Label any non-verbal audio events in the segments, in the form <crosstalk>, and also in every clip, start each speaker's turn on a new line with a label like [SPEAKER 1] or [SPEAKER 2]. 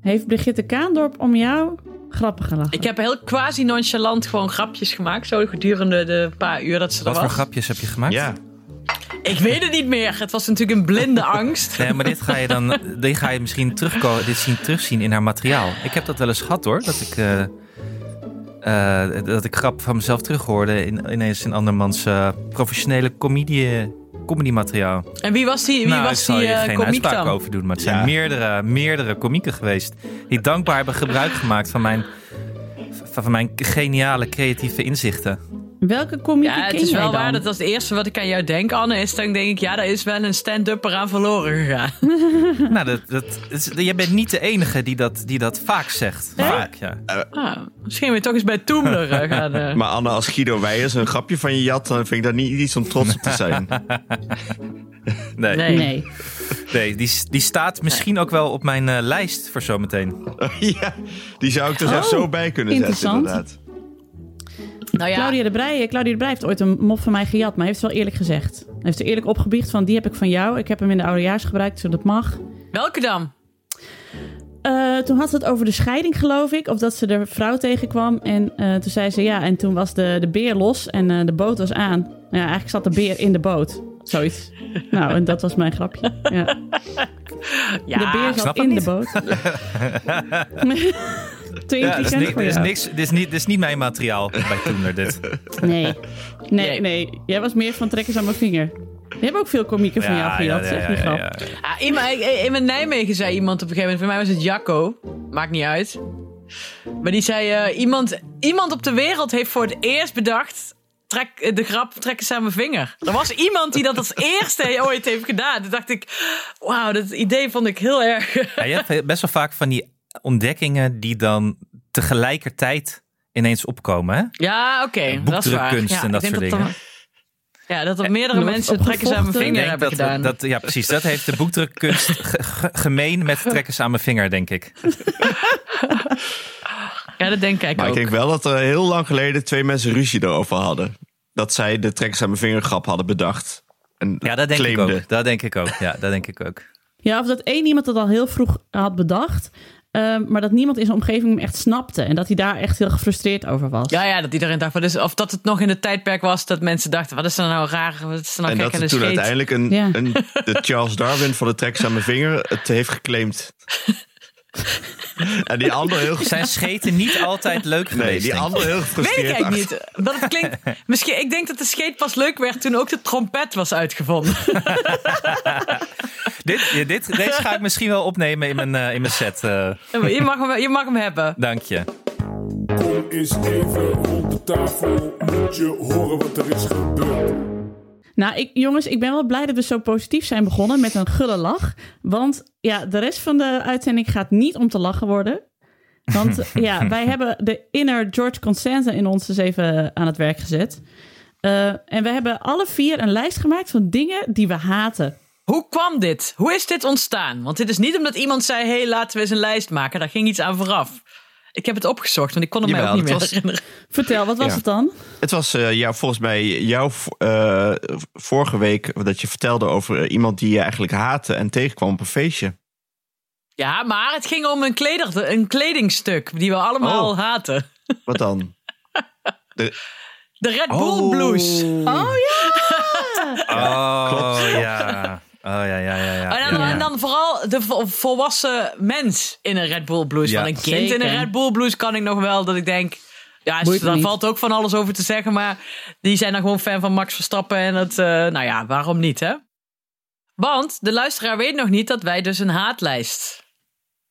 [SPEAKER 1] Heeft Brigitte Kaandorp om jou grappig gelachen?
[SPEAKER 2] Ik heb heel quasi nonchalant gewoon grapjes gemaakt. Zo gedurende de paar uur dat ze er
[SPEAKER 3] Wat voor
[SPEAKER 2] was.
[SPEAKER 3] grapjes heb je gemaakt?
[SPEAKER 4] Ja.
[SPEAKER 2] Ik weet het niet meer. Het was natuurlijk een
[SPEAKER 3] <laughs>
[SPEAKER 2] blinde angst.
[SPEAKER 3] Nee, maar dit ga je dan dit ga je misschien terugko- dit zien, terugzien in haar materiaal. Ik heb dat wel eens gehad hoor. Dat ik, eh, eh, dat ik grap van mezelf terughoorde in, ineens in andermans eh, professionele comedie, comedy materiaal.
[SPEAKER 2] En wie was die, wie
[SPEAKER 3] nou,
[SPEAKER 2] was
[SPEAKER 3] ik zal
[SPEAKER 2] die
[SPEAKER 3] je
[SPEAKER 2] eh,
[SPEAKER 3] geen
[SPEAKER 2] komiek
[SPEAKER 3] uitspraak
[SPEAKER 2] dan?
[SPEAKER 3] over doen, maar het zijn
[SPEAKER 4] Ja.
[SPEAKER 3] meerdere, meerdere komieken geweest die dankbaar hebben gebruik gemaakt van mijn, van mijn geniale creatieve inzichten.
[SPEAKER 1] Welke komiek
[SPEAKER 2] Ja, het
[SPEAKER 1] ken
[SPEAKER 2] is
[SPEAKER 1] jij
[SPEAKER 2] wel
[SPEAKER 1] dan?
[SPEAKER 2] waar. Dat was het eerste wat ik aan jou denk, Anne. Is dan denk ik, ja, daar is wel een stand-upper aan verloren gegaan.
[SPEAKER 1] <laughs>
[SPEAKER 2] Hm.
[SPEAKER 3] Nou, dat, dat, is- jij bent niet de enige die dat, die dat vaak zegt. Vaak, ja.
[SPEAKER 4] Eh,
[SPEAKER 2] Ah, misschien weer toch eens bij Toemler eh,
[SPEAKER 1] <laughs>
[SPEAKER 2] gaan. eh.
[SPEAKER 4] Maar Anne, als Guido Weijers een grapje van je jat, dan vind ik daar niet iets om trots op te
[SPEAKER 2] <laughs>
[SPEAKER 4] zijn.
[SPEAKER 3] Nee.
[SPEAKER 2] Nee.
[SPEAKER 3] nee.
[SPEAKER 1] Nee.
[SPEAKER 3] die, die staat misschien ook wel op mijn eh, lijst voor zometeen.
[SPEAKER 4] ja, die zou ik er zelfs
[SPEAKER 1] Oh,
[SPEAKER 4] zo bij kunnen zetten,
[SPEAKER 1] interessant.
[SPEAKER 4] inderdaad.
[SPEAKER 2] nou ja,
[SPEAKER 1] Claudia, de Breij, Claudia de Breij heeft ooit een mop van mij gejat, maar heeft het wel eerlijk gezegd. Hij heeft er eerlijk opgebiecht van, die heb ik van jou. Ik heb hem in de oudejaars gebruikt, zodat het mag.
[SPEAKER 2] welke dan?
[SPEAKER 1] Eh, toen had ze het over de scheiding, geloof ik. Of dat ze de vrouw tegenkwam. En eh, toen zei ze ja. En toen was de, de beer los en eh, de boot was aan. Nou Ja, eigenlijk zat de beer in de boot. Zoiets. Nou, en dat was mijn grapje. Ja.
[SPEAKER 2] Ja,
[SPEAKER 1] de beer
[SPEAKER 3] snap
[SPEAKER 1] zat
[SPEAKER 3] het
[SPEAKER 1] in de
[SPEAKER 3] niet. <laughs>
[SPEAKER 1] boot. <laughs> Te
[SPEAKER 3] Ja, dit is,
[SPEAKER 1] intelligent
[SPEAKER 3] ni-
[SPEAKER 1] voor
[SPEAKER 3] dit is
[SPEAKER 1] jou.
[SPEAKER 3] niks, dit is niet, dit is niet mijn materiaal bij Toender, <laughs> dit.
[SPEAKER 1] Nee.
[SPEAKER 2] Nee.
[SPEAKER 1] nee, nee. Jij was meer van trekkers aan mijn vinger. Die hebben ook veel komieken van jou gejat, zeg die grap.
[SPEAKER 2] Ah, in, mijn, in mijn Nijmegen zei iemand op een gegeven moment, voor mij was het Jacco, maakt niet uit. Maar die zei, eh, iemand, iemand op de wereld heeft voor het eerst bedacht, trek, eh, de grap trek eens aan mijn vinger. Er was iemand die dat <laughs> als eerste ooit heeft gedaan. Toen dacht ik, wauw, dat idee vond ik heel erg.
[SPEAKER 3] Ja, je hebt best wel vaak van die ontdekkingen die dan tegelijkertijd ineens opkomen. Hè?
[SPEAKER 2] Ja, oké, dat is waar.
[SPEAKER 3] Boekdrukkunst
[SPEAKER 2] ja,
[SPEAKER 3] en
[SPEAKER 2] ik
[SPEAKER 3] dat
[SPEAKER 2] denk
[SPEAKER 3] soort
[SPEAKER 2] dan-
[SPEAKER 3] dingen.
[SPEAKER 2] ja, dat er meerdere
[SPEAKER 1] wordt
[SPEAKER 2] mensen trekken aan mijn
[SPEAKER 1] opgevochten.
[SPEAKER 3] Ik
[SPEAKER 2] vinger
[SPEAKER 3] denk
[SPEAKER 2] hebben
[SPEAKER 3] dat,
[SPEAKER 2] gedaan.
[SPEAKER 3] dat, ja, precies. Dat heeft de boekdrukkunst ge- ge- gemeen met trekkers aan mijn vinger, denk ik.
[SPEAKER 2] ja, dat denk ik
[SPEAKER 4] Maar
[SPEAKER 2] ook.
[SPEAKER 4] ik denk wel dat er heel lang geleden twee mensen ruzie erover hadden. Dat zij de trekkers aan mijn vinger grap hadden bedacht. En
[SPEAKER 3] Ja, dat denk
[SPEAKER 4] claimden.
[SPEAKER 3] ik ook. Dat denk ik ook. Ja, dat denk ik ook.
[SPEAKER 1] Ja, of dat één iemand dat al heel vroeg had bedacht. ehm, maar dat niemand in zijn omgeving hem echt snapte. En dat hij daar echt heel gefrustreerd over was.
[SPEAKER 2] Ja, ja, dat iedereen dacht, wat is, of dat het nog in het tijdperk was dat mensen dachten, wat is er nou raar, wat is er nou
[SPEAKER 4] En
[SPEAKER 2] gek
[SPEAKER 4] dat
[SPEAKER 2] aan
[SPEAKER 4] er
[SPEAKER 2] de
[SPEAKER 4] toen
[SPEAKER 2] scheet?
[SPEAKER 4] uiteindelijk een,
[SPEAKER 1] Ja.
[SPEAKER 4] een,
[SPEAKER 2] <laughs>
[SPEAKER 4] de Charles Darwin van de trekkers aan mijn vinger het heeft geclaimd. en die ander heel, ges-
[SPEAKER 3] Zijn scheten
[SPEAKER 4] <laughs>
[SPEAKER 3] niet altijd leuk geweest?
[SPEAKER 4] nee, die
[SPEAKER 3] denk ik.
[SPEAKER 4] ander heel
[SPEAKER 2] Weet ik
[SPEAKER 4] gefrustreerd.
[SPEAKER 2] eigenlijk
[SPEAKER 4] achter-
[SPEAKER 2] niet. Dat het
[SPEAKER 4] <laughs>
[SPEAKER 2] klinkt, misschien, ik denk dat de scheet pas leuk werd toen ook de trompet was uitgevonden. <laughs>
[SPEAKER 3] Dit, ja, dit, deze ga ik misschien wel opnemen in mijn, eh, in mijn set. eh,
[SPEAKER 2] Je mag hem, je mag hem hebben.
[SPEAKER 3] dank je.
[SPEAKER 5] Kom eens even rond de tafel, moet je horen wat er is gebeurd.
[SPEAKER 1] Nou, ik, jongens, ik ben wel blij dat we zo positief zijn begonnen met een gulle lach. Want ja, de rest van de uitzending gaat niet om te lachen worden. Want ja, wij hebben de inner George Constanza in ons eens even aan het werk gezet. Eh, en we hebben alle vier een lijst gemaakt van dingen die we haten.
[SPEAKER 2] Hoe kwam dit? Hoe is dit ontstaan? Want dit is niet omdat iemand zei, hey, laten we eens een lijst maken. Daar ging iets aan vooraf. Ik heb het opgezocht, want ik kon het mij
[SPEAKER 4] Jawel,
[SPEAKER 2] ook niet meer
[SPEAKER 4] dat was-
[SPEAKER 2] herinneren.
[SPEAKER 1] Vertel, wat was
[SPEAKER 4] Ja.
[SPEAKER 1] het dan?
[SPEAKER 4] Het was eh, ja, volgens mij jouw eh, vorige week dat je vertelde over eh, iemand die je eigenlijk haatte en tegenkwam op een feestje.
[SPEAKER 2] Ja, maar het ging om een, kleder, een kledingstuk die we allemaal
[SPEAKER 4] Oh.
[SPEAKER 2] haten.
[SPEAKER 4] Wat dan?
[SPEAKER 2] De Red Bull Blues.
[SPEAKER 1] Oh ja!
[SPEAKER 3] Oh, ja. Oh, ja, ja, ja. ja,
[SPEAKER 2] En dan,
[SPEAKER 3] ja.
[SPEAKER 2] en dan vooral de vo- volwassen mens in een Red Bull blues.
[SPEAKER 3] Ja.
[SPEAKER 2] Want een kind
[SPEAKER 1] Zeker.
[SPEAKER 2] in een Red Bull blues kan ik nog wel dat ik denk... Ja,
[SPEAKER 1] Boeit me
[SPEAKER 2] daar
[SPEAKER 1] niet.
[SPEAKER 2] valt ook van alles over te zeggen. Maar die zijn dan gewoon fan van Max Verstappen. En het, eh, nou ja, waarom niet, hè? Want de luisteraar weet nog niet dat wij dus een haatlijst...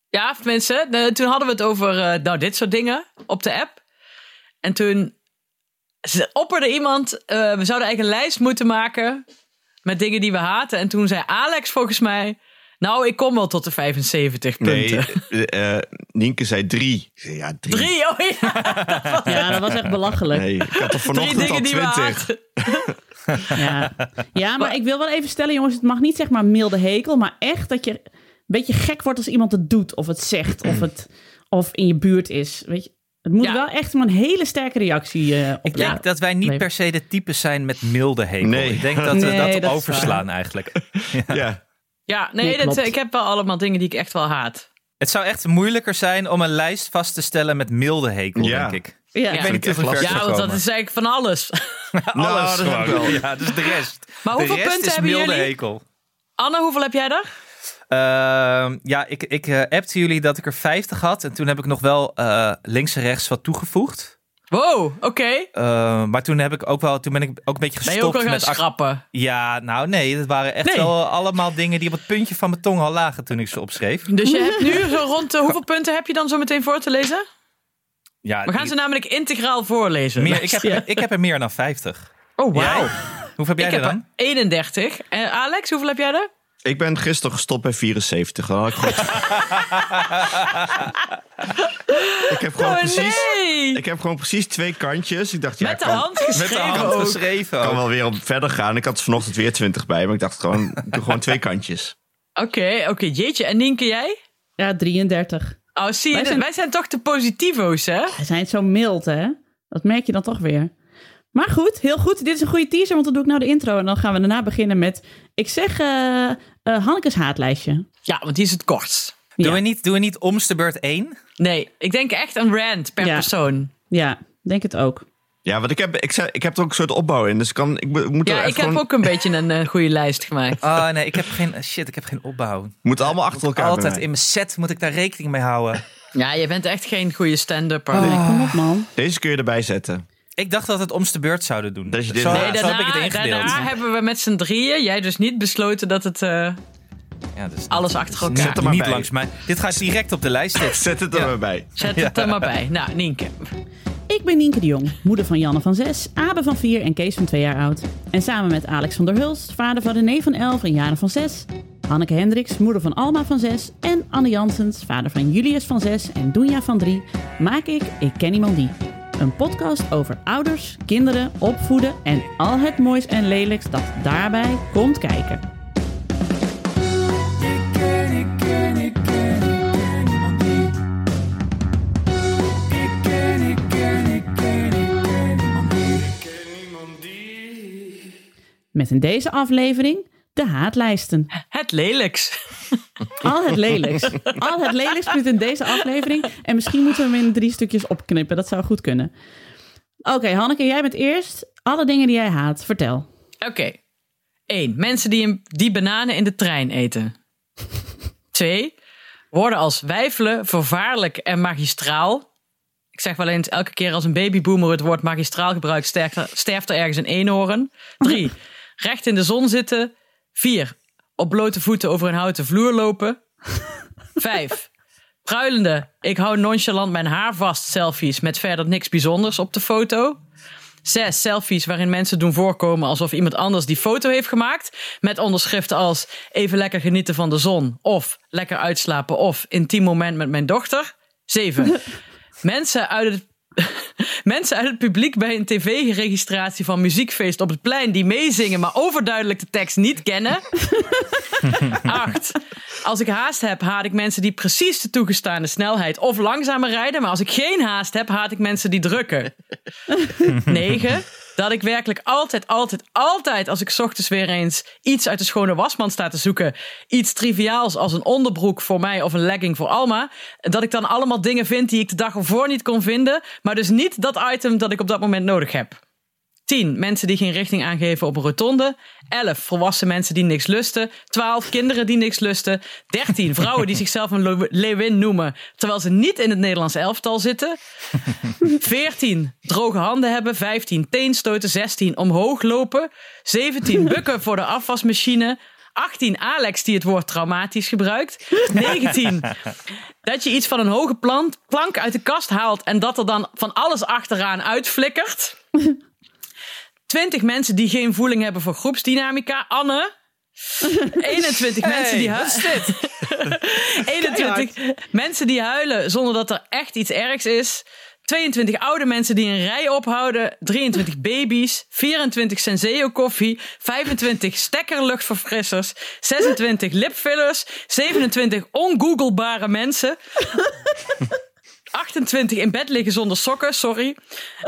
[SPEAKER 2] Ja, of tenminste, de- toen hadden we het over eh, nou, dit soort dingen op de app. En toen ze- opperde iemand, eh, we zouden eigenlijk een lijst moeten maken met dingen die we haten. En toen zei Alex volgens mij, nou, ik kom wel tot de 75 <laughs>
[SPEAKER 4] Nee,
[SPEAKER 2] punten. <laughs>
[SPEAKER 4] eh, eh, Nienke zei drie. Ik zei, ja, drie.
[SPEAKER 2] Drie, oh ja,
[SPEAKER 1] Ja, dat was echt belachelijk.
[SPEAKER 4] Nee, ik had
[SPEAKER 2] <laughs>
[SPEAKER 4] er
[SPEAKER 2] drie
[SPEAKER 4] vanochtend al
[SPEAKER 2] dingen die we
[SPEAKER 4] twintig.
[SPEAKER 2] haten.
[SPEAKER 1] Ja. ja, maar ik wil wel even stellen, jongens, het mag niet zeg maar milde hekel, maar echt dat je een beetje gek wordt als iemand het doet of het zegt of het of in je buurt is. Weet je, het moet
[SPEAKER 2] Ja.
[SPEAKER 1] wel echt maar een hele sterke reactie eh op.
[SPEAKER 3] Ik denk dat wij niet
[SPEAKER 1] Nee.
[SPEAKER 3] per se de types zijn met milde hekel.
[SPEAKER 4] Nee.
[SPEAKER 3] Ik denk dat we
[SPEAKER 1] Nee, dat is
[SPEAKER 3] dat
[SPEAKER 1] waar.
[SPEAKER 3] overslaan eigenlijk.
[SPEAKER 4] Ja.
[SPEAKER 2] Ja, nee, <laughs>
[SPEAKER 1] Nee,
[SPEAKER 2] dat, eh,
[SPEAKER 1] klopt.
[SPEAKER 2] ik heb wel allemaal dingen die ik echt wel haat.
[SPEAKER 3] Het zou echt moeilijker zijn om een lijst vast te stellen met milde hekel,
[SPEAKER 4] Ja.
[SPEAKER 3] denk ik.
[SPEAKER 1] Ja.
[SPEAKER 3] Ik
[SPEAKER 2] Ja.
[SPEAKER 3] weet niet of ik
[SPEAKER 4] Ja,
[SPEAKER 3] ver
[SPEAKER 2] Ja,
[SPEAKER 3] zou
[SPEAKER 2] want dat
[SPEAKER 3] komen.
[SPEAKER 2] is eigenlijk van alles. <laughs>
[SPEAKER 4] Nou,
[SPEAKER 3] Alles
[SPEAKER 4] dat is ook
[SPEAKER 3] gewoon.
[SPEAKER 4] wel.
[SPEAKER 3] Ja, dus de rest.
[SPEAKER 2] Maar
[SPEAKER 3] De
[SPEAKER 2] hoeveel
[SPEAKER 3] rest
[SPEAKER 2] punten
[SPEAKER 3] is
[SPEAKER 2] hebben
[SPEAKER 3] milde
[SPEAKER 2] jullie?
[SPEAKER 3] hekel.
[SPEAKER 2] Anne, hoeveel heb jij daar?
[SPEAKER 3] Ehm, ja, ik, ik eh, appte jullie dat ik er 50 had. En toen heb ik nog wel eh, links en rechts wat toegevoegd.
[SPEAKER 2] Wow, oké.
[SPEAKER 3] Ehm, maar toen, heb ik ook wel, toen ben ik ook een beetje
[SPEAKER 2] Ben
[SPEAKER 3] gestopt
[SPEAKER 2] je ook al gaan
[SPEAKER 3] met... act-
[SPEAKER 2] schrappen?
[SPEAKER 3] Ja, nou nee, dat waren echt
[SPEAKER 2] Nee.
[SPEAKER 3] wel allemaal dingen die op het puntje van mijn tong al lagen toen ik ze opschreef.
[SPEAKER 2] Dus je hebt nu zo rond de... Hoeveel punten heb je dan zo meteen voor te lezen?
[SPEAKER 3] Ja,
[SPEAKER 2] We gaan ze namelijk integraal voorlezen.
[SPEAKER 3] meer, ik, heb, ik heb er meer dan 50.
[SPEAKER 2] Oh, wauw.
[SPEAKER 3] Jij? Hoeveel heb jij
[SPEAKER 2] Ik
[SPEAKER 3] er
[SPEAKER 2] heb
[SPEAKER 3] dan?
[SPEAKER 2] er 31. En Alex, hoeveel heb jij er?
[SPEAKER 4] Ik ben gisteren gestopt bij 74. Dan had ik,
[SPEAKER 2] <laughs>
[SPEAKER 4] goed... ik heb gewoon
[SPEAKER 2] Oh,
[SPEAKER 4] precies.
[SPEAKER 2] nee!
[SPEAKER 4] Ik heb gewoon precies twee kantjes. Ik dacht, ja,
[SPEAKER 2] Met de
[SPEAKER 4] ik kan,
[SPEAKER 2] hand
[SPEAKER 3] Met de
[SPEAKER 2] geschreven
[SPEAKER 3] hand
[SPEAKER 2] ook.
[SPEAKER 3] geschreven.
[SPEAKER 4] kan
[SPEAKER 3] ook.
[SPEAKER 4] wel weer op verder gaan. Ik had er vanochtend weer 20 bij, maar ik dacht gewoon, ik doe gewoon twee kantjes.
[SPEAKER 2] Oké, oké. Jeetje, en Nienke, jij?
[SPEAKER 1] ja, 33.
[SPEAKER 2] Oh, zie je,
[SPEAKER 1] Wij
[SPEAKER 2] wij zijn,
[SPEAKER 1] zijn-
[SPEAKER 2] toch de positivo's, hè?
[SPEAKER 1] Ze zijn zo mild, hè? Dat merk je dan toch weer. Maar goed, heel goed. Dit is een goede teaser, want dan doe ik nou de intro. En dan gaan we daarna beginnen met, ik zeg, eh eh, Hanneke's haatlijstje.
[SPEAKER 2] Ja, want die is het kortst.
[SPEAKER 3] Doen,
[SPEAKER 1] Ja.
[SPEAKER 3] we niet, doen we niet omste beurt 1?
[SPEAKER 2] Nee, ik denk echt een rant per
[SPEAKER 1] Ja.
[SPEAKER 2] persoon.
[SPEAKER 1] Ja, denk het ook.
[SPEAKER 4] Ja, want ik heb, ik, zei- ik heb er ook een soort opbouw in. Dus ik kan, ik, mo- ik moet er
[SPEAKER 2] Ja,
[SPEAKER 4] echt
[SPEAKER 2] ik
[SPEAKER 4] gewoon-
[SPEAKER 2] heb ook een beetje een eh, goede lijst <laughs> gemaakt.
[SPEAKER 3] Oh nee, ik heb geen, shit, ik heb geen opbouw.
[SPEAKER 4] moet allemaal achter elkaar. bij
[SPEAKER 3] Altijd
[SPEAKER 4] mij.
[SPEAKER 3] in mijn set moet ik daar rekening mee houden.
[SPEAKER 2] Ja, je bent echt geen goede stand-upper.
[SPEAKER 3] Oh.
[SPEAKER 1] Nee, kom op, man.
[SPEAKER 4] Deze kun je erbij zetten.
[SPEAKER 3] Ik dacht dat het omste beurt zouden doen.
[SPEAKER 4] Dat je dit-
[SPEAKER 3] zo,
[SPEAKER 4] Nee,
[SPEAKER 2] Nee,
[SPEAKER 3] zo heb ik het
[SPEAKER 2] daarna,
[SPEAKER 3] ingedeeld.
[SPEAKER 2] daarna hebben we met z'n drieën, jij dus niet, besloten dat het... eh,
[SPEAKER 3] Ja, dus
[SPEAKER 2] Alles achter
[SPEAKER 3] Zet
[SPEAKER 2] elkaar.
[SPEAKER 3] hem
[SPEAKER 4] er
[SPEAKER 3] maar
[SPEAKER 4] maar
[SPEAKER 3] niet
[SPEAKER 4] bij.
[SPEAKER 3] langs mij. Dit gaat direct op de lijst. Dit.
[SPEAKER 4] Zet het er
[SPEAKER 3] <laughs> Ja.
[SPEAKER 4] maar bij.
[SPEAKER 2] Zet het er maar bij. Nou, Nienke.
[SPEAKER 1] Ik ben Nienke de Jong, moeder van Janne van 6, Abe van 4 en Kees van 2 jaar oud. En samen met Alex van der Hulst, vader van René van 11 en Jaren van 6. Hanneke Hendricks, moeder van Alma van 6. En Anne Jansens, vader van Julius van 6 en Doenja van 3. Maak ik Ik Ken Iemand Die. Een podcast over ouders, kinderen, opvoeden en al het moois en lelijks dat daarbij komt kijken. Met in deze aflevering de haatlijsten.
[SPEAKER 2] Het lelijks.
[SPEAKER 1] Al het lelijks. Al het lelijks komt in deze aflevering. En misschien moeten we hem in drie stukjes opknippen. Dat zou goed kunnen. Oké, Hanneke, jij bent eerst. Alle dingen die jij haat, vertel.
[SPEAKER 2] Oké. 1. Mensen die, een- die bananen in de trein eten. 2. Woorden als wijfelen, vervaarlijk en magistraal. Ik zeg wel eens, elke keer als een babyboomer het woord magistraal gebruikt, sterft er, sterft er ergens een eenhoorn. 3. Recht in de zon zitten. 4. Op blote voeten over een houten vloer lopen. 5. Pruilende, ik hou nonchalant mijn haar vast selfies met verder niks bijzonders op de foto. Zes selfies waarin mensen doen voorkomen alsof iemand anders die foto heeft gemaakt. Met onderschriften als even lekker genieten van de zon. Of lekker uitslapen. Of intiem moment met mijn dochter. Zeven. mensen uit het... <laughs> Mensen uit het publiek bij een tv-registratie van muziekfeest op het plein die meezingen, maar overduidelijk de tekst niet kennen. 8. Als ik haast heb, haat ik mensen die precies de toegestane snelheid of langzamer rijden. Maar als ik geen haast heb, haat ik mensen die drukken. <laughs> 9. Dat ik werkelijk altijd, altijd, altijd als ik 's ochtends weer eens iets uit de schone wasmand sta te zoeken. Iets triviaals als een onderbroek voor mij of een legging voor Alma. Dat ik dan allemaal dingen vind die ik de dag ervoor niet kon vinden. Maar dus niet dat item dat ik op dat moment nodig heb. 10. Mensen die geen richting aangeven op een rotonde. 11. Volwassen mensen die niks lusten. 12. Kinderen die niks lusten. 13. Vrouwen die zichzelf een leeu- leeuwin noemen, terwijl ze niet in het Nederlands elftal zitten. 14. Droge handen hebben. 15. Teenstoten. 16. Omhoog lopen. 17. Bukken voor de afwasmachine. 18. Alex die het woord traumatisch gebruikt. 19. Dat je iets van een hoge plant, plank uit de kast haalt en dat er dan van alles achteraan uitflikkert. 20 mensen die geen voeling hebben voor groepsdynamica. Anne. 21 mensen die
[SPEAKER 3] wat is dit?
[SPEAKER 2] 21 mensen die huilen zonder dat er echt iets ergs is. 22 oude mensen die een rij ophouden. 23 baby's. 24 Senseo koffie. 25 stekkerluchtverfrissers. 26 lipfillers. 27 ongooglebare mensen. 28 in bed liggen zonder sokken, sorry.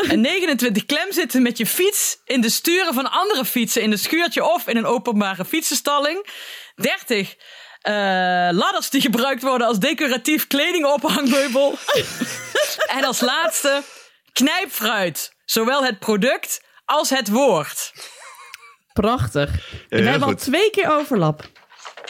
[SPEAKER 2] En 29 klem zitten met je fiets in de sturen van andere fietsen in een schuurtje of in een openbare fietsenstalling. 30 eh, ladders die gebruikt worden als decoratief <laughs> kledingophangbubel. en als laatste knijpfruit. Zowel het product als het woord.
[SPEAKER 1] Prachtig. We
[SPEAKER 4] heel
[SPEAKER 1] hebben al
[SPEAKER 4] goed.
[SPEAKER 1] twee keer overlap.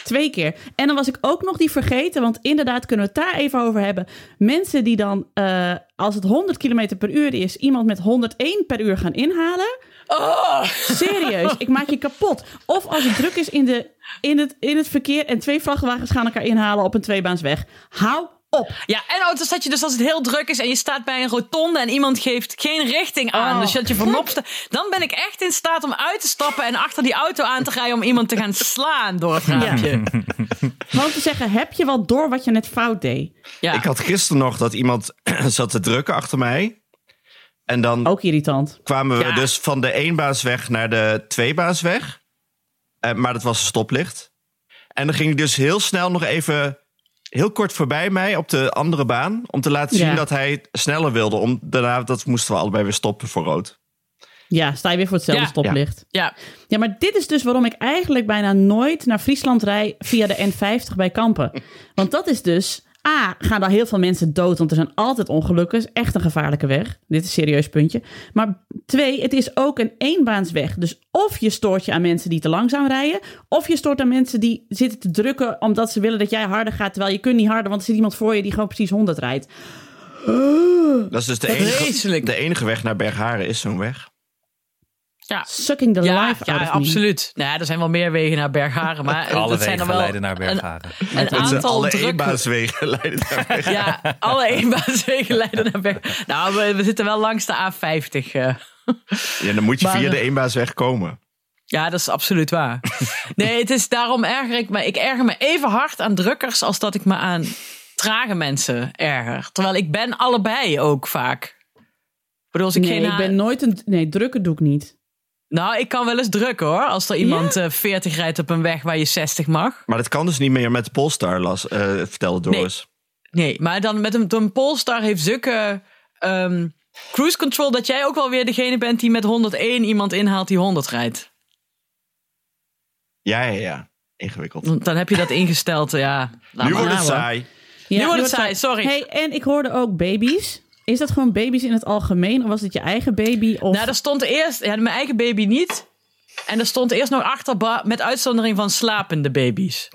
[SPEAKER 1] Twee keer. En dan was ik ook nog die vergeten, want inderdaad kunnen we het daar even over hebben. Mensen die dan, eh, als het 100 km per uur is, iemand met 101 per uur gaan inhalen.
[SPEAKER 2] Oh,
[SPEAKER 1] Serieus, ik maak je kapot. Of als het druk is in, de, in, het, in het verkeer en twee vrachtwagens gaan elkaar inhalen op een tweebaansweg. Hou op.
[SPEAKER 2] Ja, en ook dus dat je dus als het heel druk is en je staat bij een rotonde en iemand geeft geen richting aan.
[SPEAKER 1] Oh,
[SPEAKER 2] dus dat je vermopt. sta- Dan ben ik echt in staat om uit te stappen en achter die auto aan te rijden om iemand <laughs> te gaan slaan door het raampje. Ja.
[SPEAKER 1] Gewoon te zeggen, heb je wel door wat je net fout deed?
[SPEAKER 2] Ja.
[SPEAKER 4] Ik had gisteren nog dat iemand <clears throat> zat te drukken achter mij. En dan
[SPEAKER 1] Ook irritant.
[SPEAKER 4] kwamen we
[SPEAKER 2] Oh. Ja.
[SPEAKER 4] dus van de eenbaasweg naar de tweebaasweg. Eh, maar dat was een stoplicht. En dan ging hij dus heel snel nog even heel kort voorbij mij op de andere baan. Om te laten zien
[SPEAKER 1] Ja.
[SPEAKER 4] dat hij sneller wilde. Om, daarna dat moesten we allebei weer stoppen voor rood.
[SPEAKER 1] Ja, sta je weer voor hetzelfde
[SPEAKER 2] Ja.
[SPEAKER 1] stoplicht.
[SPEAKER 2] ja.
[SPEAKER 1] Ja, maar dit is dus waarom ik eigenlijk bijna nooit naar Friesland rij via de N50 bij Kampen. Want dat is dus. A, gaan daar heel veel mensen dood, want er zijn altijd ongelukken. Het is echt een gevaarlijke weg. Dit is een serieus puntje. Maar twee, het is ook een eenbaansweg. Dus of je stoort je aan mensen die te langzaam rijden... of je stoort aan mensen die zitten te drukken... omdat ze willen dat jij harder gaat, terwijl je kunt niet harder... want er zit iemand voor je die gewoon precies 100 rijdt.
[SPEAKER 4] Dat is dus de, enige,
[SPEAKER 2] Vreselijk.
[SPEAKER 4] de enige weg naar Bergharen is zo'n weg.
[SPEAKER 2] Ja.
[SPEAKER 1] Sucking the
[SPEAKER 2] Ja,
[SPEAKER 1] life out
[SPEAKER 2] ja,
[SPEAKER 1] of me.
[SPEAKER 2] absoluut. Nou, er zijn wel meer wegen naar Bergharen, maar eh,
[SPEAKER 3] Alle
[SPEAKER 2] dat zijn
[SPEAKER 3] wegen
[SPEAKER 2] er wel
[SPEAKER 3] leiden naar Bergharen.
[SPEAKER 2] een, een aantal
[SPEAKER 4] alle
[SPEAKER 2] drukke
[SPEAKER 4] eenbaaswegen <laughs> leiden daar weg.
[SPEAKER 2] Ja, alle eenbaanswegen leiden naar Bergharen. Nou, we, we zitten wel langs de A50. eh.
[SPEAKER 4] Ja, dan moet je
[SPEAKER 2] Maar,
[SPEAKER 4] via
[SPEAKER 2] eh,
[SPEAKER 4] de eenbaasweg komen.
[SPEAKER 2] Ja, dat is absoluut waar. Nee, het is daarom erger ik me. Ik erger me even hard aan drukkers als dat ik me aan trage mensen erger. Terwijl ik ben allebei ook vaak. Ik bedoel, als ik
[SPEAKER 1] Nee,
[SPEAKER 2] geen eh,
[SPEAKER 1] ik
[SPEAKER 2] ha-
[SPEAKER 1] ben nooit een... Nee, drukken doe ik niet.
[SPEAKER 2] Nou, ik kan wel eens drukken hoor. Als er iemand eh, 40 rijdt op een weg waar je 60 mag.
[SPEAKER 4] Maar dat kan dus niet meer met de Polestar, las, eh, vertelde Doris.
[SPEAKER 2] Nee, maar dan met een, een Polestar heeft zulke ehm, cruise control... dat jij ook wel weer degene bent die met 101 iemand inhaalt die 100 rijdt.
[SPEAKER 4] Ja, ja, ja. Ingewikkeld.
[SPEAKER 2] Want Dan heb je dat ingesteld, ja. Laat
[SPEAKER 4] nu
[SPEAKER 2] maar
[SPEAKER 4] wordt het
[SPEAKER 2] na, Nou, hoor.
[SPEAKER 4] saai.
[SPEAKER 1] Ja,
[SPEAKER 2] Nu wordt het
[SPEAKER 1] dat
[SPEAKER 2] saai, sorry.
[SPEAKER 1] Hey, en ik hoorde ook baby's. Is dat gewoon baby's in het algemeen? Of was het je eigen baby? Of...
[SPEAKER 2] Nou, er stond eerst, ja, mijn eigen baby niet. En er stond eerst nog achter, ba- met uitzondering van slapende baby's.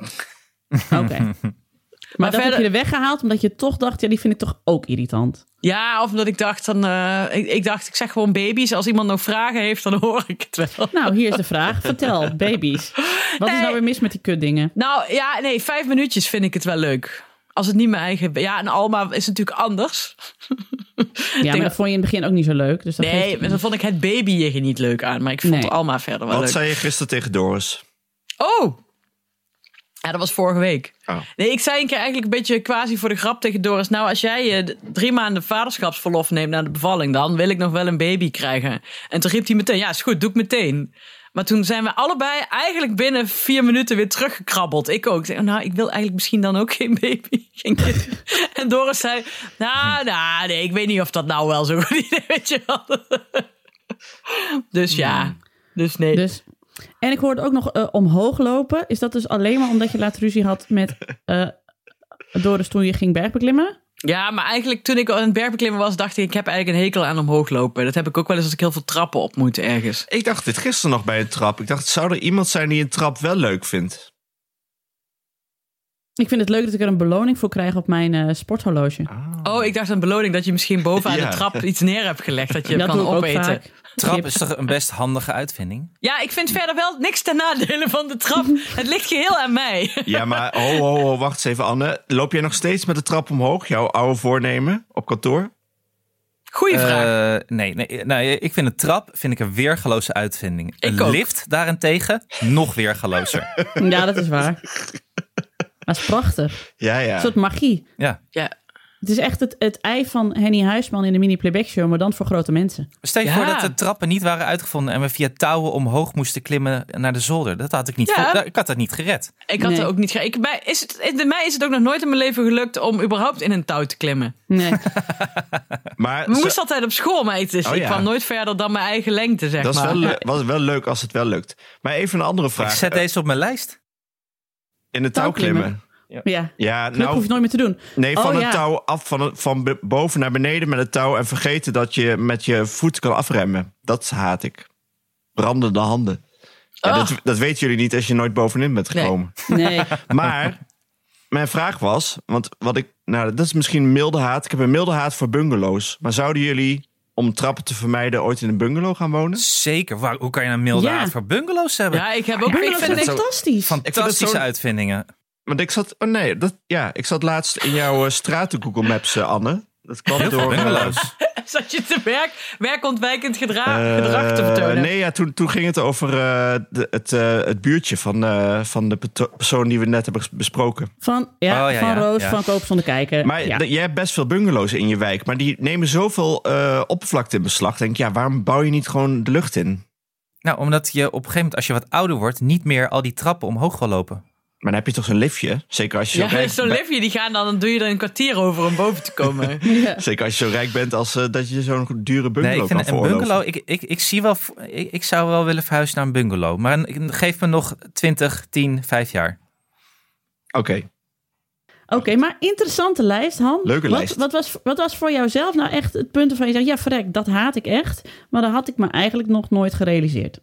[SPEAKER 1] Oké.
[SPEAKER 2] <laughs>
[SPEAKER 1] maar dat
[SPEAKER 2] verder-
[SPEAKER 1] heb je er weggehaald omdat je toch dacht... ja, die vind ik toch ook irritant.
[SPEAKER 2] Ja, of omdat ik dacht, dan, eh, ik, ik dacht, ik zeg gewoon baby's. Als iemand nog vragen heeft, dan hoor ik het wel.
[SPEAKER 1] Nou, hier is de
[SPEAKER 2] <laughs>
[SPEAKER 1] vraag. Vertel, baby's. Wat is
[SPEAKER 2] Nee.
[SPEAKER 1] nou weer mis met die kutdingen?
[SPEAKER 2] Nou ja, nee, vijf minuutjes vind ik het wel leuk. Als het niet mijn eigen. Ja, een Alma is natuurlijk anders.
[SPEAKER 1] Ja, maar dat vond je in het begin ook niet zo leuk. Dus dat
[SPEAKER 2] Nee,
[SPEAKER 1] geeft-
[SPEAKER 2] maar dan vond ik het babyje niet leuk aan. Maar ik vond
[SPEAKER 1] Nee.
[SPEAKER 2] Alma verder wel
[SPEAKER 4] Wat
[SPEAKER 2] leuk.
[SPEAKER 4] zei je gisteren tegen Doris?
[SPEAKER 2] Oh! Ja, dat was vorige week.
[SPEAKER 4] Oh.
[SPEAKER 2] Nee, ik zei een keer eigenlijk een beetje quasi voor de grap tegen Doris. Nou, als jij eh, d- drie maanden vaderschapsverlof neemt na de bevalling, dan wil ik nog wel een baby krijgen. En toen riep hij meteen, ja, is goed, doe ik meteen. Maar toen zijn we allebei eigenlijk binnen vier minuten weer teruggekrabbeld. Ik ook. Ik zei, oh, nou, ik wil eigenlijk misschien dan ook geen baby. <laughs> Geen kind. en Doris zei, nou, nou, nee, ik weet niet of dat nou wel zo <laughs> goed idee is. Weet je wel. dus ja, dus nee.
[SPEAKER 1] Dus... En ik hoorde ook nog eh, omhoog lopen. Is dat dus alleen maar omdat je laat ruzie had met... eh Doris toen je ging bergbeklimmen?
[SPEAKER 2] Ja, maar eigenlijk toen ik aan het bergbeklimmen was, dacht ik, ik heb eigenlijk een hekel aan omhoog lopen. Dat heb ik ook wel eens als ik heel veel trappen op moet ergens.
[SPEAKER 4] Ik dacht dit gisteren nog bij een trap. Ik dacht, zou er iemand zijn die een trap wel leuk
[SPEAKER 2] <laughs>
[SPEAKER 4] vindt?
[SPEAKER 1] Ik vind het leuk dat ik er een beloning voor krijg op mijn eh, sporthorloge.
[SPEAKER 2] Oh, ik dacht een beloning dat je misschien bovenaan
[SPEAKER 4] <laughs> Ja.
[SPEAKER 2] de trap iets neer hebt gelegd dat je
[SPEAKER 1] dat
[SPEAKER 2] kan
[SPEAKER 1] doe ik ook
[SPEAKER 2] opeten.
[SPEAKER 1] vaak.
[SPEAKER 3] Trap
[SPEAKER 1] Kip.
[SPEAKER 3] is toch een best handige uitvinding?
[SPEAKER 2] Ja, ik vind verder wel niks ten nadele van de
[SPEAKER 1] <laughs>
[SPEAKER 2] trap. Het ligt geheel aan mij. <laughs>
[SPEAKER 4] Ja, maar oh, oh, oh, wacht eens even, Anne. Loop jij nog steeds met de trap omhoog? Jouw oude voornemen op kantoor?
[SPEAKER 2] Goeie vraag.
[SPEAKER 3] Eh, nee, nee, nee, ik vind een trap vind ik een weergeloze uitvinding. een
[SPEAKER 2] ook.
[SPEAKER 3] lift daarentegen nog
[SPEAKER 2] <laughs>
[SPEAKER 3] weergelozer.
[SPEAKER 1] Ja, dat is waar. Maar het is prachtig.
[SPEAKER 4] Ja,
[SPEAKER 1] Een
[SPEAKER 4] ja.
[SPEAKER 1] soort magie.
[SPEAKER 3] ja.
[SPEAKER 2] Ja.
[SPEAKER 1] Het is echt het, het ei van Henny Huisman in de mini playback show, maar dan voor grote mensen.
[SPEAKER 3] Stel je
[SPEAKER 2] Ja.
[SPEAKER 3] voor dat de trappen niet waren uitgevonden en we via touwen omhoog moesten klimmen naar de zolder. Dat had ik niet.
[SPEAKER 2] Ja.
[SPEAKER 3] voor- ik had dat niet gered.
[SPEAKER 2] Ik had
[SPEAKER 1] Nee.
[SPEAKER 2] er ook niet. ge- Ik, bij, is het, in- mij is het ook nog nooit in mijn leven gelukt om überhaupt in een touw te klimmen.
[SPEAKER 4] <laughs>
[SPEAKER 1] Nee.
[SPEAKER 4] Maar
[SPEAKER 2] We
[SPEAKER 4] zo-
[SPEAKER 2] moesten altijd op school, maar het is,
[SPEAKER 4] Oh,
[SPEAKER 2] ik
[SPEAKER 4] ja.
[SPEAKER 2] kwam nooit verder dan mijn eigen lengte, zeg
[SPEAKER 4] dat is
[SPEAKER 2] <laughs> maar.
[SPEAKER 4] wel, le- was wel leuk als het wel lukt. Maar even een andere
[SPEAKER 3] Ik
[SPEAKER 4] vraag.
[SPEAKER 3] zet
[SPEAKER 4] Eh,
[SPEAKER 3] deze op mijn lijst.
[SPEAKER 4] In het touw
[SPEAKER 1] Touwklimmen.
[SPEAKER 4] klimmen.
[SPEAKER 1] Ja.
[SPEAKER 4] Ja,
[SPEAKER 1] Dat hoef
[SPEAKER 4] nou,
[SPEAKER 1] je nooit meer te doen.
[SPEAKER 4] nee, van
[SPEAKER 1] Oh,
[SPEAKER 4] het
[SPEAKER 1] ja.
[SPEAKER 4] touw af, van, het- van be- boven naar beneden met het touw en vergeten dat je met je voet kan afremmen. Dat haat ik. Brandende handen. Ja,
[SPEAKER 2] Ah.
[SPEAKER 4] dat, dat weten jullie niet als je nooit bovenin bent
[SPEAKER 2] Nee.
[SPEAKER 4] gekomen. <laughs>
[SPEAKER 1] Nee.
[SPEAKER 4] Maar mijn vraag was, want wat ik, nou, dat is misschien milde haat. Ik heb een milde haat voor bungalows. Maar zouden jullie, om trappen te vermijden, ooit in een bungalow gaan wonen?
[SPEAKER 3] Zeker. Waar, hoe kan je een milde
[SPEAKER 1] Ja.
[SPEAKER 3] haat voor bungalows hebben?
[SPEAKER 2] Ja, ik heb ook. Ik
[SPEAKER 1] Bungalows
[SPEAKER 2] vind
[SPEAKER 1] zijn
[SPEAKER 2] het,
[SPEAKER 3] zo-
[SPEAKER 1] fantastisch.
[SPEAKER 3] Fantastische
[SPEAKER 4] zo'n-
[SPEAKER 3] uitvindingen.
[SPEAKER 4] Want ik zat, oh nee, dat, ja, ik zat laatst in jouw eh, straten Google Maps, eh, Anne. Dat kwam
[SPEAKER 3] Heel veel
[SPEAKER 4] door. eh,
[SPEAKER 3] bungalows.
[SPEAKER 2] zat je te werk, werkontwijkend gedra-
[SPEAKER 4] eh,
[SPEAKER 2] <laughs> gedrag te vertonen.
[SPEAKER 4] nee, ja, toen, toen ging het over eh, de- het, eh, het buurtje van, eh, van de peto- persoon die we net hebben ges- besproken.
[SPEAKER 1] Van, ja,
[SPEAKER 3] Oh, ja,
[SPEAKER 1] van
[SPEAKER 3] ja,
[SPEAKER 1] Roos,
[SPEAKER 3] ja.
[SPEAKER 1] van Koop zonder kijken.
[SPEAKER 4] Maar
[SPEAKER 1] ja.
[SPEAKER 4] d- jij hebt best veel bungalows in je wijk, maar die nemen zoveel eh, oppervlakte in beslag. Denk ik, ja, waarom bouw je niet gewoon de lucht in?
[SPEAKER 3] Nou, omdat je op een gegeven moment, als je wat ouder wordt, niet meer al die trappen omhoog wil lopen.
[SPEAKER 4] Maar dan heb je toch zo'n liftje? Zeker als je zo,
[SPEAKER 2] Ja, <laughs>
[SPEAKER 4] rijk,
[SPEAKER 2] zo'n
[SPEAKER 4] be-
[SPEAKER 2] liftje, die gaan dan, dan doe je er een kwartier over om boven te komen.
[SPEAKER 4] <laughs> Zeker als je zo rijk bent als eh, dat je zo'n dure bungalow
[SPEAKER 3] nee, ik
[SPEAKER 4] kan
[SPEAKER 3] vind een
[SPEAKER 4] veroorloven.
[SPEAKER 3] bungalow, ik, ik, ik zie wel, v- ik, ik zou wel willen verhuizen naar een bungalow. Maar een- geef me nog 20, 10, 5 jaar.
[SPEAKER 4] Oké,
[SPEAKER 1] Oké, maar interessante lijst, Han.
[SPEAKER 4] Leuke
[SPEAKER 1] wat,
[SPEAKER 4] lijst.
[SPEAKER 1] Wat was, wat was voor jouzelf nou echt het punt waarvan je zegt... ja, verrek, dat haat ik echt. Maar dat had ik me eigenlijk nog nooit gerealiseerd.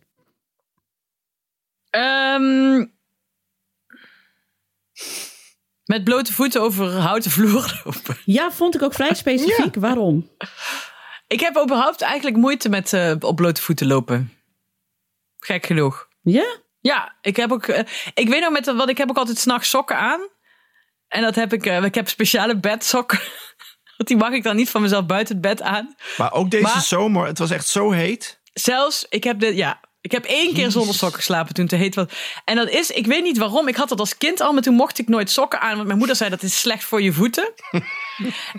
[SPEAKER 2] Ehm, met blote voeten over houten vloer lopen.
[SPEAKER 1] Ja, vond ik ook
[SPEAKER 4] <laughs>
[SPEAKER 1] vrij specifiek. Waarom?
[SPEAKER 2] Ik heb überhaupt eigenlijk moeite met eh, op blote voeten lopen. Gek genoeg.
[SPEAKER 1] Ja?
[SPEAKER 2] Ja, ik heb ook. eh, ik weet nog met wat ik heb ook altijd s'nachts sokken aan. En dat heb ik. eh, ik heb speciale bedsokken. <laughs> Want die mag ik dan niet van mezelf buiten het bed aan.
[SPEAKER 4] maar ook deze
[SPEAKER 2] Maar-
[SPEAKER 4] zomer, het was echt zo heet.
[SPEAKER 2] Zelfs, ik heb dit, ja. Ik heb één keer zonder sokken geslapen toen het te heet was. En dat is, ik weet niet waarom. Ik had dat als kind al, maar toen mocht ik nooit sokken aan. Want mijn moeder zei dat is slecht voor je voeten.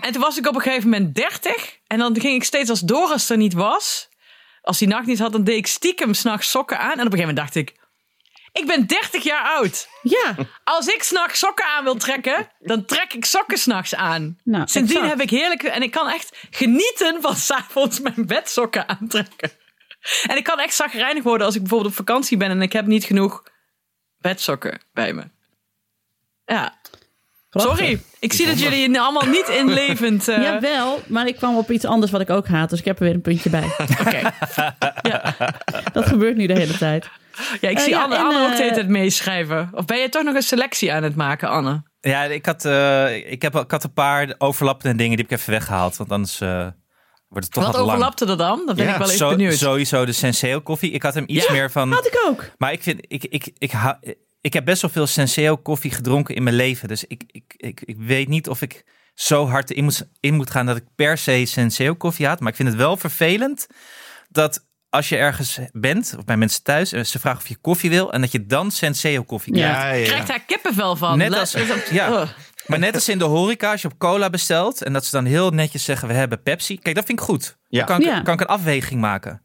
[SPEAKER 2] en toen was ik op een gegeven moment 30. En dan ging ik steeds als Doris er niet was. Als die nacht niet had, dan deed ik stiekem s'nachts sokken aan. En op een gegeven moment dacht ik, ik ben 30 jaar oud.
[SPEAKER 1] Ja.
[SPEAKER 2] Als ik s'nachts sokken aan wil trekken, dan trek ik sokken s'nachts aan.
[SPEAKER 1] Nou,
[SPEAKER 2] Sindsdien
[SPEAKER 1] exact.
[SPEAKER 2] heb ik heerlijk... En ik kan echt genieten van s'avonds mijn bedsokken aantrekken. En ik kan echt zagrijnig worden als ik bijvoorbeeld op vakantie ben... en ik heb niet genoeg bedsokken bij me. Ja,
[SPEAKER 1] Prachtig.
[SPEAKER 2] sorry. Ik zie dat jullie er allemaal niet
[SPEAKER 1] <laughs>
[SPEAKER 2] inlevend... eh
[SPEAKER 1] Jawel, maar ik kwam op iets anders wat ik ook haat. Dus ik heb er weer een puntje bij.
[SPEAKER 2] <laughs> oké.
[SPEAKER 1] Dat gebeurt nu de hele tijd.
[SPEAKER 2] Ja, ik
[SPEAKER 1] Eh,
[SPEAKER 2] zie
[SPEAKER 1] ja,
[SPEAKER 2] Anne,
[SPEAKER 1] en,
[SPEAKER 2] Anne ook de hele
[SPEAKER 1] eh,
[SPEAKER 2] tijd meeschrijven. Of ben jij toch nog een selectie aan het maken, Anne?
[SPEAKER 3] Ja, ik had, eh, ik heb, ik had een paar overlappende dingen die heb ik even weggehaald. Want anders eh, wordt het toch
[SPEAKER 2] Wat
[SPEAKER 3] wat lang.
[SPEAKER 2] overlapte er dan? Dat ben
[SPEAKER 4] Ja,
[SPEAKER 2] ik wel even
[SPEAKER 3] Zo-
[SPEAKER 2] benieuwd.
[SPEAKER 3] sowieso de Senseo koffie. Ik had hem iets
[SPEAKER 2] Ja,
[SPEAKER 3] meer van...
[SPEAKER 1] Had ik ook.
[SPEAKER 3] Maar ik vind, ik, ik, ik, hou- ik heb best wel veel Senseo koffie gedronken in mijn leven. Dus ik, ik, ik, ik weet niet of ik zo hard in moet, in moet gaan dat ik per se Senseo koffie haat. Maar ik vind het wel vervelend dat als je ergens bent, of bij mensen thuis, en ze vragen of je koffie wil, en dat je dan Senseo koffie krijgt.
[SPEAKER 1] Ja.
[SPEAKER 2] Krijgt daar kippenvel van.
[SPEAKER 3] Net
[SPEAKER 2] La-
[SPEAKER 3] als-
[SPEAKER 2] dat- oh.
[SPEAKER 3] ja.
[SPEAKER 2] Ugh.
[SPEAKER 3] Maar net als in de horeca, als je op cola bestelt en dat ze dan heel netjes zeggen: we hebben Pepsi. Kijk, dat vind ik goed.
[SPEAKER 4] Ja.
[SPEAKER 3] Dan kan ik,
[SPEAKER 1] Ja.
[SPEAKER 3] kan ik een afweging maken.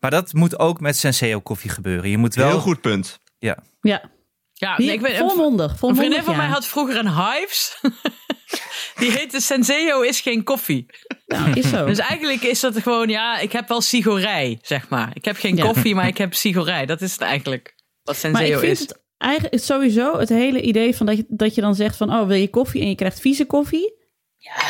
[SPEAKER 3] Maar dat moet ook met Senseo koffie gebeuren. Je moet wel.
[SPEAKER 4] Heel goed punt.
[SPEAKER 3] Ja.
[SPEAKER 1] Ja.
[SPEAKER 2] Ja,
[SPEAKER 1] Hier,
[SPEAKER 2] nee, ik weet, een,
[SPEAKER 1] volmondig.
[SPEAKER 2] een
[SPEAKER 1] volmondig
[SPEAKER 2] vriendin van
[SPEAKER 1] ja.
[SPEAKER 2] mij had vroeger een Hives. <laughs> Die heette Senseo is geen koffie.
[SPEAKER 1] Nou, is
[SPEAKER 2] <laughs>
[SPEAKER 1] zo.
[SPEAKER 2] Dus eigenlijk is dat gewoon, ja, ik heb wel sigorij, zeg maar. Ik heb geen
[SPEAKER 1] Ja.
[SPEAKER 2] koffie, maar ik heb sigorij. Dat is het eigenlijk, wat
[SPEAKER 1] Maar ik
[SPEAKER 2] Senseo
[SPEAKER 1] vind
[SPEAKER 2] is.
[SPEAKER 1] het eigenlijk sowieso het hele idee van dat je, dat je dan zegt van oh wil je koffie en je krijgt vieze koffie.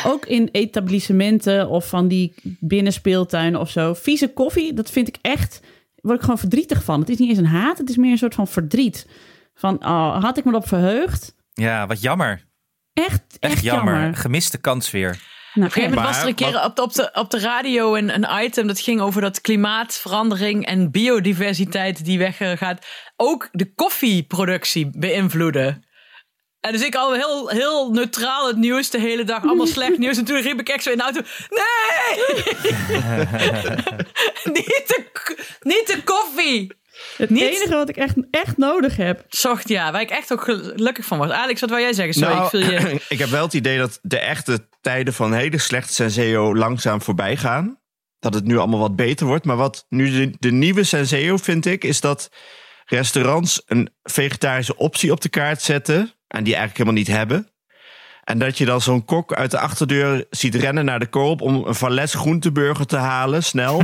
[SPEAKER 1] Ook in etablissementen of van die binnenspeeltuinen of zo. Vieze koffie, dat vind ik echt, word ik gewoon verdrietig van. Het is niet eens een haat, het is meer een soort van verdriet. Van oh, had ik me op verheugd.
[SPEAKER 3] Ja, wat jammer.
[SPEAKER 1] Echt, echt,
[SPEAKER 3] Echt
[SPEAKER 1] jammer.
[SPEAKER 3] jammer. Gemiste kans weer.
[SPEAKER 1] Nou,
[SPEAKER 2] Op een gegeven moment was er een
[SPEAKER 4] Maar-
[SPEAKER 2] keer op de, op de, op de radio een, een item dat ging over dat klimaatverandering en biodiversiteit die weggaat ook de koffieproductie beïnvloeden. En dus ik al heel, heel neutraal het nieuws de hele dag, allemaal slecht nieuws. En toen riep ik echt zo in de auto, nee! niet, de, k- niet de koffie!
[SPEAKER 1] het
[SPEAKER 2] niet-
[SPEAKER 1] enige wat ik echt, echt nodig heb.
[SPEAKER 2] Zocht ja, waar ik echt ook gelukkig van was. Alex, wat wil jij zeggen? Sorry,
[SPEAKER 4] Nou,
[SPEAKER 2] ik
[SPEAKER 4] <clears throat>
[SPEAKER 2] viel je...
[SPEAKER 4] ik heb wel het idee dat de echte tijden van hele slechte Senseo langzaam voorbij gaan. Dat het nu allemaal wat beter wordt. Maar wat nu de, de nieuwe Senseo vind ik, is dat restaurants een vegetarische optie op de kaart zetten. En die eigenlijk helemaal niet hebben. En dat je dan zo'n kok uit de achterdeur ziet rennen naar de koop om een Vales
[SPEAKER 2] <laughs>
[SPEAKER 4] groenteburger te halen, snel.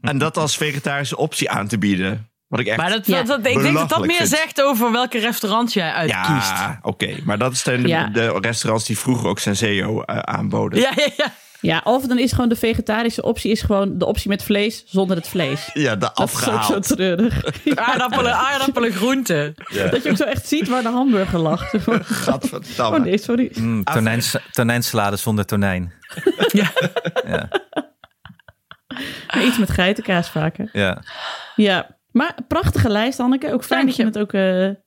[SPEAKER 4] en dat als vegetarische optie aan te bieden. Wat ik echt...
[SPEAKER 2] Maar dat,
[SPEAKER 1] Ja.
[SPEAKER 2] dat, dat- ik denk dat dat
[SPEAKER 4] Belachelijk
[SPEAKER 2] meer
[SPEAKER 4] vind.
[SPEAKER 2] zegt over welke restaurant jij uitkiest.
[SPEAKER 4] ja, oké. Maar dat zijn de,
[SPEAKER 1] Ja.
[SPEAKER 4] de restaurants die vroeger ook Senseo eh, aanboden.
[SPEAKER 2] Ja, ja, ja.
[SPEAKER 1] Ja, of dan is gewoon de vegetarische optie is gewoon de optie met vlees zonder het vlees.
[SPEAKER 4] Ja, de
[SPEAKER 1] Dat is ook
[SPEAKER 4] afgehaald.
[SPEAKER 1] zo
[SPEAKER 2] <laughs>
[SPEAKER 1] treurig.
[SPEAKER 2] Aardappelen, aardappelen, groenten.
[SPEAKER 1] Dat je ook zo echt ziet waar de hamburger
[SPEAKER 2] <laughs>
[SPEAKER 1] lag.
[SPEAKER 4] Gadverdamme.
[SPEAKER 1] Oh nee, sorry.
[SPEAKER 3] Mm, tonijns- tonijnsalade zonder tonijn.
[SPEAKER 2] Ja.
[SPEAKER 1] Maar Iets met geitenkaas vaker.
[SPEAKER 3] Ja.
[SPEAKER 1] Ja, maar prachtige lijst, Anneke. Ook fijn
[SPEAKER 2] Dank
[SPEAKER 1] dat je het
[SPEAKER 2] je.
[SPEAKER 1] ook eh,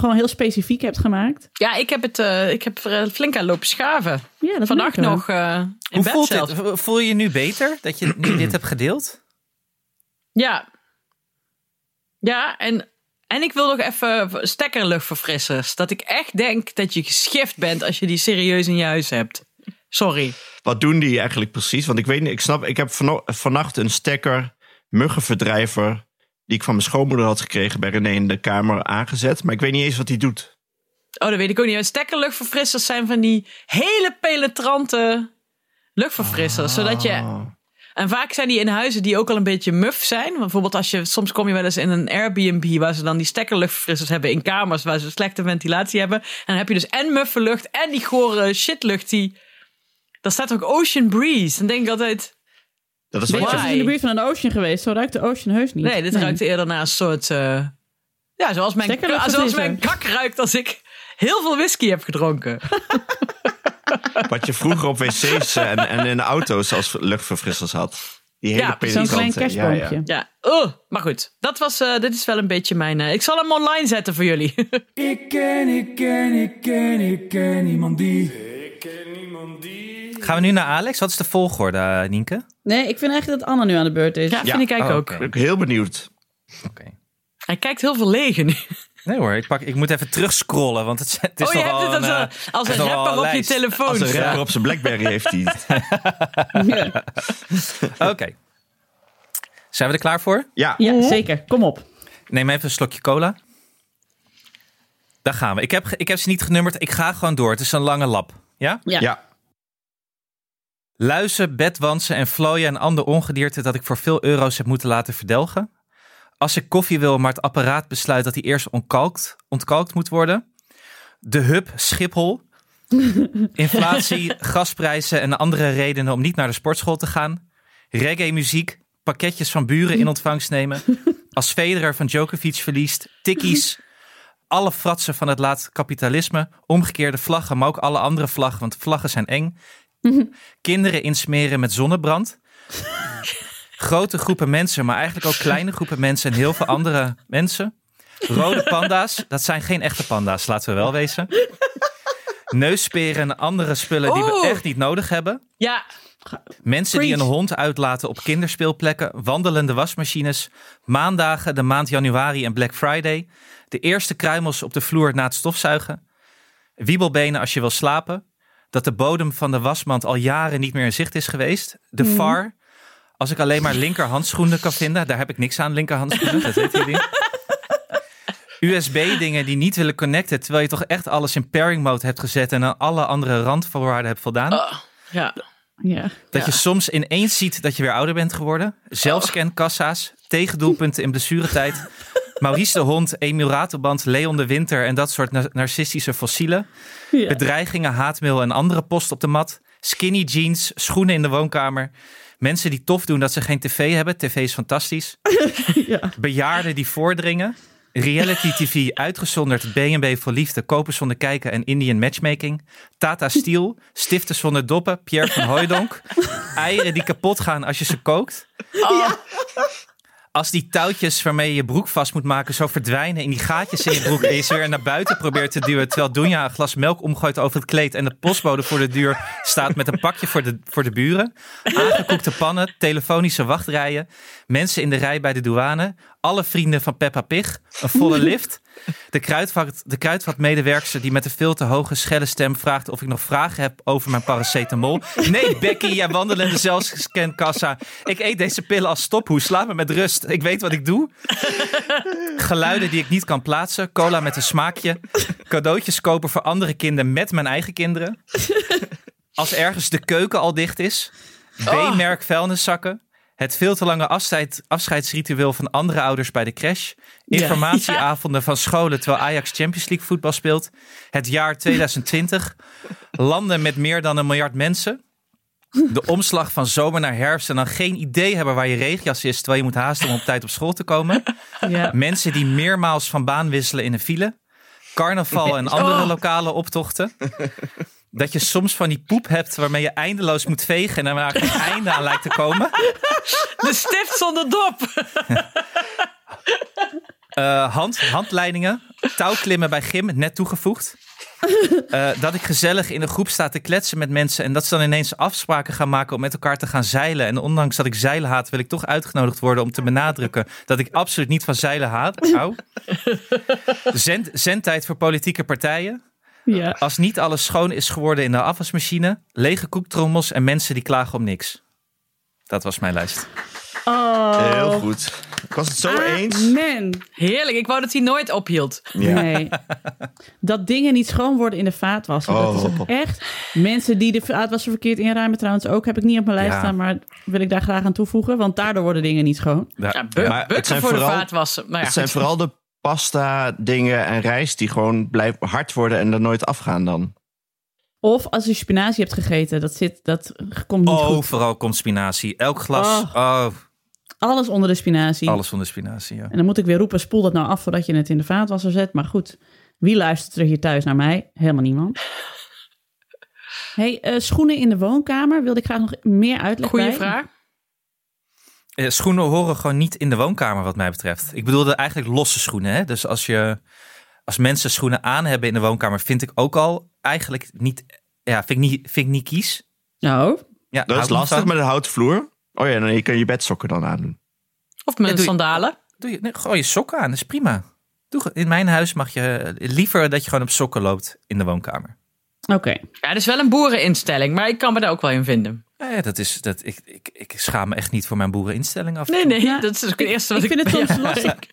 [SPEAKER 1] gewoon heel specifiek hebt gemaakt.
[SPEAKER 2] ja, ik heb, het, eh, ik heb er flink aan lopen schaven.
[SPEAKER 1] Ja, dat
[SPEAKER 2] Vannacht
[SPEAKER 1] merken we.
[SPEAKER 2] nog eh, in
[SPEAKER 3] Hoe
[SPEAKER 2] bed
[SPEAKER 3] voelt
[SPEAKER 2] zelf.
[SPEAKER 3] dit? Voel je je nu beter dat je nu dit hebt gedeeld?
[SPEAKER 2] Ja. Ja, en, en ik wil nog even stekkerluchtverfrissers. Dat ik echt denk dat je geschift bent als je die serieus in je huis hebt. Sorry.
[SPEAKER 4] Wat doen die eigenlijk precies? Want ik weet niet, ik snap, ik heb vano- vannacht een stekker, muggenverdrijver, die ik van mijn schoonmoeder had gekregen bij René in de kamer aangezet. Maar ik weet niet eens wat die doet.
[SPEAKER 2] Oh, dat weet ik ook niet. Stekkerluchtverfrissers zijn van die hele penetrante luchtverfrissers. Zodat je
[SPEAKER 4] Oh.
[SPEAKER 2] En vaak zijn die in huizen die ook al een beetje muf zijn. Want Bijvoorbeeld als je, soms kom je wel eens in een Airbnb waar ze dan die stekkerluchtverfrissers hebben in kamers waar ze slechte ventilatie hebben. En dan heb je dus en muffe lucht en die gore shitlucht die... Daar staat ook Ocean Breeze. Dan denk ik altijd,
[SPEAKER 4] Dat is
[SPEAKER 1] Ben je
[SPEAKER 4] wat
[SPEAKER 2] Why?
[SPEAKER 1] wel eens in de buurt van een ocean geweest? Zo ruikt de ocean heus niet.
[SPEAKER 2] nee, dit ruikt eerder naar een soort... eh, ja, zoals mijn,
[SPEAKER 1] Stekkerluchtverfrisser.
[SPEAKER 2] zoals mijn kak ruikt als ik heel veel whisky heb gedronken.
[SPEAKER 4] je, wat je vroeger op wc's eh, en, en in auto's als luchtverfrissers had. Die hele
[SPEAKER 2] Ja, zo'n
[SPEAKER 1] Zo'n
[SPEAKER 4] penetrante.
[SPEAKER 1] klein kerstboompje.
[SPEAKER 4] Ja, ja.
[SPEAKER 2] Ja, oh, maar goed. Dat was, eh, dit is wel een beetje mijn... eh, ik zal hem online zetten voor jullie. <laughs>
[SPEAKER 5] Ik ken, ik ken, ik ken, ik ken iemand die.
[SPEAKER 3] Gaan we nu naar Alex? Wat is de volgorde, eh, Nienke?
[SPEAKER 1] Nee, ik vind eigenlijk dat Anna nu aan de beurt is.
[SPEAKER 2] ja, vind ik eigenlijk
[SPEAKER 3] oh,
[SPEAKER 2] ook.
[SPEAKER 3] oké.
[SPEAKER 4] Ik ben heel benieuwd.
[SPEAKER 3] Oké.
[SPEAKER 2] Hij kijkt heel verlegen nu. <laughs>
[SPEAKER 3] Nee hoor, ik, pak, ik moet even terugscrollen, want het, het is
[SPEAKER 2] oh, je hebt
[SPEAKER 3] nogal
[SPEAKER 2] het als
[SPEAKER 3] een,
[SPEAKER 2] een,
[SPEAKER 3] eh,
[SPEAKER 2] als
[SPEAKER 3] het
[SPEAKER 2] een
[SPEAKER 3] is nogal
[SPEAKER 2] rapper op je
[SPEAKER 3] lijst.
[SPEAKER 2] telefoon.
[SPEAKER 4] Als een
[SPEAKER 2] staan.
[SPEAKER 4] rapper op zijn Blackberry
[SPEAKER 1] <laughs>
[SPEAKER 4] heeft hij het.
[SPEAKER 1] Ja.
[SPEAKER 3] Oké. Zijn we er klaar voor?
[SPEAKER 4] Ja,
[SPEAKER 1] Ja, zeker. Kom op.
[SPEAKER 3] Neem even een slokje cola. Daar gaan we. Ik heb, ge- ik heb ze niet genummerd. Ik ga gewoon door. Het is een lange lap. Ja?
[SPEAKER 1] Ja.
[SPEAKER 4] ja.
[SPEAKER 3] Luizen, bedwansen en vlooien en ander ongedierte dat ik voor veel euro's heb moeten laten verdelgen. Als ik koffie wil, maar het apparaat besluit dat die eerst onkalkt, ontkalkt moet worden. De hub Schiphol. Inflatie, gasprijzen en andere redenen om niet naar de sportschool te gaan. Reggae muziek, pakketjes van buren in ontvangst nemen. Als Federer van Djokovic verliest, tikkies. Alle fratsen van het laat kapitalisme. Omgekeerde vlaggen, maar ook alle andere vlaggen, want vlaggen zijn eng kinderen insmeren met zonnebrand. Grote groepen mensen, maar eigenlijk ook kleine groepen mensen en heel veel andere mensen. Rode panda's, dat zijn geen echte panda's, laten we wel wezen. Neusperen en andere spullen die we
[SPEAKER 2] Oeh.
[SPEAKER 3] echt niet nodig hebben.
[SPEAKER 2] Ja,
[SPEAKER 3] Mensen die een
[SPEAKER 1] Preach.
[SPEAKER 3] hond uitlaten op kinderspeelplekken, wandelende wasmachines, maandagen, de maand januari en Black Friday, de eerste kruimels op de vloer na het stofzuigen, wiebelbenen als je wil slapen, dat de bodem van de wasmand al jaren niet meer in zicht is geweest, de VAR, als ik alleen maar linkerhandschoenen kan vinden, daar heb ik niks aan linkerhandschoenen, dat weten jullie. USB-dingen die niet willen connecten, terwijl je toch echt alles in pairing mode hebt gezet en aan alle andere randvoorwaarden hebt voldaan.
[SPEAKER 2] ja.
[SPEAKER 1] Ja. Oh.
[SPEAKER 3] Dat je soms ineens ziet dat je weer ouder bent geworden. Zelfscan, kassa's, tegendoelpunten in blessuretijd.
[SPEAKER 1] <laughs>
[SPEAKER 3] Maurice de Hond, Emil Ratelband, Leon de Winter en dat soort nar- narcistische fossielen.
[SPEAKER 1] Ja.
[SPEAKER 3] Bedreigingen, haatmail en andere post op de mat. Skinny jeans, schoenen in de woonkamer. Mensen die tof doen dat ze geen tv hebben. TV is fantastisch.
[SPEAKER 1] Ja.
[SPEAKER 3] Bejaarden die voordringen. Reality TV uitgezonderd, B&B voor liefde, kopen zonder kijken en Indian matchmaking. Tata Steel, stiften zonder doppen, Pierre van Hooijdonk. Eieren die kapot gaan als je ze kookt. Als die touwtjes waarmee je je broek vast moet maken zo verdwijnen in die gaatjes in je broek en je ze weer naar buiten probeert te duwen. Terwijl Dunja een glas melk omgooit over het kleed en de postbode voor de deur staat met een pakje voor de, voor de buren. Aangekoekte pannen, telefonische wachtrijen, mensen in de rij bij de douane, alle vrienden van Peppa Pig, een volle lift. De, kruidvat, de kruidvatmedewerkster die met een veel te hoge schelle stem vraagt of ik nog vragen heb over mijn paracetamol. Nee, Becky, jij wandelende zelfscankassa. Ik eet deze pillen als stophoes. Laat me met rust. Ik weet wat ik doe. Geluiden die ik niet kan plaatsen. Cola met een smaakje. Cadeautjes kopen voor andere kinderen met mijn eigen kinderen. Als ergens de keuken al dicht is. B-merk vuilniszakken. Het veel te lange afscheid, afscheidsritueel van andere ouders bij de crash. Informatieavonden van scholen terwijl Ajax Champions League voetbal speelt. Het jaar 2020. Landen met meer dan een miljard mensen. De omslag van zomer naar herfst en dan geen idee hebben waar je regenjas is... terwijl je moet haasten om op tijd op school te komen.
[SPEAKER 1] Ja.
[SPEAKER 3] Mensen die meermaals van baan wisselen in een file. Carnaval en andere lokale optochten. Dat je soms van die poep hebt waarmee je eindeloos moet vegen en daarna geen <laughs> einde aan lijkt te komen.
[SPEAKER 2] De stift zonder dop. <laughs>
[SPEAKER 3] Eh, hand, handleidingen, touwklimmen bij gym, net toegevoegd. Eh, dat ik gezellig in een groep sta te kletsen met mensen en dat ze dan ineens afspraken gaan maken om met elkaar te gaan zeilen. En ondanks dat ik zeilen haat, wil ik toch uitgenodigd worden om te benadrukken dat ik absoluut niet van zeilen haat. Hou. Zend, zendtijd voor politieke partijen.
[SPEAKER 1] Ja.
[SPEAKER 3] Als niet alles schoon is geworden in de afwasmachine, lege koektrommels en mensen die klagen om niks. Dat was mijn lijst.
[SPEAKER 1] Oh.
[SPEAKER 4] Heel goed. Ik was het zo
[SPEAKER 2] Ah,
[SPEAKER 1] Ah,
[SPEAKER 4] eens.
[SPEAKER 1] Amen.
[SPEAKER 2] Heerlijk, ik wou dat hij nooit ophield.
[SPEAKER 4] Ja.
[SPEAKER 1] Nee. Dat dingen niet schoon worden in de vaatwasser. Dat is
[SPEAKER 4] Oh.
[SPEAKER 1] echt. Mensen die de vaatwasser verkeerd inruimen, trouwens ook, heb ik niet op mijn lijst
[SPEAKER 3] Ja.
[SPEAKER 1] staan, maar wil ik daar graag aan toevoegen, want daardoor worden dingen niet schoon.
[SPEAKER 2] Ja, bu-
[SPEAKER 4] maar het
[SPEAKER 2] bukken
[SPEAKER 4] zijn
[SPEAKER 2] voor de
[SPEAKER 4] vooral-
[SPEAKER 2] vaatwassen. Nou ja,
[SPEAKER 4] Het zijn
[SPEAKER 2] goed.
[SPEAKER 4] vooral de pasta dingen en rijst die gewoon blijven hard worden en er nooit afgaan dan.
[SPEAKER 1] Of als je spinazie hebt gegeten, dat, zit, dat komt
[SPEAKER 3] Oh.
[SPEAKER 1] niet goed.
[SPEAKER 3] Overal komt spinazie. Elk glas,
[SPEAKER 1] Oh.
[SPEAKER 3] oh,
[SPEAKER 1] Alles onder de spinazie.
[SPEAKER 3] alles van de spinazie. Ja.
[SPEAKER 1] En dan moet ik weer roepen, spoel dat nou af voordat je het in de vaatwasser zet. Maar goed, wie luistert er hier thuis naar mij? Helemaal niemand. hey, eh, schoenen in de woonkamer wilde ik graag nog meer uitleg
[SPEAKER 2] Goeie
[SPEAKER 1] bij.
[SPEAKER 2] vraag.
[SPEAKER 3] Eh, Schoenen horen gewoon niet in de woonkamer, wat mij betreft. Ik bedoelde eigenlijk losse schoenen. Hè? Dus als, je, als mensen schoenen aan hebben in de woonkamer, vind ik ook al eigenlijk niet. Ja, vind ik niet, vind ik niet kies.
[SPEAKER 1] Nou,
[SPEAKER 3] Ja,
[SPEAKER 4] Dat
[SPEAKER 3] hou
[SPEAKER 4] is
[SPEAKER 3] ik niet
[SPEAKER 4] lastig
[SPEAKER 3] van.
[SPEAKER 4] met een houten vloer. Oh ja, dan je kan je bedsokken dan aandoen.
[SPEAKER 2] Of met
[SPEAKER 3] Ja, doe je-
[SPEAKER 2] sandalen.
[SPEAKER 3] Doe je, nee, gooi je sokken aan, dat is prima. Doe, ge- in mijn huis mag je eh, liever dat je gewoon op sokken loopt in de woonkamer.
[SPEAKER 1] oké.
[SPEAKER 2] Ja, dat is wel een boereninstelling, maar ik kan me daar ook wel in vinden. <laughs>
[SPEAKER 3] Nou ja, dat is, dat, ik, ik, ik schaam me echt niet voor mijn boereninstelling af. en
[SPEAKER 2] Nee,
[SPEAKER 3] toe.
[SPEAKER 2] nee,
[SPEAKER 1] Ja,
[SPEAKER 2] dat is ook het eerste wat
[SPEAKER 1] ik
[SPEAKER 2] ik...
[SPEAKER 1] vind het soms
[SPEAKER 2] <laughs> Ja,
[SPEAKER 1] lastig.
[SPEAKER 2] ik-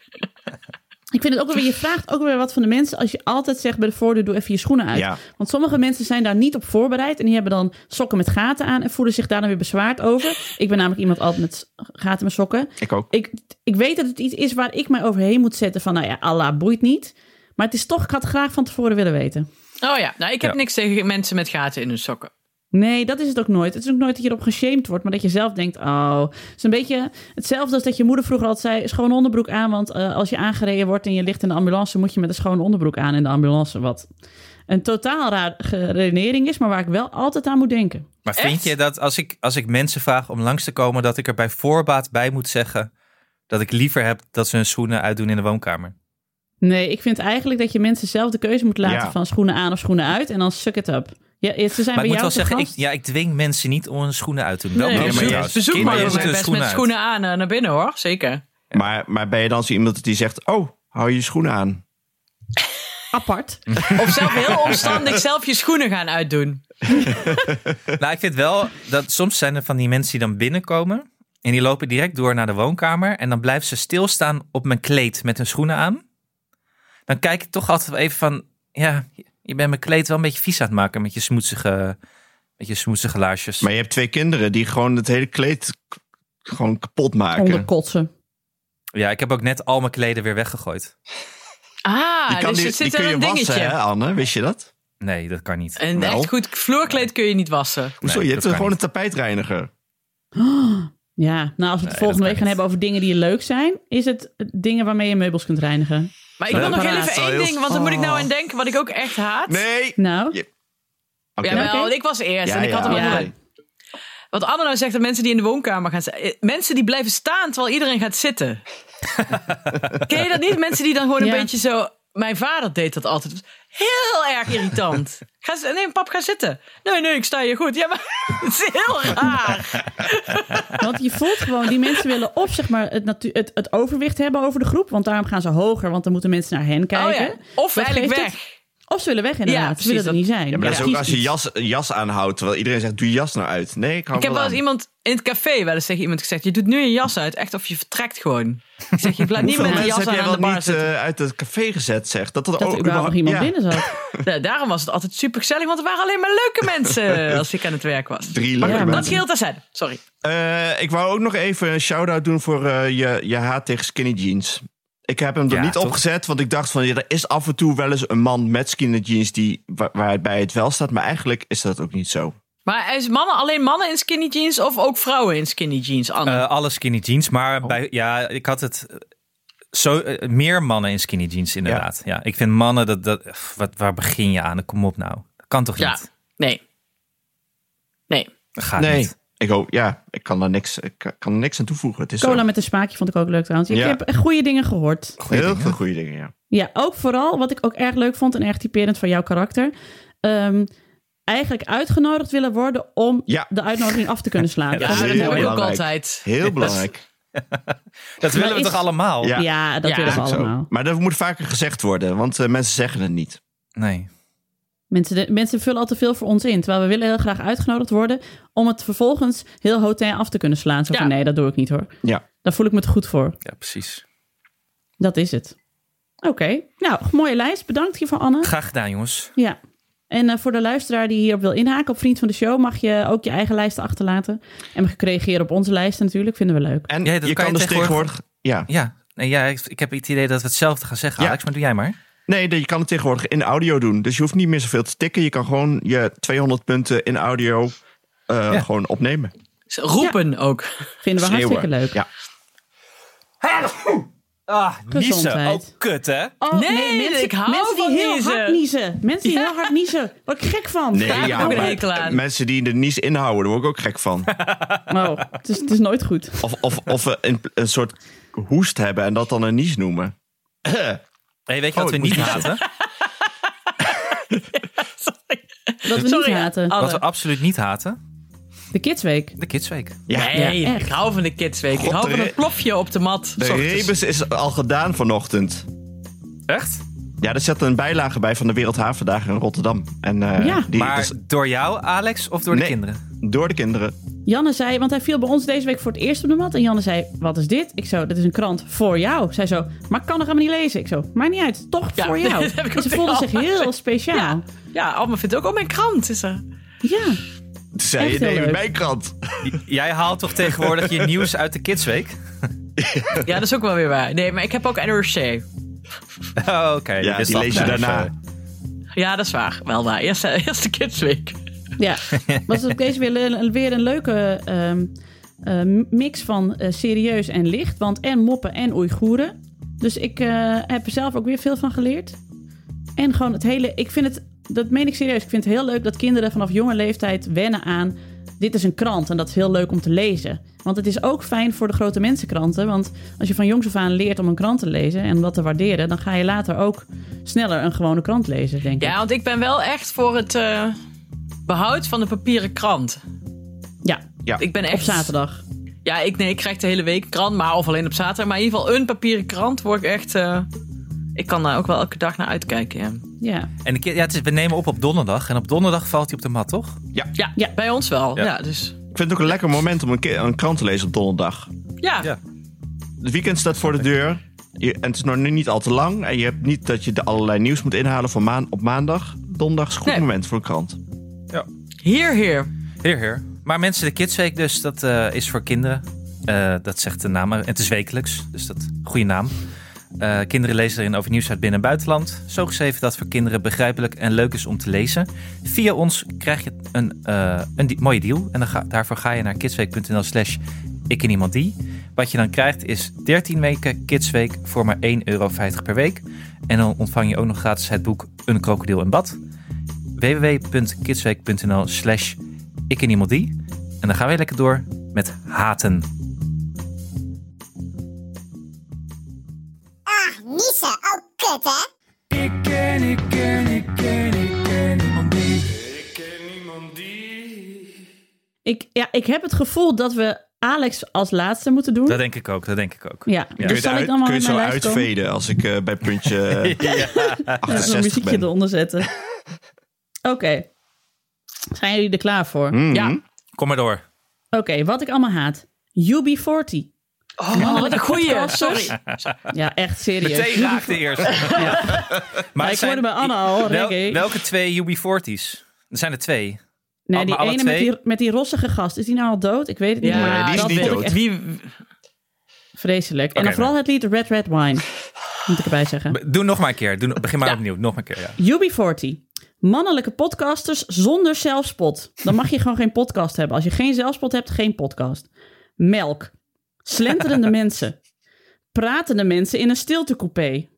[SPEAKER 1] Ik vind het ook wel weer, je vraagt ook weer wat van de mensen als je altijd zegt bij de voordeur, doe even je schoenen uit.
[SPEAKER 4] Ja.
[SPEAKER 1] Want sommige mensen zijn daar niet op voorbereid en die hebben dan sokken met gaten aan en voelen zich daar dan weer bezwaard over. Ik ben namelijk iemand altijd met s- gaten met sokken.
[SPEAKER 4] Ik ook.
[SPEAKER 1] Ik, ik weet dat het iets is waar ik mij overheen moet zetten van, nou ja, Allah boeit niet. Maar het is toch, ik had het graag van tevoren willen weten.
[SPEAKER 2] Oh ja, nou, ik heb
[SPEAKER 3] Ja.
[SPEAKER 2] niks tegen mensen met gaten in hun sokken.
[SPEAKER 1] Nee, dat is het ook nooit. Het is ook nooit dat je erop geshamed wordt, maar dat je zelf denkt: oh, het is een beetje hetzelfde als dat je moeder vroeger altijd zei: schoon onderbroek aan, want eh, als je aangereden wordt en je ligt in de ambulance, moet je met een schoon onderbroek aan in de ambulance. Wat een totaal raar ge- redenering is, maar waar ik wel altijd aan moet denken.
[SPEAKER 3] Maar
[SPEAKER 2] Echt?
[SPEAKER 3] vind je dat als ik, als ik mensen vraag om langs te komen, dat ik er bij voorbaat bij moet zeggen dat ik liever heb dat ze hun schoenen uitdoen in de woonkamer?
[SPEAKER 1] Nee, ik vind eigenlijk dat je mensen zelf de keuze moet laten
[SPEAKER 4] Ja.
[SPEAKER 1] van schoenen aan of schoenen uit en dan suck it up. Ja, eh, ze zijn
[SPEAKER 3] Maar
[SPEAKER 1] bij
[SPEAKER 3] ik moet wel
[SPEAKER 1] jou te
[SPEAKER 3] zeggen, ik,
[SPEAKER 1] gast.
[SPEAKER 3] ja, ik dwing mensen niet om hun schoenen uit te doen.
[SPEAKER 2] Nee,
[SPEAKER 3] Wel meer,
[SPEAKER 4] maar
[SPEAKER 3] maar
[SPEAKER 4] bezoek-
[SPEAKER 3] juist.
[SPEAKER 2] bezoek
[SPEAKER 3] Kinderen
[SPEAKER 2] mogen
[SPEAKER 3] moeten
[SPEAKER 2] best
[SPEAKER 3] hun schoenen
[SPEAKER 2] met
[SPEAKER 3] uit.
[SPEAKER 2] schoenen aan eh, naar binnen hoor, zeker.
[SPEAKER 4] Maar, maar ben je dan zo iemand die zegt, oh, hou je schoenen aan?
[SPEAKER 1] apart.
[SPEAKER 2] Of zelf heel omstandig zelf je schoenen gaan uitdoen.
[SPEAKER 3] Nou, ik vind wel dat soms zijn er van die mensen die dan binnenkomen en die lopen direct door naar de woonkamer en dan blijven ze stilstaan op mijn kleed met hun schoenen aan. Dan kijk ik toch altijd wel even van, ja, je bent mijn kleed wel een beetje vies aan het maken met je smoetsige, met je smoetsige laarsjes.
[SPEAKER 4] Maar je hebt twee kinderen die gewoon het hele kleed k- gewoon kapot maken.
[SPEAKER 1] Onderkotsen.
[SPEAKER 3] Ja, ik heb ook net al mijn kleden weer weggegooid.
[SPEAKER 2] Ah,
[SPEAKER 4] Die, kan
[SPEAKER 2] dus
[SPEAKER 4] die,
[SPEAKER 2] het
[SPEAKER 4] die
[SPEAKER 2] zit
[SPEAKER 4] kun
[SPEAKER 2] er
[SPEAKER 4] je
[SPEAKER 2] een dingetje.
[SPEAKER 4] wassen, hè Anne? Wist je dat?
[SPEAKER 3] Nee, dat kan niet.
[SPEAKER 2] Een
[SPEAKER 4] Wel.
[SPEAKER 2] echt goed vloerkleed kun je niet wassen.
[SPEAKER 4] Hoezo?
[SPEAKER 3] Nee,
[SPEAKER 4] je
[SPEAKER 3] dat
[SPEAKER 4] hebt er
[SPEAKER 3] kan
[SPEAKER 4] gewoon
[SPEAKER 3] niet.
[SPEAKER 4] een tapijtreiniger.
[SPEAKER 1] Ja, nou als we het
[SPEAKER 3] Nee, dat
[SPEAKER 1] volgende
[SPEAKER 3] kan
[SPEAKER 1] week gaan
[SPEAKER 3] niet.
[SPEAKER 1] hebben over dingen die leuk zijn, is het dingen waarmee je meubels kunt reinigen.
[SPEAKER 2] Maar ik wil
[SPEAKER 1] Nee,
[SPEAKER 2] nog
[SPEAKER 1] maar
[SPEAKER 2] heel
[SPEAKER 1] dat
[SPEAKER 2] even
[SPEAKER 4] is wel
[SPEAKER 2] één
[SPEAKER 4] heel-
[SPEAKER 2] ding, want daar moet ik
[SPEAKER 1] oh.
[SPEAKER 2] nou aan denken, wat ik ook echt haat.
[SPEAKER 4] Nee!
[SPEAKER 1] Nou,
[SPEAKER 4] Ja, Oké.
[SPEAKER 2] Jawel,
[SPEAKER 1] Oké.
[SPEAKER 2] ik was eerst
[SPEAKER 4] Ja,
[SPEAKER 2] en ik had hem al
[SPEAKER 1] ja.
[SPEAKER 2] door.
[SPEAKER 1] Ja.
[SPEAKER 2] Wat Anne nou zegt, dat mensen die in de woonkamer gaan staan. eh, Mensen die blijven staan terwijl iedereen gaat zitten. Ken je dat niet? Mensen die dan gewoon een
[SPEAKER 1] Ja.
[SPEAKER 2] beetje zo... Mijn vader deed dat altijd. Dat was Heel erg irritant. Ga, z- nee, pap, ga zitten. Nee, nee, ik sta hier goed. Ja, maar <laughs> het is heel raar.
[SPEAKER 1] Want je voelt gewoon, die mensen willen op zeg maar, het, natu- het, het overwicht hebben over de groep. Want daarom gaan ze hoger, want dan moeten mensen naar hen kijken.
[SPEAKER 2] Oh ja. Of
[SPEAKER 1] Wat
[SPEAKER 2] eigenlijk
[SPEAKER 1] geeft
[SPEAKER 2] weg.
[SPEAKER 1] het? Of ze willen weg inderdaad.
[SPEAKER 2] Ja,
[SPEAKER 1] ze willen er
[SPEAKER 2] precies,
[SPEAKER 1] niet zijn.
[SPEAKER 4] Ja, maar dat is
[SPEAKER 1] Ja.
[SPEAKER 4] ook als je
[SPEAKER 1] Kies
[SPEAKER 4] jas, jas aanhoudt, terwijl iedereen zegt, doe je jas nou uit. Nee, ik hou
[SPEAKER 2] Ik heb wel
[SPEAKER 4] hem wel
[SPEAKER 2] eens iemand in het café wel eens tegen iemand gezegd: Je doet nu je jas uit, echt of je vertrekt gewoon. Ik zeg: Je blijft niet met die
[SPEAKER 4] mensen
[SPEAKER 2] jas
[SPEAKER 4] heb
[SPEAKER 2] aan,
[SPEAKER 4] jij
[SPEAKER 2] aan de
[SPEAKER 4] wel
[SPEAKER 2] bar
[SPEAKER 4] niet
[SPEAKER 2] zitten.
[SPEAKER 4] eh, uit het café gezet, zeg. Dat,
[SPEAKER 1] Dat er überhaupt nog iemand
[SPEAKER 4] oh, ja.
[SPEAKER 1] binnen zat.
[SPEAKER 4] eh?
[SPEAKER 2] Ja, daarom was het altijd super gezellig, want er waren alleen maar
[SPEAKER 4] <laughs>
[SPEAKER 2] leuke mensen als ik aan het werk was.
[SPEAKER 4] Drie
[SPEAKER 2] Maar
[SPEAKER 4] leuke
[SPEAKER 2] goed, dat
[SPEAKER 4] mensen.
[SPEAKER 2] scheelt terzijde. Sorry.
[SPEAKER 4] Eh, ik wou ook nog even een shout-out doen voor eh, je, je haat tegen skinny jeans. Ik heb hem er
[SPEAKER 3] Ja,
[SPEAKER 4] niet
[SPEAKER 3] toch?
[SPEAKER 4] opgezet, want ik dacht van... Ja, er is af en toe wel eens een man met skinny jeans die, wa- waarbij het wel staat. Maar eigenlijk is dat ook niet zo.
[SPEAKER 2] Maar is mannen alleen mannen in skinny jeans of ook vrouwen in skinny jeans? Anne?
[SPEAKER 3] Eh, alle skinny jeans, maar bij, ja, ik had het eh, zo, eh, meer mannen in skinny jeans inderdaad. Ja. ik vind mannen, dat, dat, pff, wat, waar begin je aan? Kom op nou. Dat kan toch
[SPEAKER 2] ja.
[SPEAKER 3] niet?
[SPEAKER 2] Nee. Nee.
[SPEAKER 3] Dat gaat
[SPEAKER 4] nee,
[SPEAKER 3] Ah, niet.
[SPEAKER 4] ik hoop... Ja, ik kan daar niks, ik kan- kan er niks aan toevoegen. Het is
[SPEAKER 1] Cola
[SPEAKER 4] <laughs> zo.
[SPEAKER 1] met een smaakje vond ik ook leuk trouwens. Ik
[SPEAKER 4] Ja.
[SPEAKER 1] heb echt goede dingen gehoord.
[SPEAKER 4] Heel veel goede dingen, ja.
[SPEAKER 1] Ja, ook vooral wat ik ook erg leuk vond en erg typerend van jouw karakter. ehm, eigenlijk uitgenodigd willen worden om
[SPEAKER 4] Ja.
[SPEAKER 1] de uitnodiging af te
[SPEAKER 4] <laughs>
[SPEAKER 1] kunnen slaan.
[SPEAKER 2] Ja,
[SPEAKER 1] Dat is
[SPEAKER 2] dat
[SPEAKER 4] heel
[SPEAKER 2] heb ik ook
[SPEAKER 4] belangrijk.
[SPEAKER 2] altijd.
[SPEAKER 4] Heel belangrijk.
[SPEAKER 3] Dat willen we
[SPEAKER 1] is-
[SPEAKER 3] toch allemaal?
[SPEAKER 4] Ja.
[SPEAKER 1] ja. dat
[SPEAKER 2] Ja.
[SPEAKER 1] willen we
[SPEAKER 4] Is ook zo.
[SPEAKER 1] allemaal.
[SPEAKER 4] Maar dat moet vaker gezegd worden, want eh, mensen zeggen het niet.
[SPEAKER 3] Nee.
[SPEAKER 1] Mensen, de- mensen vullen al te veel voor ons in. Terwijl we willen heel graag uitgenodigd worden om het vervolgens heel hotel af te kunnen slaan. Zo van,
[SPEAKER 2] Ja.
[SPEAKER 1] nee, dat doe ik niet hoor.
[SPEAKER 4] Ja.
[SPEAKER 1] Daar voel ik me te goed voor.
[SPEAKER 3] Ja, precies.
[SPEAKER 1] Dat is het. Oké, nou, mooie lijst. Bedankt hiervoor, Anne.
[SPEAKER 3] Graag gedaan, jongens.
[SPEAKER 1] Ja. En eh, voor de luisteraar die hierop wil inhaken op Vriend van de Show, mag je ook je eigen lijst achterlaten. En mag je reageren op onze lijst natuurlijk, vinden we leuk.
[SPEAKER 4] En
[SPEAKER 3] Ja,
[SPEAKER 4] je
[SPEAKER 3] dat kan
[SPEAKER 4] kan,
[SPEAKER 3] je
[SPEAKER 4] dus
[SPEAKER 3] tegenwoordig-
[SPEAKER 4] tegenwoordig... Ja.
[SPEAKER 3] Ja, nee, ja ik, ik heb het idee dat we hetzelfde gaan zeggen,
[SPEAKER 4] Ja.
[SPEAKER 3] Alex, maar doe jij maar.
[SPEAKER 4] Nee, dat- je kan het tegenwoordig in audio doen. Dus je hoeft niet meer zoveel te tikken. Je kan gewoon je 200 punten in audio eh,
[SPEAKER 3] Ja.
[SPEAKER 4] gewoon opnemen.
[SPEAKER 2] Ze Roepen ook.
[SPEAKER 1] Vinden we hartstikke leuk.
[SPEAKER 4] Ja.
[SPEAKER 3] Ah, niezen.
[SPEAKER 1] Gezondheid.
[SPEAKER 3] Ook kut, hè?
[SPEAKER 1] Oh,
[SPEAKER 2] Nee, ik hou
[SPEAKER 1] mensen die
[SPEAKER 2] van
[SPEAKER 1] heel
[SPEAKER 2] niezen.
[SPEAKER 1] hard niezen. Mensen die
[SPEAKER 2] Ja.
[SPEAKER 1] heel hard niezen. Word ik gek van.
[SPEAKER 4] Nee,
[SPEAKER 2] heb ik
[SPEAKER 4] ja,
[SPEAKER 2] een
[SPEAKER 4] maar
[SPEAKER 2] hekel aan.
[SPEAKER 4] mensen die de nies inhouden, daar word ik ook gek van.
[SPEAKER 1] Oh, het is, het is nooit goed.
[SPEAKER 4] Of, of, of eh, een, een soort hoest hebben en dat dan een nies noemen.
[SPEAKER 3] Hey, weet je wat
[SPEAKER 4] Oh,
[SPEAKER 3] we
[SPEAKER 4] ik moet
[SPEAKER 3] niet <laughs>
[SPEAKER 4] niezen.
[SPEAKER 3] haten?
[SPEAKER 2] Sorry.
[SPEAKER 1] Dat we
[SPEAKER 2] Sorry,
[SPEAKER 1] niet haten.
[SPEAKER 2] Anne.
[SPEAKER 3] Wat we absoluut niet haten?
[SPEAKER 1] De Kidsweek.
[SPEAKER 3] De Kidsweek.
[SPEAKER 4] Ja,
[SPEAKER 2] Nee,
[SPEAKER 1] Ja, echt.
[SPEAKER 2] ik hou van de kidsweek. ik
[SPEAKER 4] God,
[SPEAKER 2] hou van
[SPEAKER 4] de
[SPEAKER 2] een
[SPEAKER 4] re-
[SPEAKER 2] plofje op de mat.
[SPEAKER 4] de
[SPEAKER 2] S ochtends.
[SPEAKER 4] rebus is al gedaan vanochtend.
[SPEAKER 3] Echt?
[SPEAKER 4] Ja, er zat een bijlage bij van de Wereldhavendagen in Rotterdam. En, eh,
[SPEAKER 1] Ja.
[SPEAKER 4] die
[SPEAKER 3] Maar
[SPEAKER 4] is
[SPEAKER 3] door jou, Alex, of door de
[SPEAKER 4] Nee.
[SPEAKER 3] kinderen?
[SPEAKER 4] door de kinderen.
[SPEAKER 1] Janne zei, want hij viel bij ons deze week voor het eerst op de mat. En Janne zei, wat is dit? Ik zo, dit is een krant voor jou. Zij zo, maar ik kan nog helemaal niet lezen. Ik zo, maakt niet uit, toch
[SPEAKER 2] Ja,
[SPEAKER 1] voor jou.
[SPEAKER 2] <laughs> dat heb ik
[SPEAKER 1] En ze
[SPEAKER 2] ook
[SPEAKER 1] voelde zich
[SPEAKER 2] tegen Anne
[SPEAKER 1] heel
[SPEAKER 2] gezegd.
[SPEAKER 1] speciaal. Ja.
[SPEAKER 2] Ja, Alma vindt ook al mijn krant. Is er.
[SPEAKER 4] Toen zei je,
[SPEAKER 1] Echt heel
[SPEAKER 4] nee,
[SPEAKER 1] leuk.
[SPEAKER 4] mijn krant.
[SPEAKER 3] Jij haalt toch tegenwoordig
[SPEAKER 4] <laughs>
[SPEAKER 3] je nieuws uit de Kidsweek?
[SPEAKER 2] Ja, dat is ook wel weer waar. Nee, maar ik heb ook NRC.
[SPEAKER 3] <laughs> Oh, Oké,
[SPEAKER 4] Ja,
[SPEAKER 3] wist
[SPEAKER 4] die
[SPEAKER 3] dat.
[SPEAKER 4] lees je
[SPEAKER 3] Nou,
[SPEAKER 4] daarna.
[SPEAKER 3] dus, eh,
[SPEAKER 2] Ja, dat is waar. Wel waar. Eerst, <laughs> eh, eerst de kidsweek.
[SPEAKER 1] Ja, was
[SPEAKER 2] <laughs>
[SPEAKER 1] het ook deze weer, le- weer een leuke ehm, eh, mix van eh, serieus en licht. Want en moppen en Oeigoeren. Dus ik eh, heb er zelf ook weer veel van geleerd. En gewoon het hele... Ik vind het... Dat meen ik serieus. Ik vind het heel leuk dat kinderen vanaf jonge leeftijd wennen aan... Dit is een krant en dat is heel leuk om te lezen. Want het is ook fijn voor de grote mensenkranten. Want als je van jongs af aan leert om een krant te lezen en dat te waarderen... dan ga je later ook sneller een gewone krant lezen, denk ik.
[SPEAKER 2] Ja, want ik ben wel echt voor het eh, behoud van de papieren krant.
[SPEAKER 1] Ja,
[SPEAKER 4] Ja.
[SPEAKER 2] Ik ben echt...
[SPEAKER 1] op zaterdag.
[SPEAKER 2] Ja, ik, nee, ik krijg de hele week een krant, maar of alleen op zaterdag. Maar in ieder geval een papieren krant word ik echt... eh, ik kan daar ook wel elke dag naar uitkijken, ja.
[SPEAKER 1] Ja.
[SPEAKER 3] En de, ki- ja, het is, we nemen op op donderdag. En op donderdag valt hij op de mat, toch?
[SPEAKER 2] Ja,
[SPEAKER 1] Ja.
[SPEAKER 2] bij ons wel. Ja,
[SPEAKER 3] Ja.
[SPEAKER 2] dus...
[SPEAKER 4] Ik vind het ook een lekker moment om een, ke- een krant te lezen op donderdag.
[SPEAKER 2] Ja,
[SPEAKER 3] Ja.
[SPEAKER 4] Het weekend staat voor de deur. Je- en het is nog nu niet al te lang. En je hebt niet dat je de allerlei nieuws moet inhalen voor maan, op maandag. Donderdag is een goed
[SPEAKER 2] Nee.
[SPEAKER 4] moment voor een
[SPEAKER 1] Dus
[SPEAKER 4] krant.
[SPEAKER 2] hier, hier.
[SPEAKER 3] Heer, heer. Maar mensen, de Kidsweek dus, dat eh, is voor kinderen. Eh, dat zegt de naam. Het is wekelijks, dus dat goede naam. Eh, kinderen lezen erin over nieuws uit binnen- en buitenland. Zo geschreven dat het voor kinderen begrijpelijk en leuk is om te lezen. Via ons krijg je een, eh, een die- mooie deal. En dan ga, daarvoor ga je naar kidsweek.nl slash ik en iemand die. Wat je dan krijgt is 13 weken Kidsweek voor maar 1,50 euro per week. En dan ontvang je ook nog gratis het boek Een krokodil in bad. www.kidsweek.nl slash ik en iemand die. En dan gaan wij lekker door met haten.
[SPEAKER 6] Ah, niezen. Oh, kut, hè?
[SPEAKER 7] Ik ken, ik ken, ik ken, ik ken iemand die.
[SPEAKER 5] Ik ken niemand die.
[SPEAKER 1] Ik, ja, ik heb het gevoel dat we Alex als laatste moeten doen.
[SPEAKER 3] Dat denk ik ook, dat denk ik ook.
[SPEAKER 1] Ja,
[SPEAKER 3] Ja.
[SPEAKER 1] dus
[SPEAKER 4] Kun je,
[SPEAKER 1] zal
[SPEAKER 4] het
[SPEAKER 1] ik
[SPEAKER 4] uit-
[SPEAKER 1] dan wel
[SPEAKER 4] kun je
[SPEAKER 1] met
[SPEAKER 4] het
[SPEAKER 1] mijn
[SPEAKER 4] zo
[SPEAKER 1] lijst komen?
[SPEAKER 4] uitveden als ik eh, bij puntje <laughs> eh,
[SPEAKER 1] Ja, Zo'n
[SPEAKER 4] 68
[SPEAKER 1] muziekje
[SPEAKER 4] ben?
[SPEAKER 1] eronder zetten.
[SPEAKER 3] <laughs>
[SPEAKER 1] Oké. Zijn jullie er klaar voor?
[SPEAKER 3] Hmm.
[SPEAKER 1] Oké,
[SPEAKER 2] Ja.
[SPEAKER 3] Kom maar door.
[SPEAKER 1] wat ik allemaal haat. UB40.
[SPEAKER 2] Oh, wat een goeie.
[SPEAKER 1] Podcasters.
[SPEAKER 2] Sorry.
[SPEAKER 1] Ja, echt serieus.
[SPEAKER 3] Meteen
[SPEAKER 1] <laughs>
[SPEAKER 3] raakte eerst.
[SPEAKER 1] Maar
[SPEAKER 3] het
[SPEAKER 1] ik
[SPEAKER 3] zijn-
[SPEAKER 1] hoorde bij Anna al,
[SPEAKER 3] Wel-
[SPEAKER 1] reggae.
[SPEAKER 3] welke twee UB40's? Er zijn er twee.
[SPEAKER 1] nee,
[SPEAKER 3] al-
[SPEAKER 1] die
[SPEAKER 3] maar alle
[SPEAKER 1] ene met
[SPEAKER 3] twee?
[SPEAKER 1] die, met die rossige gast. Is die nou al dood? Ik weet het niet.
[SPEAKER 2] Ja,
[SPEAKER 1] Maar
[SPEAKER 4] Nee, die is
[SPEAKER 1] dat
[SPEAKER 4] niet
[SPEAKER 1] vond ik
[SPEAKER 4] dood.
[SPEAKER 1] echt
[SPEAKER 2] Wie,
[SPEAKER 1] vreselijk. en
[SPEAKER 3] Oké, nou.
[SPEAKER 1] dan vooral het lied Red Red Wine. Moet ik erbij zeggen.
[SPEAKER 3] B- Doe nog maar een keer. Doe, begin maar opnieuw. Nog maar een keer, ja.
[SPEAKER 1] UB40. Mannelijke podcasters zonder zelfspot. Dan mag je gewoon geen podcast hebben. Als je geen zelfspot hebt, geen podcast. Melk.
[SPEAKER 3] <laughs>
[SPEAKER 1] Slenterende mensen. Pratende mensen in een stiltecoupé.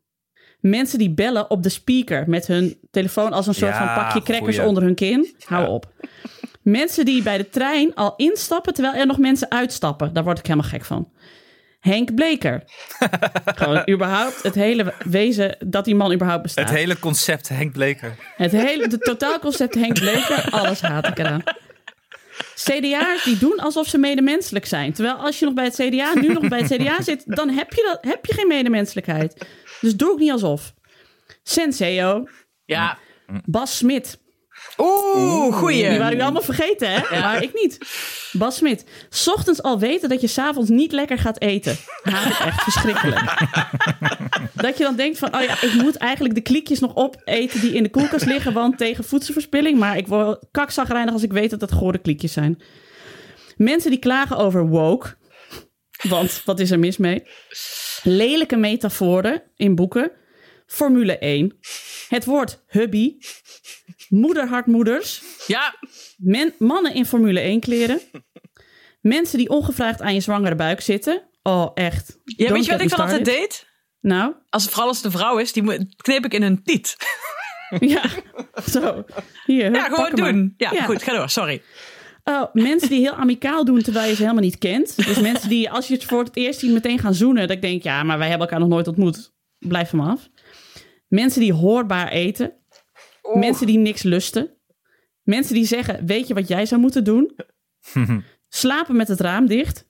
[SPEAKER 1] Mensen die bellen op de speaker met hun telefoon als een soort
[SPEAKER 3] Ja,
[SPEAKER 1] van pakje crackers
[SPEAKER 3] goeie.
[SPEAKER 1] onder hun kin. Hou op. Mensen die bij de trein al instappen terwijl er nog mensen uitstappen. Daar word ik helemaal gek van. Henk
[SPEAKER 3] <laughs>
[SPEAKER 1] Bleker. Gewoon überhaupt het hele wezen dat die man überhaupt bestaat.
[SPEAKER 3] Het hele concept Henk Bleker.
[SPEAKER 1] Het hele de totaalconcept Henk Bleker, alles haat ik eraan. CDA'ers die doen alsof ze medemenselijk zijn. Terwijl als je nog bij het CDA, nu nog bij het CDA zit, dan heb je, dat, heb je geen medemenselijkheid. Dus doe ook niet alsof. Senseo,
[SPEAKER 2] ja.
[SPEAKER 1] Bas Smit.
[SPEAKER 2] Oeh, goeie.
[SPEAKER 1] Die waren jullie allemaal vergeten, hè? Maar ik niet. Bas Smit. 's Ochtends al weten dat je s'avonds niet lekker gaat eten. Haat ik echt verschrikkelijk. dat je dan denkt van, oh ja, ik moet eigenlijk de kliekjes nog opeten die in de koelkast liggen, want tegen voedselverspilling. Maar ik word kakzagrijnig als ik weet dat dat gore kliekjes zijn. Mensen die klagen over woke. Want wat is er mis mee? Lelijke metaforen in boeken. Formule 1. Het woord hubby. Moederhartmoeders.
[SPEAKER 2] Ja,
[SPEAKER 1] Men, mannen in Formule 1
[SPEAKER 2] <laughs>
[SPEAKER 1] kleren. Mensen die ongevraagd aan je zwangere buik zitten. Oh, echt.
[SPEAKER 2] ja
[SPEAKER 1] Don't
[SPEAKER 2] weet
[SPEAKER 1] get
[SPEAKER 2] je wat
[SPEAKER 1] me
[SPEAKER 2] ik dan altijd
[SPEAKER 1] started.
[SPEAKER 2] deed? <laughs>
[SPEAKER 1] Nou,
[SPEAKER 2] Als, vooral als het een vrouw is, die moet- kneep ik in hun tiet.
[SPEAKER 1] ja. Zo. Hier,
[SPEAKER 2] <laughs> Ja,
[SPEAKER 1] hup, pak
[SPEAKER 2] gewoon
[SPEAKER 1] hem maar.
[SPEAKER 2] doen. Ja,
[SPEAKER 1] Ja.
[SPEAKER 2] goed, ga door. Sorry.
[SPEAKER 1] Oh, mensen die heel amicaal doen terwijl je ze helemaal niet kent.
[SPEAKER 2] <laughs>
[SPEAKER 1] Dus mensen die, als je het voor het eerst ziet, meteen gaan zoenen. Dat ik denk, ja, maar wij hebben elkaar nog nooit ontmoet. Blijf van me af. Mensen die hoorbaar eten. Mensen die niks lusten. Mensen die zeggen, weet je wat jij zou moeten doen? Slapen met het raam dicht.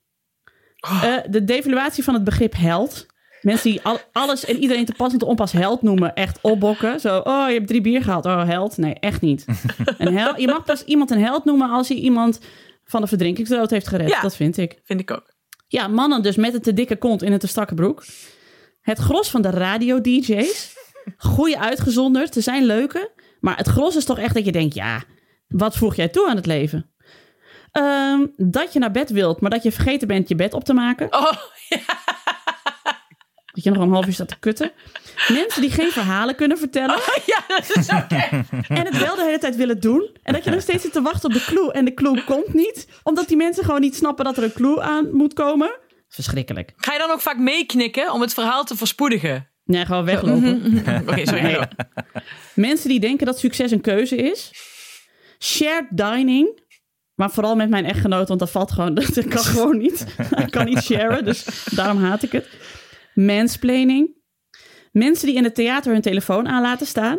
[SPEAKER 1] Eh, de devaluatie van het begrip held. Mensen die al- alles en iedereen te pas en te onpas held noemen. Echt opbokken. Zo, oh, je hebt drie bier gehad. Oh, held. Nee, echt niet. Een hel- je mag pas iemand een held noemen als hij iemand van de verdrinkingsdood heeft gered.
[SPEAKER 2] Ja.
[SPEAKER 1] Dat vind ik.
[SPEAKER 2] Vind ik ook.
[SPEAKER 1] Ja, mannen dus met een te dikke kont in een te strakke broek. Het gros van de radio-dj's. Goeie uitgezonderd, ze zijn leuke. Maar het gros is toch echt dat je denkt, ja, wat voeg jij toe aan het leven? Ehm, dat je naar bed wilt, maar dat je vergeten bent je bed op te maken.
[SPEAKER 2] Oh,
[SPEAKER 1] Dat je nog een half uur staat te kutten. Mensen die geen verhalen kunnen vertellen.
[SPEAKER 2] Oh, ja, dat is ook echt.
[SPEAKER 1] En het wel de hele tijd willen doen. En dat je nog steeds zit te wachten op de clue. En de clue komt niet. Omdat die mensen gewoon niet snappen dat er een clue aan moet komen. Verschrikkelijk.
[SPEAKER 2] Ga je dan ook vaak meeknikken om het verhaal te verspoedigen?
[SPEAKER 1] Nee, gewoon
[SPEAKER 2] Mhm.
[SPEAKER 1] weglopen.
[SPEAKER 2] Oké, sorry. ga door.
[SPEAKER 1] Mensen die denken dat succes een keuze is. Shared dining. Maar vooral met mijn echtgenoot, want dat valt gewoon. <laughs> Dat kan gewoon niet. <laughs> Ik kan niet sharen, dus daarom haat ik het. Mansplaining. Mensen die in het theater hun telefoon aan laten staan.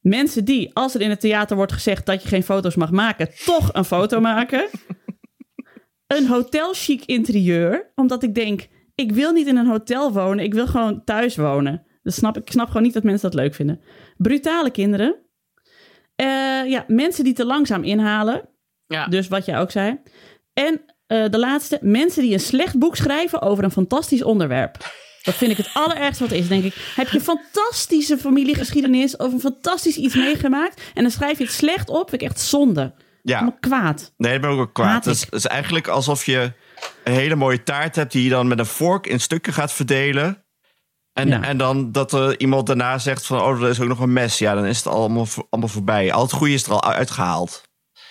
[SPEAKER 1] Mensen die, als er in het theater wordt gezegd dat je geen foto's mag maken, toch een foto maken. Een hotelchic interieur, omdat ik denk, ik wil niet in een hotel wonen, ik wil gewoon thuis wonen. Dat snap, ik Ik snap gewoon niet dat mensen dat leuk vinden. Brutale kinderen. Eh, ja, mensen die te langzaam inhalen.
[SPEAKER 2] Ja.
[SPEAKER 1] Dus wat jij ook zei. En eh, de laatste, mensen die een slecht boek schrijven over een fantastisch onderwerp. Dat vind ik het allerergste wat er is, denk ik. Heb je een fantastische familiegeschiedenis of een fantastisch iets meegemaakt... en dan schrijf je het slecht op, vind ik echt zonde.
[SPEAKER 4] Ja,
[SPEAKER 1] Allemaal kwaad.
[SPEAKER 4] nee, dat ben ik ook
[SPEAKER 1] Haat
[SPEAKER 4] kwaad. Het is,
[SPEAKER 1] ik.
[SPEAKER 4] het is eigenlijk alsof je een hele mooie taart hebt die je dan met een vork in stukken gaat verdelen. En,
[SPEAKER 1] Ja.
[SPEAKER 4] en dan dat er iemand daarna zegt van, oh, er is ook nog een mes. Ja, dan is het allemaal, voor- allemaal voorbij. Al het goede is er al uitgehaald.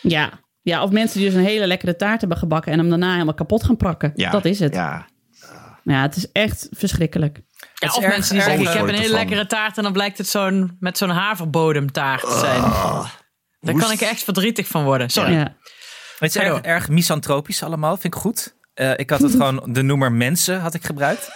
[SPEAKER 1] Ja. ja, of mensen die dus een hele lekkere taart hebben gebakken... en hem daarna helemaal kapot gaan prakken.
[SPEAKER 4] Ja,
[SPEAKER 1] Dat is het. Ja.
[SPEAKER 4] Ja.
[SPEAKER 1] het is echt verschrikkelijk.
[SPEAKER 2] Ja,
[SPEAKER 3] is
[SPEAKER 2] of
[SPEAKER 3] erg-
[SPEAKER 2] mensen die
[SPEAKER 3] erg
[SPEAKER 2] zeggen, ik
[SPEAKER 4] leuk
[SPEAKER 2] heb een hele
[SPEAKER 4] ervan.
[SPEAKER 2] lekkere taart... en dan blijkt het zo'n, met zo'n haverbodemtaart te zijn. Daar kan ik echt verdrietig van worden. Sorry.
[SPEAKER 1] Ja.
[SPEAKER 3] Het is
[SPEAKER 2] Ga
[SPEAKER 3] erg,
[SPEAKER 2] door.
[SPEAKER 3] erg misantropisch allemaal. Vind ik goed. Eh, ik had
[SPEAKER 1] <laughs>
[SPEAKER 3] het gewoon, de noemer mensen had ik gebruikt.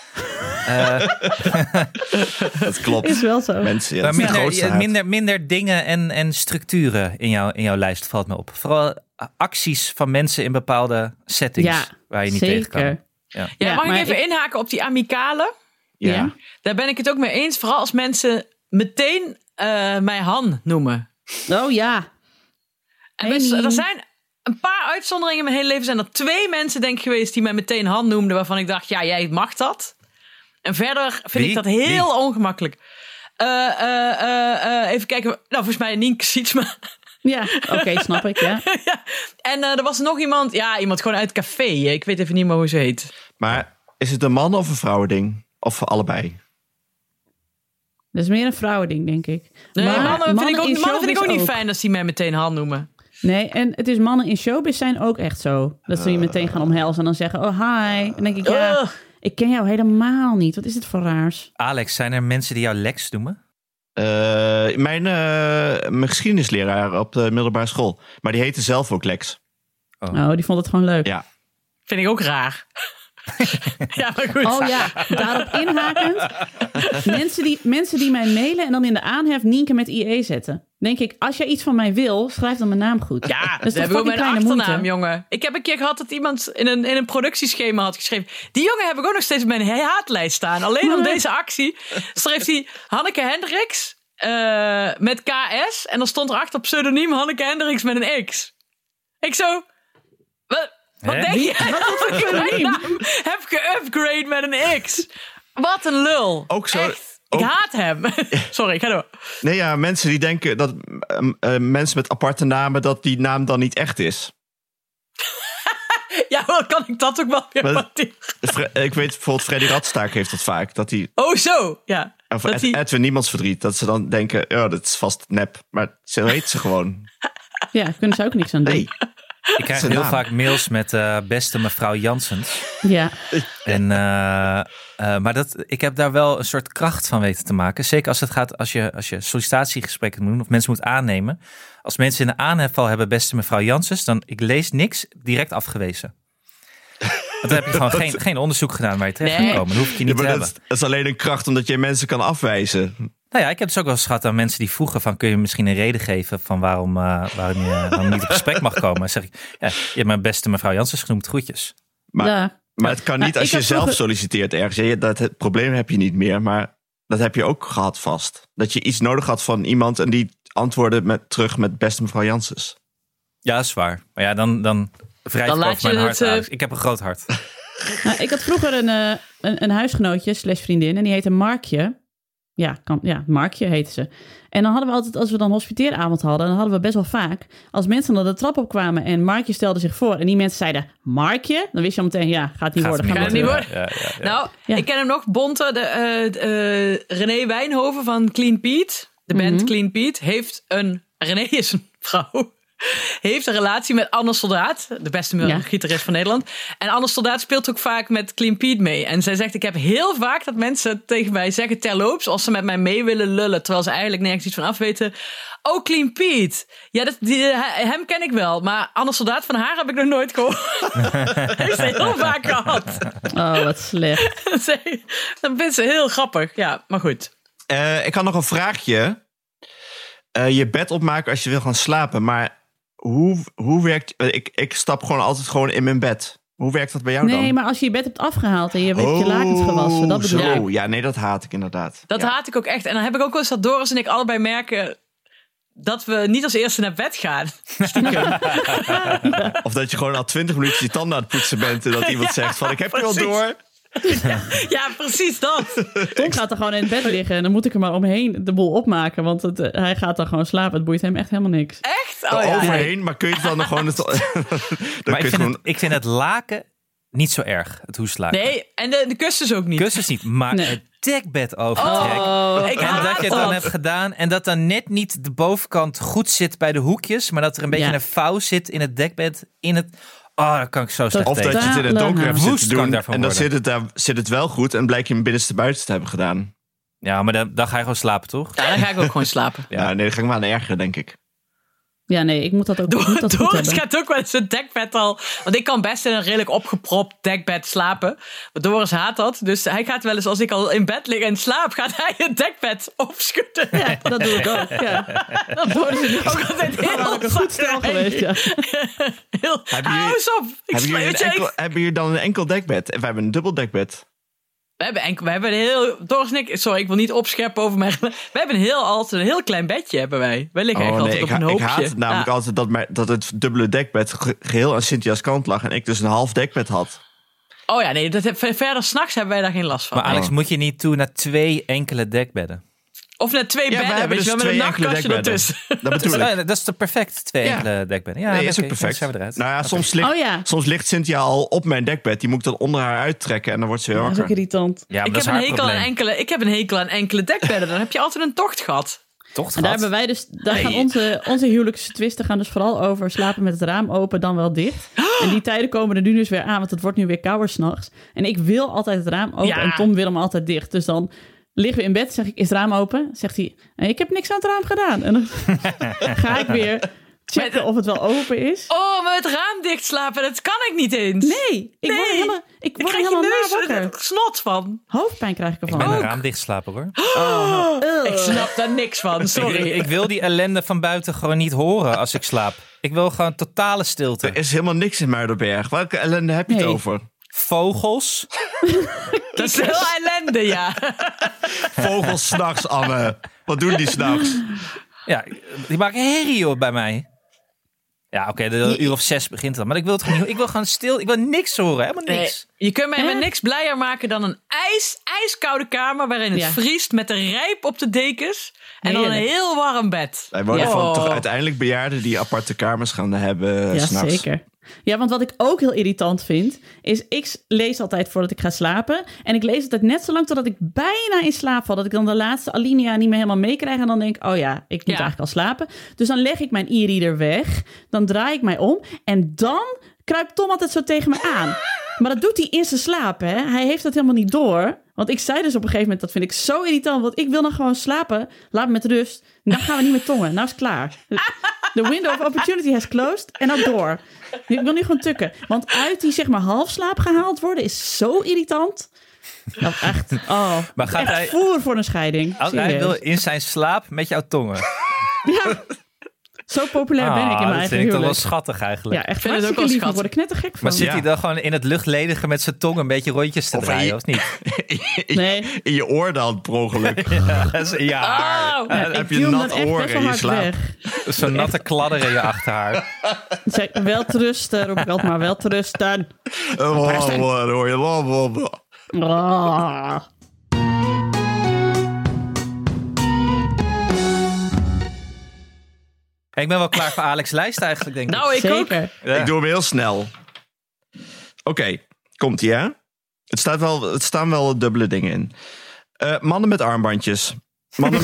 [SPEAKER 4] Dat klopt.
[SPEAKER 1] <laughs> Is wel zo.
[SPEAKER 4] Mensen, ja,
[SPEAKER 3] Maar
[SPEAKER 4] dat is de
[SPEAKER 3] minder,
[SPEAKER 4] grootste
[SPEAKER 3] je-
[SPEAKER 4] haat.
[SPEAKER 3] minder, minder dingen en, en structuren in, jou, in jouw lijst valt me op. Vooral eh, acties van mensen in bepaalde settings
[SPEAKER 1] Ja,
[SPEAKER 3] waar je niet
[SPEAKER 1] zeker.
[SPEAKER 3] tegen kan.
[SPEAKER 2] Ja,
[SPEAKER 1] Ja,
[SPEAKER 2] mag ik
[SPEAKER 1] maar
[SPEAKER 2] even
[SPEAKER 1] ik-
[SPEAKER 2] inhaken op die amicale?
[SPEAKER 1] Ja.
[SPEAKER 2] Daar ben ik het ook mee eens. Vooral als mensen meteen eh, mij Han noemen.
[SPEAKER 1] Oh ja.
[SPEAKER 2] En
[SPEAKER 1] Hey,
[SPEAKER 2] best-
[SPEAKER 1] Nien.
[SPEAKER 2] er zijn een paar uitzonderingen in mijn hele leven. Zijn er twee mensen, denk ik, geweest die mij meteen Han noemden. Waarvan ik dacht, ja, jij mag dat. En verder vind
[SPEAKER 3] Wie?
[SPEAKER 2] ik dat heel
[SPEAKER 3] Wie?
[SPEAKER 2] ongemakkelijk. Eh, eh, eh, eh, even kijken. Nou, volgens mij Nienke Sietsma. <laughs>
[SPEAKER 1] Ja, oké, snap ik. Ja.
[SPEAKER 2] ja. En eh, er was nog iemand, ja, iemand gewoon uit het café. Ik weet even niet meer hoe ze heet.
[SPEAKER 4] Maar is het een man of een vrouwending? Of allebei?
[SPEAKER 1] Dat is meer een vrouwending, denk ik.
[SPEAKER 2] Nee,
[SPEAKER 1] Maar
[SPEAKER 2] mannen, vind ik ook,
[SPEAKER 1] in
[SPEAKER 2] mannen vind ik ook
[SPEAKER 1] showbiz
[SPEAKER 2] niet fijn als die mij meteen Han noemen.
[SPEAKER 1] Nee, en het is mannen in showbiz zijn ook echt zo. Dat
[SPEAKER 2] Eh.
[SPEAKER 1] ze je meteen gaan omhelzen en dan zeggen, oh hi. En dan denk ik, ja,
[SPEAKER 2] Ugh.
[SPEAKER 1] ik ken jou helemaal niet. Wat is dit voor raars?
[SPEAKER 3] Alex, zijn er mensen die jou Lex noemen?
[SPEAKER 4] Eh, mijn, eh, mijn geschiedenisleraar op de middelbare school. Maar die heette zelf ook Lex.
[SPEAKER 1] Oh, die vond het gewoon leuk.
[SPEAKER 4] Ja.
[SPEAKER 2] Vind ik ook raar. <laughs> ja, maar goed.
[SPEAKER 1] <laughs> Oh ja, daarop inhakend. mensen, die, mensen die mij mailen en dan in de aanhef Nienke met IE zetten. Denk ik, als jij iets van mij wil, schrijf dan mijn naam goed.
[SPEAKER 2] Ja,
[SPEAKER 1] is
[SPEAKER 2] dat
[SPEAKER 1] toch
[SPEAKER 2] hebben we
[SPEAKER 1] fucking
[SPEAKER 2] ook mijn
[SPEAKER 1] kleine
[SPEAKER 2] achternaam,
[SPEAKER 1] moeite?
[SPEAKER 2] jongen. Ik heb een keer gehad dat iemand in een, in een productieschema had geschreven. Die jongen heb ik ook nog steeds op mijn haatlijst staan. Alleen
[SPEAKER 1] <laughs>
[SPEAKER 2] om
[SPEAKER 1] Nee.
[SPEAKER 2] deze actie schreef hij Hanneke Hendricks eh, met KS. En dan stond erachter op pseudoniem Hanneke Hendricks met een X. Ik zo... Wat, wat
[SPEAKER 3] Hè?
[SPEAKER 2] denk
[SPEAKER 3] Wie-
[SPEAKER 2] jij dat ik mijn naam <laughs> heb geupgrade met een X? Wat een lul.
[SPEAKER 4] Ook zo-
[SPEAKER 2] Echt. Ik
[SPEAKER 4] ook-
[SPEAKER 2] haat hem. <laughs> Sorry, ga door.
[SPEAKER 4] Nee, ja, mensen die denken dat ehm, eh, mensen met aparte namen, dat die naam dan niet echt is.
[SPEAKER 2] Ja, wel kan ik dat ook wel weer
[SPEAKER 4] Wat-
[SPEAKER 2] waarderen.
[SPEAKER 4] Fre- <laughs> ik weet bijvoorbeeld, Freddy Radstaak heeft dat vaak. Dat die,
[SPEAKER 2] Oh, zo. Ja.
[SPEAKER 4] of Ed-
[SPEAKER 2] Dat die-
[SPEAKER 4] Edwin Niemands verdriet. Dat ze dan denken, ja, dat is vast nep. Maar ze heet
[SPEAKER 1] <laughs>
[SPEAKER 4] ze gewoon.
[SPEAKER 1] Ja, daar kunnen ze ook niks aan doen.
[SPEAKER 4] Nee.
[SPEAKER 3] Ik krijg
[SPEAKER 4] een
[SPEAKER 3] heel
[SPEAKER 4] naam.
[SPEAKER 3] vaak mails met eh, beste mevrouw Janssens.
[SPEAKER 1] Ja.
[SPEAKER 3] En, eh, eh, maar dat, ik heb daar wel een soort kracht van weten te maken. Zeker als het gaat als je, als je sollicitatiegesprekken moet doen of mensen moet aannemen. Als mensen in de aanhefval hebben, beste mevrouw Janssens, dan ik lees niks, direct afgewezen. Want dan heb je gewoon geen, geen onderzoek gedaan waar je terecht
[SPEAKER 2] Nee.
[SPEAKER 3] kan komen. Dan hoef ik je niet
[SPEAKER 4] Ja,
[SPEAKER 3] te
[SPEAKER 4] maar dat,
[SPEAKER 3] hebben.
[SPEAKER 4] is- dat is alleen een kracht omdat je mensen kan afwijzen.
[SPEAKER 3] Nou ja, ik heb dus ook wel eens gehad aan mensen die vroegen van... kun je misschien een reden geven van waarom, eh, waarom je dan niet op gesprek mag komen? Dan zeg ik, ja, je hebt mijn beste mevrouw Janssens genoemd, groetjes.
[SPEAKER 4] Maar-
[SPEAKER 1] ja.
[SPEAKER 4] Maar het kan niet
[SPEAKER 1] Maar
[SPEAKER 4] als
[SPEAKER 1] ik
[SPEAKER 4] je
[SPEAKER 1] heb
[SPEAKER 4] zelf
[SPEAKER 1] vroeger-
[SPEAKER 4] solliciteert ergens. Je- Dat het probleem heb je niet meer, maar dat heb je ook gehad vast. Dat je iets nodig had van iemand en die antwoordde met, terug met beste mevrouw Janssens.
[SPEAKER 3] Ja, is waar. Maar ja, dan, dan wrijf
[SPEAKER 2] Dan
[SPEAKER 3] ik
[SPEAKER 2] laat
[SPEAKER 3] over mijn
[SPEAKER 2] je
[SPEAKER 3] hart,
[SPEAKER 2] het, eh,
[SPEAKER 3] Alex. Ik heb een groot hart.
[SPEAKER 1] Nou, ik had vroeger een, eh, een, een huisgenootje slash vriendin en die heette Markje. Ja, kan, ja, Markje heette ze. En dan hadden we altijd, als we dan hospiteeravond hadden, dan hadden we best wel vaak, als mensen dan de trap op kwamen en Markje stelde zich voor en die mensen zeiden, Markje? Dan wist je al meteen, ja, gaat niet worden.
[SPEAKER 2] Gaat
[SPEAKER 1] Gaat
[SPEAKER 2] het niet
[SPEAKER 1] niet
[SPEAKER 2] worden.
[SPEAKER 3] Ja, ja, ja.
[SPEAKER 2] <laughs> Nou,
[SPEAKER 1] Ja.
[SPEAKER 2] ik ken hem nog. Bonte, de, eh, eh, René Wijnhoven van Clean Pete. De band
[SPEAKER 1] Mhm.
[SPEAKER 2] Clean Pete heeft een... René is een vrouw. Heeft een relatie met Anne Soldaat. De beste
[SPEAKER 1] Ja.
[SPEAKER 2] gitarist van Nederland. En Anne Soldaat speelt ook vaak met Clean Pete mee. En zij zegt, ik heb heel vaak dat mensen tegen mij zeggen terloops... als ze met mij mee willen lullen, terwijl ze eigenlijk nergens iets van af weten... Oh, Clean Pete. Ja, dat, die, eh, he- hem ken ik wel. Maar Anne Soldaat van haar heb ik nog nooit gehoord. <laughs> heeft ze heel vaak gehad.
[SPEAKER 1] Oh, wat <laughs> slecht.
[SPEAKER 2] Zij- Dat vindt <laughs> ze heel grappig. Ja, maar goed.
[SPEAKER 4] Eh, ik had nog een vraagje. Eh, je bed opmaken als je wil gaan slapen, maar hoe, hoe werkt... eh, Ik, ik stap gewoon altijd gewoon in mijn bed. Hoe werkt dat bij jou dan? Oh,
[SPEAKER 1] Nee, maar als je je bed hebt afgehaald en je hebt je lakens gewassen, dat bedoel Oh, ik.
[SPEAKER 4] zo. Ja, nee, dat haat ik inderdaad.
[SPEAKER 2] Dat
[SPEAKER 4] Ja.
[SPEAKER 2] haat ik ook echt. En dan heb ik ook wel eens dat Doris en ik allebei merken dat we niet als eerste naar bed gaan. <laughs>
[SPEAKER 4] Of dat je gewoon al twintig minuten je tanden aan het poetsen bent... en
[SPEAKER 1] <laughs>
[SPEAKER 4] dat iemand zegt van, ik heb je wel
[SPEAKER 2] precies.
[SPEAKER 4] door.
[SPEAKER 2] Ja, precies
[SPEAKER 3] <laughs>
[SPEAKER 2] dat.
[SPEAKER 1] Tom gaat er gewoon in het bed liggen en dan moet ik er maar omheen de boel opmaken, want het, eh, hij gaat dan gewoon slapen. Het boeit hem echt helemaal niks.
[SPEAKER 2] Echt? Oh, ja.
[SPEAKER 4] overheen, maar kun je het
[SPEAKER 1] <laughs>
[SPEAKER 4] dan nog gewoon... <laughs> Het, dan
[SPEAKER 3] maar
[SPEAKER 4] kun je
[SPEAKER 3] ik
[SPEAKER 4] het
[SPEAKER 3] vind,
[SPEAKER 4] gewoon
[SPEAKER 3] het, ik vind het laken niet zo erg, het hoeslaken.
[SPEAKER 2] Nee, en de, de kussens ook niet.
[SPEAKER 3] Kussens niet, maar
[SPEAKER 1] Nee.
[SPEAKER 3] het dekbed overtrek.
[SPEAKER 2] Oh, ik
[SPEAKER 3] En
[SPEAKER 2] haat
[SPEAKER 3] dat je het dan hebt gedaan en dat dan net niet de bovenkant goed zit bij de hoekjes, maar dat er een beetje
[SPEAKER 1] Ja.
[SPEAKER 3] een vouw zit in het dekbed. In het... Oh, daar kan ik zo slecht
[SPEAKER 1] Of
[SPEAKER 4] Of dat
[SPEAKER 3] tegen.
[SPEAKER 4] je het in het donker hebt
[SPEAKER 3] Woest
[SPEAKER 4] zitten
[SPEAKER 3] kan
[SPEAKER 4] doen.
[SPEAKER 3] daarvan
[SPEAKER 4] En dan
[SPEAKER 3] worden.
[SPEAKER 4] zit het, daar, zit het wel goed en blijkt je hem binnenste buiten te hebben gedaan.
[SPEAKER 3] Ja, maar dan, dan ga je gewoon slapen,
[SPEAKER 2] <laughs>
[SPEAKER 3] toch?
[SPEAKER 4] Nou,
[SPEAKER 2] Ja, dan ga ik ook gewoon slapen.
[SPEAKER 3] Ja.
[SPEAKER 4] Ja, nee, dan ga ik me aan ergeren, denk ik.
[SPEAKER 1] Ja, nee, ik moet dat ook, ik moet
[SPEAKER 2] Door,
[SPEAKER 1] dat goed
[SPEAKER 2] Doris
[SPEAKER 1] hebben.
[SPEAKER 2] gaat ook wel eens een dekbed al. Want ik kan best in een redelijk opgepropt dekbed slapen. Maar Doris haat dat. Dus hij gaat wel eens, als ik al in bed lig en slaap, gaat hij het dekbed opschudden.
[SPEAKER 3] <laughs>
[SPEAKER 2] <laughs>
[SPEAKER 1] Ja, dat doe ik ook. Ja. Doris is
[SPEAKER 2] Ook
[SPEAKER 3] Oh,
[SPEAKER 2] altijd heel
[SPEAKER 1] ook een goed stel geweest. Ja.
[SPEAKER 2] Heel,
[SPEAKER 4] Hebben
[SPEAKER 2] hou
[SPEAKER 4] jullie-
[SPEAKER 2] eens op. Ik
[SPEAKER 4] Hebben jullie,
[SPEAKER 2] sluit
[SPEAKER 4] een
[SPEAKER 2] je.
[SPEAKER 4] enkel, hebben jullie dan een enkel dekbed? En wij hebben een dubbel dekbed.
[SPEAKER 2] We hebben, enkel, we hebben een heel... Doris en ik... Sorry, ik wil niet opscheppen over mijn... <laughs> We hebben een heel, altijd een heel klein bedje, hebben wij. Wij liggen echt altijd
[SPEAKER 4] Oh, ik,
[SPEAKER 2] op een
[SPEAKER 4] ha- ik
[SPEAKER 2] hoopje.
[SPEAKER 4] haat het namelijk
[SPEAKER 2] Ja.
[SPEAKER 4] altijd dat, mijn- dat het dubbele dekbed ge- geheel aan Cynthia's kant lag. En ik dus een half dekbed had.
[SPEAKER 2] Oh ja, nee. Dat, heb- verder s'nachts hebben wij daar geen last van.
[SPEAKER 3] Maar
[SPEAKER 4] Oh.
[SPEAKER 3] Alex, moet je niet toe naar twee enkele dekbedden?
[SPEAKER 2] of net twee
[SPEAKER 4] Ja, wij
[SPEAKER 2] bedden,
[SPEAKER 4] hebben
[SPEAKER 2] weet je wel,
[SPEAKER 4] dus
[SPEAKER 2] met een
[SPEAKER 4] twee enkele
[SPEAKER 2] nachtkastje
[SPEAKER 4] dekbedden.
[SPEAKER 2] ertussen.
[SPEAKER 4] Dat
[SPEAKER 3] Dat
[SPEAKER 4] bedoel
[SPEAKER 3] is,
[SPEAKER 2] <laughs>
[SPEAKER 4] ik.
[SPEAKER 3] eh, dat is toch perfect, twee
[SPEAKER 4] Ja.
[SPEAKER 3] enkele dekbedden? Ja,
[SPEAKER 4] Nee,
[SPEAKER 3] dat
[SPEAKER 4] is ook perfect.
[SPEAKER 3] zijn we eruit.
[SPEAKER 4] Nou ja,
[SPEAKER 3] Oké.
[SPEAKER 4] soms ligt,
[SPEAKER 1] Oh ja.
[SPEAKER 4] soms ligt Cynthia al op mijn dekbed. Die moet ik dan onder haar uittrekken en dan wordt ze weer
[SPEAKER 1] Dat is ook
[SPEAKER 4] wakker.
[SPEAKER 1] irritant.
[SPEAKER 3] Ja, maar
[SPEAKER 2] ik, heb
[SPEAKER 3] dat is
[SPEAKER 2] een
[SPEAKER 3] haar
[SPEAKER 2] hekel aan
[SPEAKER 3] probleem.
[SPEAKER 2] enkele, ik heb een hekel aan enkele dekbedden. Dan heb je altijd een tocht gehad.
[SPEAKER 3] Toch,
[SPEAKER 1] En daar
[SPEAKER 3] schat?
[SPEAKER 1] hebben wij dus, daar
[SPEAKER 2] Nee.
[SPEAKER 1] gaan onze, onze huwelijkstwisten gaan dus vooral over slapen met het raam open, dan wel
[SPEAKER 2] <gasps>
[SPEAKER 1] dicht. En die tijden komen er nu dus weer aan, want het wordt nu weer kouder s'nachts. En ik wil altijd het raam open
[SPEAKER 2] Ja.
[SPEAKER 1] en Tom wil hem altijd dicht. Dus dan liggen we in bed, zeg ik, is het raam open? Zegt hij, nee, ik heb niks aan het raam gedaan. En dan <laughs> ga ik weer checken of het wel open is.
[SPEAKER 2] Oh, maar het raam dicht slapen, dat kan ik niet eens.
[SPEAKER 1] Nee, ik word er
[SPEAKER 2] Nee.
[SPEAKER 1] helemaal, ik
[SPEAKER 2] Ik
[SPEAKER 1] word er
[SPEAKER 2] krijg je
[SPEAKER 1] helemaal naar
[SPEAKER 2] neus er-
[SPEAKER 1] wakker.
[SPEAKER 2] er snot van.
[SPEAKER 1] Hoofdpijn krijg ik
[SPEAKER 3] Ik ben
[SPEAKER 1] ervan.
[SPEAKER 3] een raam dicht slapen hoor.
[SPEAKER 1] Eh.
[SPEAKER 2] Ik snap daar niks van,
[SPEAKER 1] <laughs>
[SPEAKER 2] sorry.
[SPEAKER 3] Ik, ik wil die ellende van buiten gewoon niet horen als ik slaap. Ik wil gewoon totale stilte.
[SPEAKER 4] Er is helemaal niks in Muiderberg. Welke ellende heb je het
[SPEAKER 1] Nee.
[SPEAKER 4] over?
[SPEAKER 3] Vogels.
[SPEAKER 2] dat is heel ellende, ja.
[SPEAKER 1] <laughs>
[SPEAKER 4] Vogels s'nachts, Anne. Wat doen die s'nachts?
[SPEAKER 3] Ja, die maken herrie joh, bij mij. Ja, oké, de een uur of zes begint dan. Maar ik wil het gewoon, niet- ik wil gewoon stil, ik wil niks horen, helemaal
[SPEAKER 2] Nee,
[SPEAKER 3] niks.
[SPEAKER 2] je kunt mij met
[SPEAKER 1] Hè?
[SPEAKER 2] niks blijer maken dan een ijs, ijskoude kamer waarin het
[SPEAKER 1] Ja.
[SPEAKER 2] vriest met de rijp op de dekens. En dan een
[SPEAKER 1] Heerlijk.
[SPEAKER 2] heel warm bed.
[SPEAKER 4] Wij worden
[SPEAKER 2] Ja.
[SPEAKER 4] van toch
[SPEAKER 2] Oh.
[SPEAKER 4] uiteindelijk bejaarden die aparte kamers gaan hebben eh,
[SPEAKER 1] Ja,
[SPEAKER 4] s'nachts.
[SPEAKER 1] zeker. Ja, want wat ik ook heel irritant vind, is ik s- lees altijd voordat ik ga slapen. En ik lees altijd net zo lang totdat ik bijna in slaap val. Dat ik dan de laatste alinea niet meer helemaal meekrijg. En dan denk ik, oh ja, ik moet
[SPEAKER 2] Ja.
[SPEAKER 1] eigenlijk al slapen. Dus dan leg ik mijn e-reader weg. Dan draai ik mij om. En dan kruipt Tom altijd zo tegen me aan. Maar dat doet hij in zijn slaap, hè. Hij heeft dat helemaal niet door. Want ik zei dus op een gegeven moment, dat vind ik zo irritant. Want ik wil dan gewoon slapen. Laat me met rust. Dan gaan we niet met tongen. Nou is het klaar. The window of opportunity has closed. En dan door. Ik wil nu gewoon tukken. Want uit die zeg maar halfslaap gehaald worden is zo irritant. Nou, echt. Oh,
[SPEAKER 3] Maar gaat
[SPEAKER 1] echt
[SPEAKER 3] hij-
[SPEAKER 1] voer voor een scheiding.
[SPEAKER 3] Als Hij
[SPEAKER 1] Serieus.
[SPEAKER 3] wil in zijn slaap met jouw tongen.
[SPEAKER 1] Ja. Zo populair ben ik in
[SPEAKER 3] Ah,
[SPEAKER 1] mijn
[SPEAKER 3] dat
[SPEAKER 1] eigen
[SPEAKER 3] vind ik toch wel
[SPEAKER 1] huwelijk.
[SPEAKER 3] schattig eigenlijk.
[SPEAKER 1] Ja, echt
[SPEAKER 2] vind het
[SPEAKER 1] hartstikke
[SPEAKER 2] ook wel
[SPEAKER 1] lief. Ik
[SPEAKER 2] schattig.
[SPEAKER 1] word er knettergek van.
[SPEAKER 3] Maar zit
[SPEAKER 4] Ja.
[SPEAKER 3] hij dan gewoon in het luchtledige met zijn tong een beetje rondjes te
[SPEAKER 4] Of
[SPEAKER 3] draaien,
[SPEAKER 4] hij-
[SPEAKER 3] of
[SPEAKER 4] <laughs>
[SPEAKER 3] niet?
[SPEAKER 1] Nee.
[SPEAKER 4] In je oor dan, per ongeluk.
[SPEAKER 3] Dat is- ja,
[SPEAKER 2] Oh.
[SPEAKER 1] Ja,
[SPEAKER 4] <laughs> dan
[SPEAKER 1] ik
[SPEAKER 4] heb je
[SPEAKER 1] duw hem
[SPEAKER 4] nat
[SPEAKER 1] dan echt
[SPEAKER 4] oor
[SPEAKER 1] best
[SPEAKER 4] en
[SPEAKER 1] wel
[SPEAKER 4] je
[SPEAKER 1] hard
[SPEAKER 4] slaapt.
[SPEAKER 1] weg.
[SPEAKER 3] zo'n natte kladder in je achterhaar.
[SPEAKER 1] Zeg, wel trusten, roep ik altijd maar. Wel trusten.
[SPEAKER 4] Wow, wow, dan oh, hoor je wow, wow, wow.
[SPEAKER 1] Ah.
[SPEAKER 2] Oh,
[SPEAKER 3] Ik ben wel klaar voor Alex' lijst eigenlijk, denk ik.
[SPEAKER 2] Nou, ik ook.
[SPEAKER 1] Zeker.
[SPEAKER 3] Ja.
[SPEAKER 4] Ik doe hem heel snel. Oké, komt ie hè? Het, staat wel, het staan wel dubbele dingen in. Eh, mannen met armbandjes. Mannen,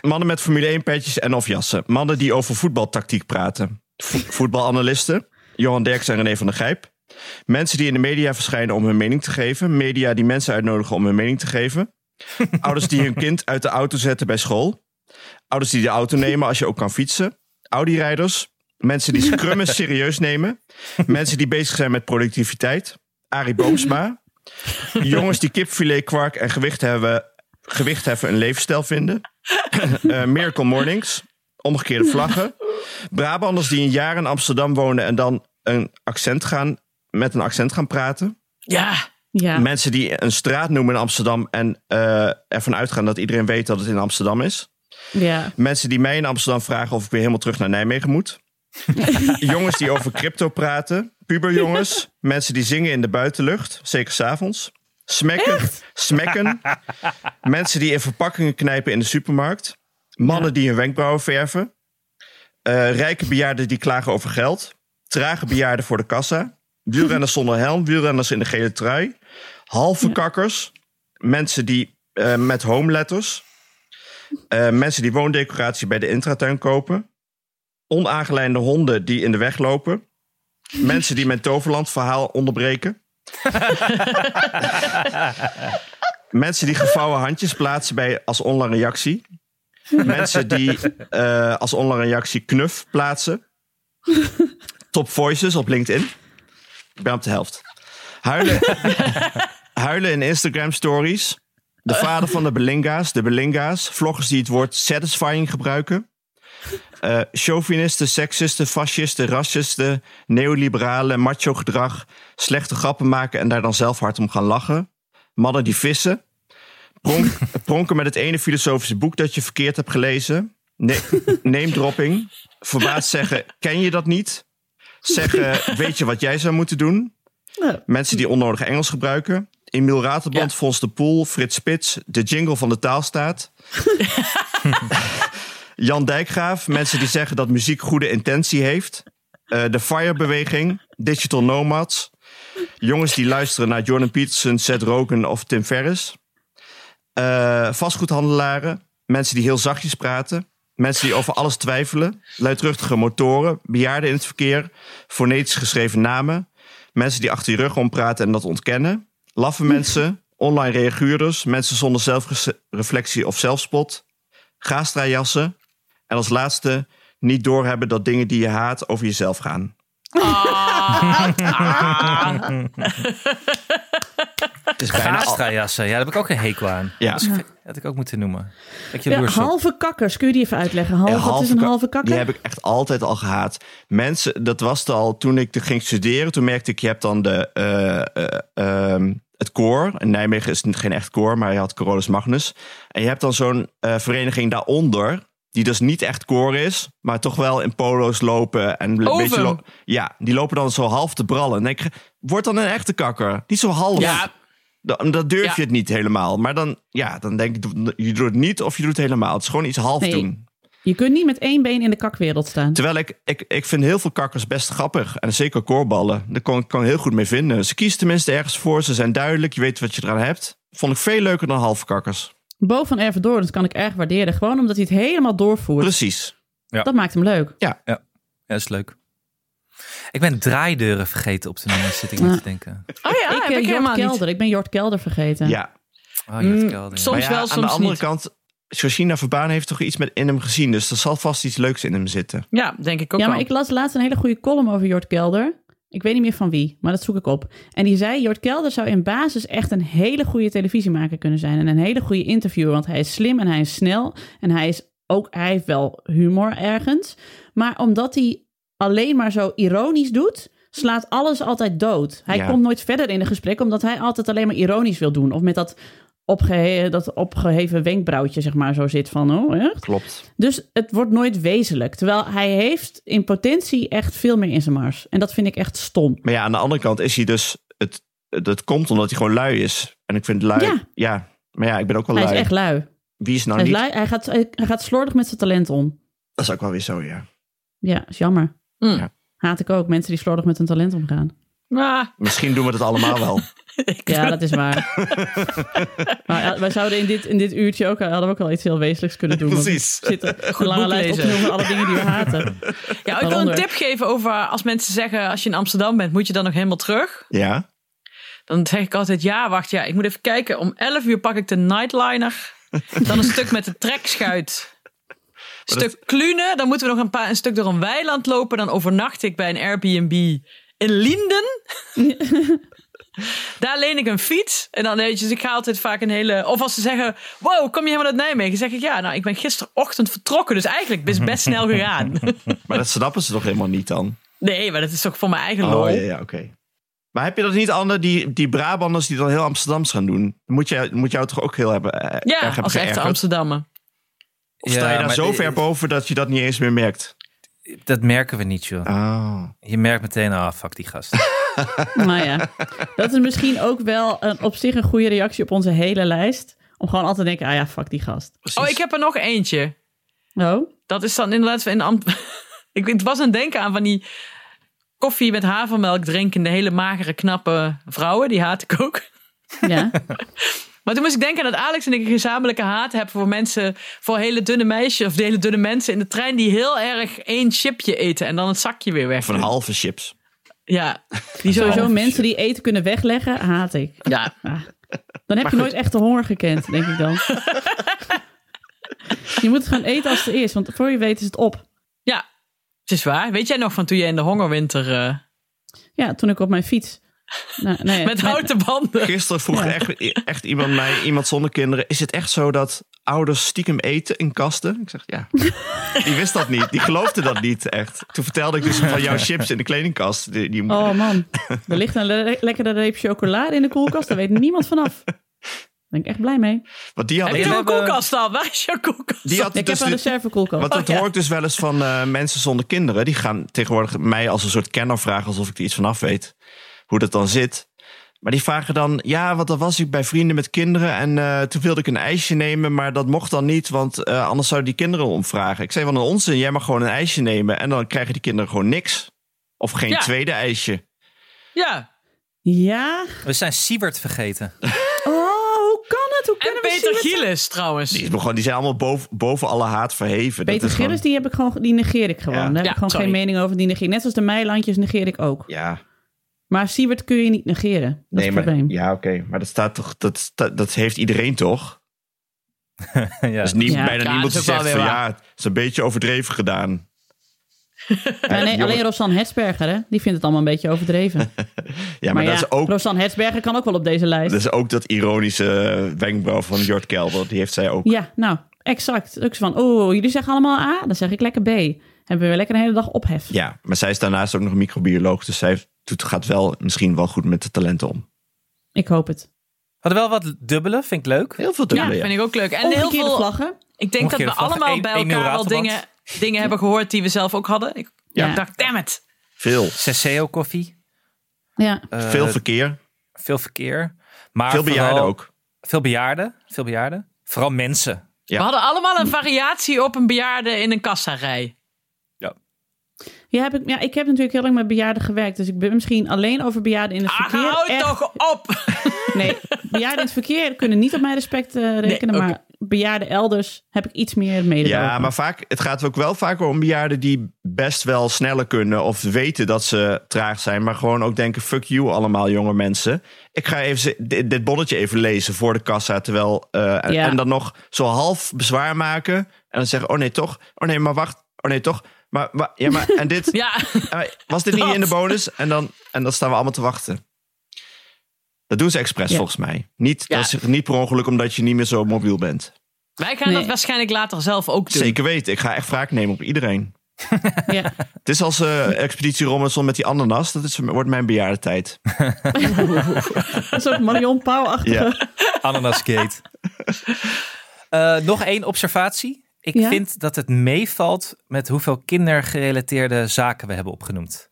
[SPEAKER 4] mannen met Formule 1 petjes en of jassen. Mannen die over voetbaltactiek praten. Vo- voetbalanalisten. Johan Derks en René van der Gijp. Mensen die in de media verschijnen om hun mening te geven. Media die mensen uitnodigen om hun mening te geven. Ouders die hun kind uit de auto zetten bij school. Ouders die de auto nemen als je ook kan fietsen. Audi-rijders. Mensen die scrummen serieus nemen. Mensen die bezig zijn met productiviteit. Arie Boomsma. Jongens die kipfilet, kwark en gewicht, hebben, gewicht heffen een levensstijl vinden. Eh, Miracle Mornings. Omgekeerde vlaggen. Brabanders die een jaar in Amsterdam wonen en dan een accent gaan, met een accent gaan praten.
[SPEAKER 2] Ja.
[SPEAKER 1] Ja.
[SPEAKER 4] Mensen die een straat noemen in Amsterdam en eh, ervan uitgaan dat iedereen weet dat het in Amsterdam is.
[SPEAKER 1] ja.
[SPEAKER 4] Mensen die mij in Amsterdam vragen of ik weer helemaal terug naar Nijmegen moet. Jongens die over crypto praten. Puberjongens. Mensen die zingen in de buitenlucht. Zeker s'avonds. Smekken. Smekken. Mensen die in verpakkingen knijpen in de supermarkt. Mannen die hun wenkbrauwen verven. Eh, rijke bejaarden die klagen over geld. Trage bejaarden voor de kassa. Wielrenners zonder helm. Wielrenners in de gele trui. Halve kakkers. Mensen die eh, met home letters. Eh, mensen die woondecoratie bij de intratuin kopen. Onaangeleide honden die in de weg lopen. Mensen die mijn Toverland verhaal onderbreken. mensen die gevouwen handjes plaatsen bij als online reactie. Mensen die eh, als online reactie knuf plaatsen. Top voices op LinkedIn. Ik ben op de helft. Huilen, huilen in Instagram stories. De vader van de Belinga's, de Belinga's. Vloggers die het woord satisfying gebruiken. Eh, chauvinisten, seksisten, fascisten, racisten, neoliberalen, macho gedrag. Slechte grappen maken en daar dan zelf hard om gaan lachen. Mannen die vissen. Pronk- pronken met het ene filosofische boek dat je verkeerd hebt gelezen. Ne name dropping. Verbaasd zeggen, ken je dat niet? Zeggen, weet je wat jij zou moeten doen?
[SPEAKER 1] Nou,
[SPEAKER 4] Mensen die onnodig Engels gebruiken. Emiel Raterband,
[SPEAKER 2] Ja.
[SPEAKER 4] Fons de Poel, Frits Spits. De jingle van de taalstaat. Jan Dijkgraaf. Mensen die zeggen dat muziek goede intentie heeft. Eh, de Fire-beweging. Digital Nomads. Jongens die luisteren naar Jordan Peterson, Seth Rogen of Tim Ferriss. Eh, vastgoedhandelaren. Mensen die heel zachtjes praten. Mensen die over alles twijfelen. Luidruchtige motoren. Bejaarden in het verkeer. Fonetisch geschreven namen. Mensen die achter je rug om praten en dat ontkennen. Laffe mensen. Online reaguurders. Mensen zonder zelfreflectie of zelfspot. Gaastraajassen. En als laatste. Niet doorhebben dat dingen die je haat over jezelf gaan. Het is bijna al-
[SPEAKER 3] Gaastrajassen, ja, daar heb ik ook een hekel aan.
[SPEAKER 4] Ja.
[SPEAKER 3] Dat, is- dat had ik ook moeten noemen. Dat je
[SPEAKER 1] ja,
[SPEAKER 3] jaloers op.
[SPEAKER 1] halve kakkers, kun je die even uitleggen? Halve,
[SPEAKER 4] En
[SPEAKER 1] wat is een
[SPEAKER 4] ka-
[SPEAKER 1] halve kakker?
[SPEAKER 4] Die heb ik echt altijd al gehaat. Mensen, dat was het al toen ik er ging studeren. Toen merkte ik, je hebt dan de, eh, eh, ehm, het koor. In Nijmegen is het geen echt koor, maar je had Corolus Magnus. En je hebt dan zo'n eh, vereniging daaronder. Die dus niet echt koor is, maar toch wel in polo's lopen. En een
[SPEAKER 2] Ovum.
[SPEAKER 4] beetje lo- ja, die lopen dan zo half te brallen. En ik denk, word dan een echte kakker. Niet zo half.
[SPEAKER 2] Ja.
[SPEAKER 4] Dan, dan durf
[SPEAKER 2] Ja.
[SPEAKER 4] je het niet helemaal. Maar dan, ja, dan denk ik, je doet het niet of je doet het helemaal. Het is gewoon iets half
[SPEAKER 1] Nee.
[SPEAKER 4] doen.
[SPEAKER 1] Je kunt niet met één been in de kakwereld staan.
[SPEAKER 4] Terwijl ik, ik, ik vind heel veel kakkers best grappig. En zeker koorballen. Daar kan ik kan ik heel goed mee vinden. Ze kiezen tenminste ergens voor. Ze zijn duidelijk. Je weet wat je eraan hebt. Vond ik veel leuker dan halve kakkers.
[SPEAKER 1] Bo van Ervendoorn, dat kan ik erg waarderen. Gewoon omdat hij het helemaal doorvoert.
[SPEAKER 4] Precies.
[SPEAKER 1] Dat maakt hem leuk.
[SPEAKER 3] Ja, dat is leuk. Ik ben draaideuren vergeten op te noemen, zit ik nu te denken.
[SPEAKER 2] Oh ja,
[SPEAKER 1] ik, eh,
[SPEAKER 2] ik, heb ik
[SPEAKER 1] Jort
[SPEAKER 2] helemaal
[SPEAKER 1] Kelder.
[SPEAKER 2] niet.
[SPEAKER 1] Ik ben Jort Kelder vergeten.
[SPEAKER 4] Ja.
[SPEAKER 3] Oh, Jort
[SPEAKER 2] Mm,
[SPEAKER 3] Kelder, ja.
[SPEAKER 2] soms-
[SPEAKER 4] Maar ja,
[SPEAKER 2] wel,
[SPEAKER 4] aan
[SPEAKER 2] soms
[SPEAKER 4] de andere
[SPEAKER 2] niet.
[SPEAKER 4] kant, Georgina Verbaan heeft toch iets met in hem gezien. Dus er zal vast iets leuks in hem zitten.
[SPEAKER 2] Ja, denk ik ook
[SPEAKER 1] Ja,
[SPEAKER 2] wel.
[SPEAKER 1] maar ik las laatst een hele goede column over Jort Kelder. Ik weet niet meer van wie, maar dat zoek ik op. En die zei, Jort Kelder zou in basis echt een hele goede televisiemaker kunnen zijn. En een hele goede interviewer, want hij is slim en hij is snel. En hij, is ook, hij heeft wel humor ergens. Maar omdat hij alleen maar zo ironisch doet, slaat alles altijd dood. Hij
[SPEAKER 4] Ja.
[SPEAKER 1] komt nooit verder in een gesprek, omdat hij altijd alleen maar ironisch wil doen. Of met dat, opgehe dat opgeheven wenkbrauwtje, zeg maar, zo zit van, oh echt?
[SPEAKER 4] Klopt.
[SPEAKER 1] Dus het wordt nooit wezenlijk. Terwijl hij heeft in potentie echt veel meer in zijn mars. En dat vind ik echt stom.
[SPEAKER 4] Maar ja, aan de andere kant is hij dus... Het, dat komt omdat hij gewoon lui is. En ik vind lui...
[SPEAKER 1] Ja.
[SPEAKER 4] Ja. Maar ja, ik ben ook wel
[SPEAKER 1] hij is
[SPEAKER 4] lui.
[SPEAKER 1] echt lui.
[SPEAKER 4] Wie is nou
[SPEAKER 1] hij, is
[SPEAKER 4] niet?
[SPEAKER 1] lui. Hij, gaat, hij gaat slordig met zijn talent om.
[SPEAKER 4] Dat is ook wel weer zo, ja.
[SPEAKER 1] Ja, is jammer.
[SPEAKER 2] Mm.
[SPEAKER 4] Ja.
[SPEAKER 1] Haat ik ook, mensen die slordig met hun talent omgaan.
[SPEAKER 2] <laughs> Ah,
[SPEAKER 4] Misschien doen we dat allemaal wel. <laughs>
[SPEAKER 1] Ja, dat is waar. maar ja, wij zouden in dit, in dit uurtje ook, eh, hadden we ook wel iets heel wezenlijks kunnen doen. want
[SPEAKER 4] Precies.
[SPEAKER 1] We zitten een lange
[SPEAKER 2] boek
[SPEAKER 1] lijst op te
[SPEAKER 2] lezen.
[SPEAKER 1] noemen van alle dingen die we haten.
[SPEAKER 2] ja, ik wil een
[SPEAKER 1] Waaronder?
[SPEAKER 2] tip geven over als mensen zeggen als je in Amsterdam bent, moet je dan nog helemaal terug?
[SPEAKER 4] Ja.
[SPEAKER 2] Dan zeg ik altijd ja, wacht ja, ik moet even kijken. Om 11 uur pak ik de nightliner. Dan een stuk met de trekschuit. Een stuk Klune, dan moeten we nog een, paar, een stuk door een weiland lopen. Dan overnacht ik bij een Airbnb in
[SPEAKER 4] <laughs>
[SPEAKER 2] Linden. Daar leen ik een fiets. En dan weet je, dus ik ga altijd vaak een hele... Of als ze zeggen, wow, kom je helemaal uit Nijmegen? zeg ik, ja, nou, ik ben gisterochtend vertrokken. Dus eigenlijk is best snel gegaan.
[SPEAKER 4] <laughs> Maar dat snappen ze toch helemaal niet dan?
[SPEAKER 2] nee, maar dat is toch voor mijn eigen lol.
[SPEAKER 4] Oh, ja, ja oké. Maar heb je dat niet, Anne, die, die Brabanders die dan heel Amsterdams gaan doen? Moet jij, moet jou toch ook heel hebben, eh, erg
[SPEAKER 2] Ja,
[SPEAKER 4] hebben
[SPEAKER 2] als echte
[SPEAKER 4] geërgerd?
[SPEAKER 2] Amsterdammer.
[SPEAKER 4] Of sta je
[SPEAKER 3] Ja,
[SPEAKER 4] daar
[SPEAKER 3] maar
[SPEAKER 4] zo ver
[SPEAKER 3] eh,
[SPEAKER 4] boven dat je dat niet eens meer merkt?
[SPEAKER 3] Dat merken we niet, joh.
[SPEAKER 4] Oh.
[SPEAKER 3] Je merkt meteen, ah, fuck die
[SPEAKER 4] <laughs>
[SPEAKER 3] gast.
[SPEAKER 1] Nou ja, dat is misschien ook wel een, op zich een goede reactie op onze hele lijst. Om gewoon altijd te denken, ah ja, fuck die gast.
[SPEAKER 2] Oh, ik heb er nog eentje.
[SPEAKER 1] Oh,
[SPEAKER 2] Dat is dan inderdaad in Am- <laughs> ik, weet- het was een denken aan van die koffie met havermelk drinkende, hele magere, knappe vrouwen. Die haat ik ook. <laughs>
[SPEAKER 4] <laughs>
[SPEAKER 1] ja.
[SPEAKER 2] Maar toen moest ik denken dat Alex en ik een gezamenlijke haat hebben voor mensen, voor hele dunne meisjes of hele dunne mensen in de trein die heel erg één chipje eten en dan het zakje weer weg.
[SPEAKER 4] Van halve chips.
[SPEAKER 2] Ja, die
[SPEAKER 1] Sowieso
[SPEAKER 2] sowieso.
[SPEAKER 1] mensen die eten kunnen wegleggen, haat ik.
[SPEAKER 2] Ja,
[SPEAKER 4] <laughs>
[SPEAKER 1] Dan heb je nooit echt de honger gekend, denk ik dan. Je moet het gewoon eten als het er is, want voor je weet is het op.
[SPEAKER 2] Ja, het is waar. Weet jij nog van toen je in de hongerwinter... eh,
[SPEAKER 1] Ja, toen ik op mijn fiets. Nou, nee,
[SPEAKER 2] met houten banden...
[SPEAKER 4] Gisteren vroeg echt, echt iemand mij, iemand zonder kinderen, is het echt zo dat ouders stiekem eten in kasten? Ik zeg
[SPEAKER 2] <laughs>
[SPEAKER 4] ja. Die wist dat niet, die geloofde dat niet echt. Toen vertelde ik dus
[SPEAKER 2] <laughs>
[SPEAKER 4] van jouw chips in de kledingkast. Die, die,
[SPEAKER 1] Oh man, er ligt een le- lekkere reep chocolade in de koelkast. Daar weet niemand vanaf. Daar ben ik echt blij mee.
[SPEAKER 4] Want die had,
[SPEAKER 2] Heb je nog een
[SPEAKER 3] we hebben-
[SPEAKER 2] koelkast dan? Waar <laughs> is jouw koelkast?
[SPEAKER 4] die had
[SPEAKER 1] Ik heb
[SPEAKER 4] dus
[SPEAKER 1] een
[SPEAKER 4] dit-
[SPEAKER 1] reservekoelkast.
[SPEAKER 4] Want dat
[SPEAKER 2] ja.
[SPEAKER 4] hoor ik dus wel eens van eh, mensen zonder kinderen. Die gaan tegenwoordig mij als een soort kenner vragen, alsof ik er iets van af weet. Hoe dat dan zit. Maar die vragen dan, ja, want dan was ik bij vrienden met kinderen. En eh, toen wilde ik een ijsje nemen, maar dat mocht dan niet. Want eh, anders zouden die kinderen omvragen. Ik zei, van een onzin, jij mag gewoon een ijsje nemen. En dan krijgen die kinderen gewoon niks. Of geen
[SPEAKER 2] Ja.
[SPEAKER 4] tweede ijsje.
[SPEAKER 2] Ja.
[SPEAKER 1] Ja,
[SPEAKER 3] We zijn Siebert
[SPEAKER 4] <laughs>
[SPEAKER 3] vergeten.
[SPEAKER 1] oh, hoe kan het? Hoe
[SPEAKER 2] En
[SPEAKER 1] kunnen we
[SPEAKER 2] Peter
[SPEAKER 1] zien wat-
[SPEAKER 2] Gielis trouwens.
[SPEAKER 4] Die, is me gewoon, die zijn allemaal boven, boven alle haat verheven. Dat
[SPEAKER 1] Peter
[SPEAKER 4] is gewoon-
[SPEAKER 1] Gillis, die, heb ik gewoon, die negeer ik gewoon.
[SPEAKER 4] Ja.
[SPEAKER 1] Daar heb
[SPEAKER 2] Ja,
[SPEAKER 1] ik gewoon
[SPEAKER 2] sorry.
[SPEAKER 1] geen mening over. Die negeer ik. Net zoals de Meilandjes negeer ik ook.
[SPEAKER 4] Ja,
[SPEAKER 1] Maar Siebert kun je niet negeren. Dat is
[SPEAKER 4] nee,
[SPEAKER 1] het
[SPEAKER 4] maar,
[SPEAKER 1] probleem.
[SPEAKER 4] ja oké. Maar dat, staat toch, dat, sta- dat heeft iedereen toch?
[SPEAKER 3] ja.
[SPEAKER 4] Dus niet,
[SPEAKER 1] Ja.
[SPEAKER 4] bijna
[SPEAKER 2] Ja, dat
[SPEAKER 4] niemand
[SPEAKER 2] is
[SPEAKER 4] die
[SPEAKER 2] ook wel
[SPEAKER 4] zegt van
[SPEAKER 2] weer
[SPEAKER 4] ja, het is een beetje overdreven
[SPEAKER 2] <laughs>
[SPEAKER 4] gedaan.
[SPEAKER 1] Maar nee,
[SPEAKER 4] jongen.
[SPEAKER 1] alleen Rosanne Hetsberger, hè? die vindt het allemaal een beetje overdreven. maar
[SPEAKER 4] <laughs> Ja, maar, dat,
[SPEAKER 1] ja,
[SPEAKER 4] is ook,
[SPEAKER 1] Rosanne Hetsberger kan ook wel op deze lijst.
[SPEAKER 4] dat is ook dat ironische wenkbrauw van Jort Kelder. Die heeft zij ook.
[SPEAKER 1] Ja, nou, exact. Ook zo van, oh, jullie zeggen allemaal A, dan zeg ik lekker B. Hebben we weer lekker een hele dag ophef.
[SPEAKER 4] Ja, maar zij is daarnaast ook nog microbioloog. Dus zij doet, gaat wel misschien wel goed met de talenten om.
[SPEAKER 1] Ik hoop het.
[SPEAKER 3] We hadden wel wat dubbele, vind ik leuk.
[SPEAKER 4] Heel veel
[SPEAKER 2] Ja,
[SPEAKER 4] dubbele, ja.
[SPEAKER 2] vind ik ook leuk. En heel
[SPEAKER 1] Omgekeerde
[SPEAKER 2] veel...
[SPEAKER 1] vlaggen.
[SPEAKER 2] Ik denk dat we
[SPEAKER 3] Omgekeerde vlag.
[SPEAKER 2] allemaal
[SPEAKER 3] Eén-
[SPEAKER 2] bij
[SPEAKER 3] één nieuw
[SPEAKER 2] elkaar wel
[SPEAKER 3] ratenband.
[SPEAKER 2] dingen, dingen hebben gehoord die we zelf ook hadden. Ik
[SPEAKER 1] Ja.
[SPEAKER 2] ik dacht, damn it.
[SPEAKER 4] Veel.
[SPEAKER 3] Seseo koffie.
[SPEAKER 1] Ja,
[SPEAKER 3] eh,
[SPEAKER 4] Veel verkeer.
[SPEAKER 3] veel verkeer. Maar
[SPEAKER 4] Veel bejaarden
[SPEAKER 3] vooral-
[SPEAKER 4] ook.
[SPEAKER 3] Veel bejaarden. Veel bejaarden. Vooral mensen.
[SPEAKER 4] Ja.
[SPEAKER 2] We hadden allemaal een variatie op een bejaarde in een kassarij.
[SPEAKER 1] ja, heb ik, ja, ik heb natuurlijk heel lang met bejaarden gewerkt. Dus ik ben misschien alleen over bejaarden in het
[SPEAKER 2] Ah,
[SPEAKER 1] verkeer.
[SPEAKER 2] hou
[SPEAKER 1] echt-
[SPEAKER 2] toch op! <laughs>
[SPEAKER 1] Nee, bejaarden in het verkeer kunnen niet op mijn respect eh, rekenen.
[SPEAKER 2] oké.
[SPEAKER 1] Maar bejaarden elders heb ik iets meer mededogen.
[SPEAKER 4] Ja, maar vaak, het gaat ook wel vaker om bejaarden die best wel sneller kunnen. Of weten dat ze traag zijn. Maar gewoon ook denken, fuck you allemaal jonge mensen. Ik ga even ze- dit, dit bonnetje even lezen voor de kassa. Terwijl, eh, en,
[SPEAKER 1] Ja.
[SPEAKER 4] en dan nog zo half bezwaar maken. En dan zeggen, oh nee toch. Oh nee, maar wacht. Oh nee toch. Maar, maar- ja, maar en dit.
[SPEAKER 2] Ja,
[SPEAKER 4] en maar was dit niet
[SPEAKER 2] dat.
[SPEAKER 4] in de bonus? En dan, en dan staan we allemaal te wachten. Dat doen ze expres
[SPEAKER 1] Ja.
[SPEAKER 4] volgens mij. Niet,
[SPEAKER 2] Ja.
[SPEAKER 4] dat is niet per ongeluk omdat je niet meer zo mobiel bent.
[SPEAKER 2] wij gaan
[SPEAKER 1] Nee.
[SPEAKER 2] dat waarschijnlijk later zelf ook doen.
[SPEAKER 4] Zeker weten. Ik ga echt wraak nemen op iedereen.
[SPEAKER 1] Ja.
[SPEAKER 4] Het is als eh, Expeditie Robinson met die ananas. Dat is, wordt mijn bejaardentijd.
[SPEAKER 1] Dat is ook Marion Pauw-achtige.
[SPEAKER 4] Ja.
[SPEAKER 1] <laughs>
[SPEAKER 3] Ananasgate. Eh nog één observatie. Ik
[SPEAKER 1] Ja?
[SPEAKER 3] vind dat het meevalt met hoeveel kindergerelateerde zaken we hebben opgenoemd.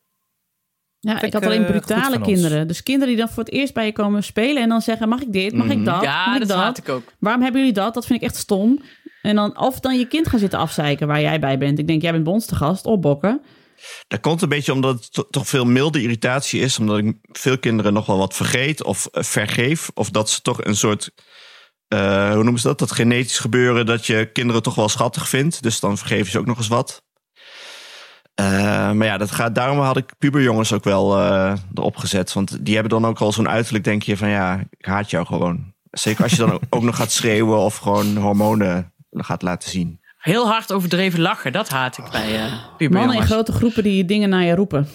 [SPEAKER 1] Ja, ik
[SPEAKER 3] ik,
[SPEAKER 1] had alleen
[SPEAKER 3] eh, goed
[SPEAKER 1] brutale
[SPEAKER 3] van ons.
[SPEAKER 1] kinderen. Dus kinderen die dan voor het eerst bij je komen spelen en dan zeggen: mag ik dit? Mag ik dat?
[SPEAKER 2] Ja,
[SPEAKER 1] mag ik
[SPEAKER 2] dat haat ik ook.
[SPEAKER 1] Waarom hebben jullie dat? Dat vind ik echt stom. En dan, of dan je kind gaan zitten afzeiken waar jij bij bent. Ik denk, jij bent bij ons te gast, opbokken.
[SPEAKER 4] Dat komt een beetje omdat het to- toch veel milde irritatie is. Omdat ik veel kinderen nog wel wat vergeet of eh, vergeef. Of dat ze toch een soort... eh, hoe noemen ze dat? Dat genetisch gebeuren dat je kinderen toch wel schattig vindt. Dus dan vergeven ze ook nog eens wat. Eh, maar ja, dat gaat, daarom had ik puberjongens ook wel eh, erop gezet. Want die hebben dan ook al zo'n uiterlijk, denk je van ja, ik haat jou gewoon. Zeker als je dan <laughs> ook- ook nog gaat schreeuwen of gewoon hormonen gaat laten zien.
[SPEAKER 2] Heel hard overdreven lachen, dat haat ik bij
[SPEAKER 3] Ah.
[SPEAKER 2] eh <laughs>
[SPEAKER 1] Mannen in
[SPEAKER 2] puberjongens.
[SPEAKER 1] grote groepen die dingen naar je roepen.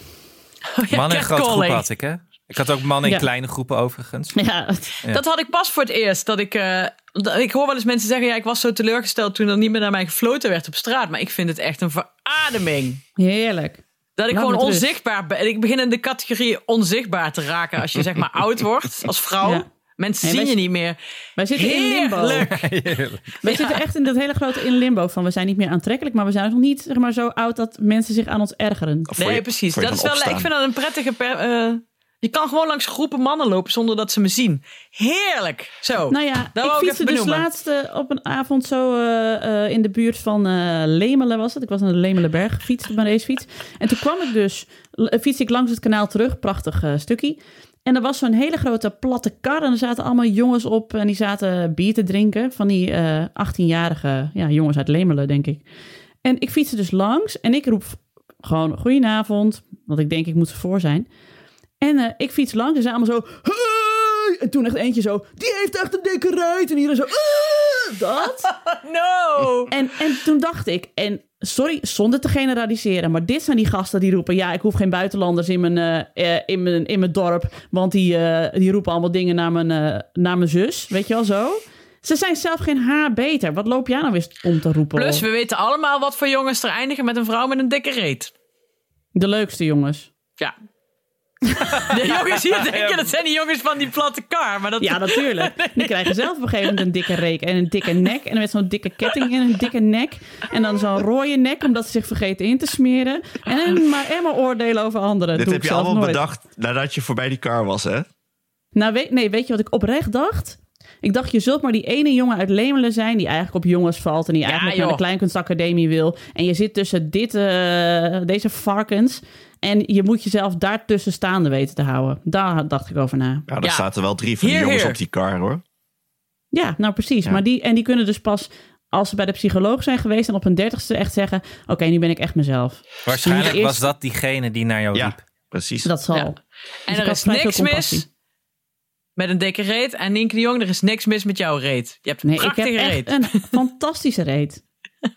[SPEAKER 2] Ja,
[SPEAKER 3] Mannen in grote
[SPEAKER 2] catcalling.
[SPEAKER 3] groepen had ik, hè? Ik had ook mannen in
[SPEAKER 1] Ja.
[SPEAKER 3] kleine groepen overigens.
[SPEAKER 1] Ja,
[SPEAKER 2] Dat had ik pas voor het eerst. Dat ik, eh, dat- ik hoor wel eens mensen zeggen, ja, ik was zo teleurgesteld toen er niet meer naar mij gefloten werd op straat. Maar ik vind het echt een verademing.
[SPEAKER 1] heerlijk.
[SPEAKER 2] Dat ik
[SPEAKER 1] Laat
[SPEAKER 2] gewoon
[SPEAKER 1] me met rust.
[SPEAKER 2] onzichtbaar ben. Ik begin in de categorie onzichtbaar te raken als je zeg <laughs> maar oud wordt als vrouw.
[SPEAKER 1] Ja.
[SPEAKER 2] Mensen
[SPEAKER 1] Nee,
[SPEAKER 2] zien
[SPEAKER 1] wij-
[SPEAKER 2] je niet meer.
[SPEAKER 1] Wij zitten in limbo.
[SPEAKER 2] Heerlijk.
[SPEAKER 1] Wij zitten echt in dat hele grote in limbo van we zijn niet meer aantrekkelijk, maar we zijn ook nog niet zeg maar, zo oud dat mensen zich aan ons ergeren.
[SPEAKER 4] Of voor
[SPEAKER 2] Nee,
[SPEAKER 4] je-
[SPEAKER 2] precies.
[SPEAKER 4] voor je
[SPEAKER 2] Dat is
[SPEAKER 4] gaan
[SPEAKER 2] wel, ik
[SPEAKER 4] opstaan.
[SPEAKER 2] vind dat een prettige... per- eh, je kan gewoon langs groepen mannen lopen zonder dat ze me zien. Heerlijk. Zo.
[SPEAKER 1] Nou ja,
[SPEAKER 2] dat
[SPEAKER 1] ik
[SPEAKER 2] wou ik
[SPEAKER 1] fietste
[SPEAKER 2] even
[SPEAKER 1] dus
[SPEAKER 2] benoemen.
[SPEAKER 1] laatst eh, op een avond zo eh, eh, in de buurt van eh, Lemelen was het. Ik was naar de Lemelenberg gefietst op mijn racefiets. En toen kwam ik dus, fiets fietste ik langs het kanaal terug, prachtig eh, stukje. En er was zo'n hele grote platte kar en er zaten allemaal jongens op en die zaten bier te drinken. Van die eh, 18-jarige ja, jongens uit Lemelen, denk ik. En ik fietste dus langs en ik roep gewoon goedenavond, want ik denk ik moet voor zijn. En eh, ik fiets langs en ze allemaal zo... Hey! En toen echt eentje zo... Die heeft echt een dikke ruit. En iedereen zo... "Eh!" dat?
[SPEAKER 2] No!
[SPEAKER 1] En, en toen dacht ik, en sorry, zonder te generaliseren, maar dit zijn die gasten die roepen: ja, ik hoef geen buitenlanders in mijn, eh, eh, in mijn, in mijn dorp, want die, eh, die roepen allemaal dingen naar mijn, eh, naar mijn zus. Weet je wel zo? Ze zijn zelf geen haar beter. Wat loop jij nou eens om te roepen?
[SPEAKER 2] Plus,
[SPEAKER 1] hoor?
[SPEAKER 2] we weten allemaal wat voor jongens er eindigen met een vrouw met een dikke reet.
[SPEAKER 1] De leukste jongens.
[SPEAKER 2] Ja. <laughs> De jongens <laughs> hier denken, dat zijn die jongens van die platte kar. Maar dat,
[SPEAKER 1] Ja, natuurlijk. Die krijgen zelf op een gegeven moment een dikke reek en een dikke nek. En dan met zo'n dikke ketting en een dikke nek. En dan zo'n rode nek, omdat ze zich vergeten in te smeren. En maar, en maar oordelen over anderen.
[SPEAKER 4] Dit
[SPEAKER 1] Doe
[SPEAKER 4] heb
[SPEAKER 1] ik
[SPEAKER 4] je
[SPEAKER 1] zelf
[SPEAKER 4] allemaal
[SPEAKER 1] nooit.
[SPEAKER 4] bedacht nadat je voorbij die car was, hè?
[SPEAKER 1] Nou, weet, nee, weet je wat ik oprecht dacht? Ik dacht, je zult maar die ene jongen uit Lemelen zijn... die eigenlijk op jongens valt en die eigenlijk naar de
[SPEAKER 2] joh.
[SPEAKER 1] Kleinkunstacademie wil. En je zit tussen dit, eh, deze varkens... en je moet jezelf daartussen staande weten te houden. Daar dacht ik over na.
[SPEAKER 4] Ja, daar
[SPEAKER 2] Ja.
[SPEAKER 4] zaten wel drie van
[SPEAKER 2] Hier,
[SPEAKER 4] die jongens
[SPEAKER 2] hier.
[SPEAKER 4] op die car, hoor.
[SPEAKER 1] Ja, nou precies. Maar die, en die kunnen dus pas... Als ze bij de psycholoog zijn geweest en op hun dertigste echt zeggen... Oké, nu ben ik echt mezelf.
[SPEAKER 3] Waarschijnlijk
[SPEAKER 1] Eerst-
[SPEAKER 3] was dat diegene die naar jou
[SPEAKER 4] Ja,
[SPEAKER 3] liep.
[SPEAKER 4] precies.
[SPEAKER 1] Dat zal.
[SPEAKER 2] Ja.
[SPEAKER 1] Dus
[SPEAKER 2] En
[SPEAKER 1] ik
[SPEAKER 2] er
[SPEAKER 1] had
[SPEAKER 2] is
[SPEAKER 1] vrij veel
[SPEAKER 2] niks mis
[SPEAKER 1] compassie.
[SPEAKER 2] met een dikke reet. En Nienke de Jong, er is niks mis met jouw reet. Je hebt een
[SPEAKER 1] Nee, ik heb
[SPEAKER 2] prachtige
[SPEAKER 1] echt
[SPEAKER 2] reet.
[SPEAKER 1] een fantastische reet.
[SPEAKER 2] <laughs>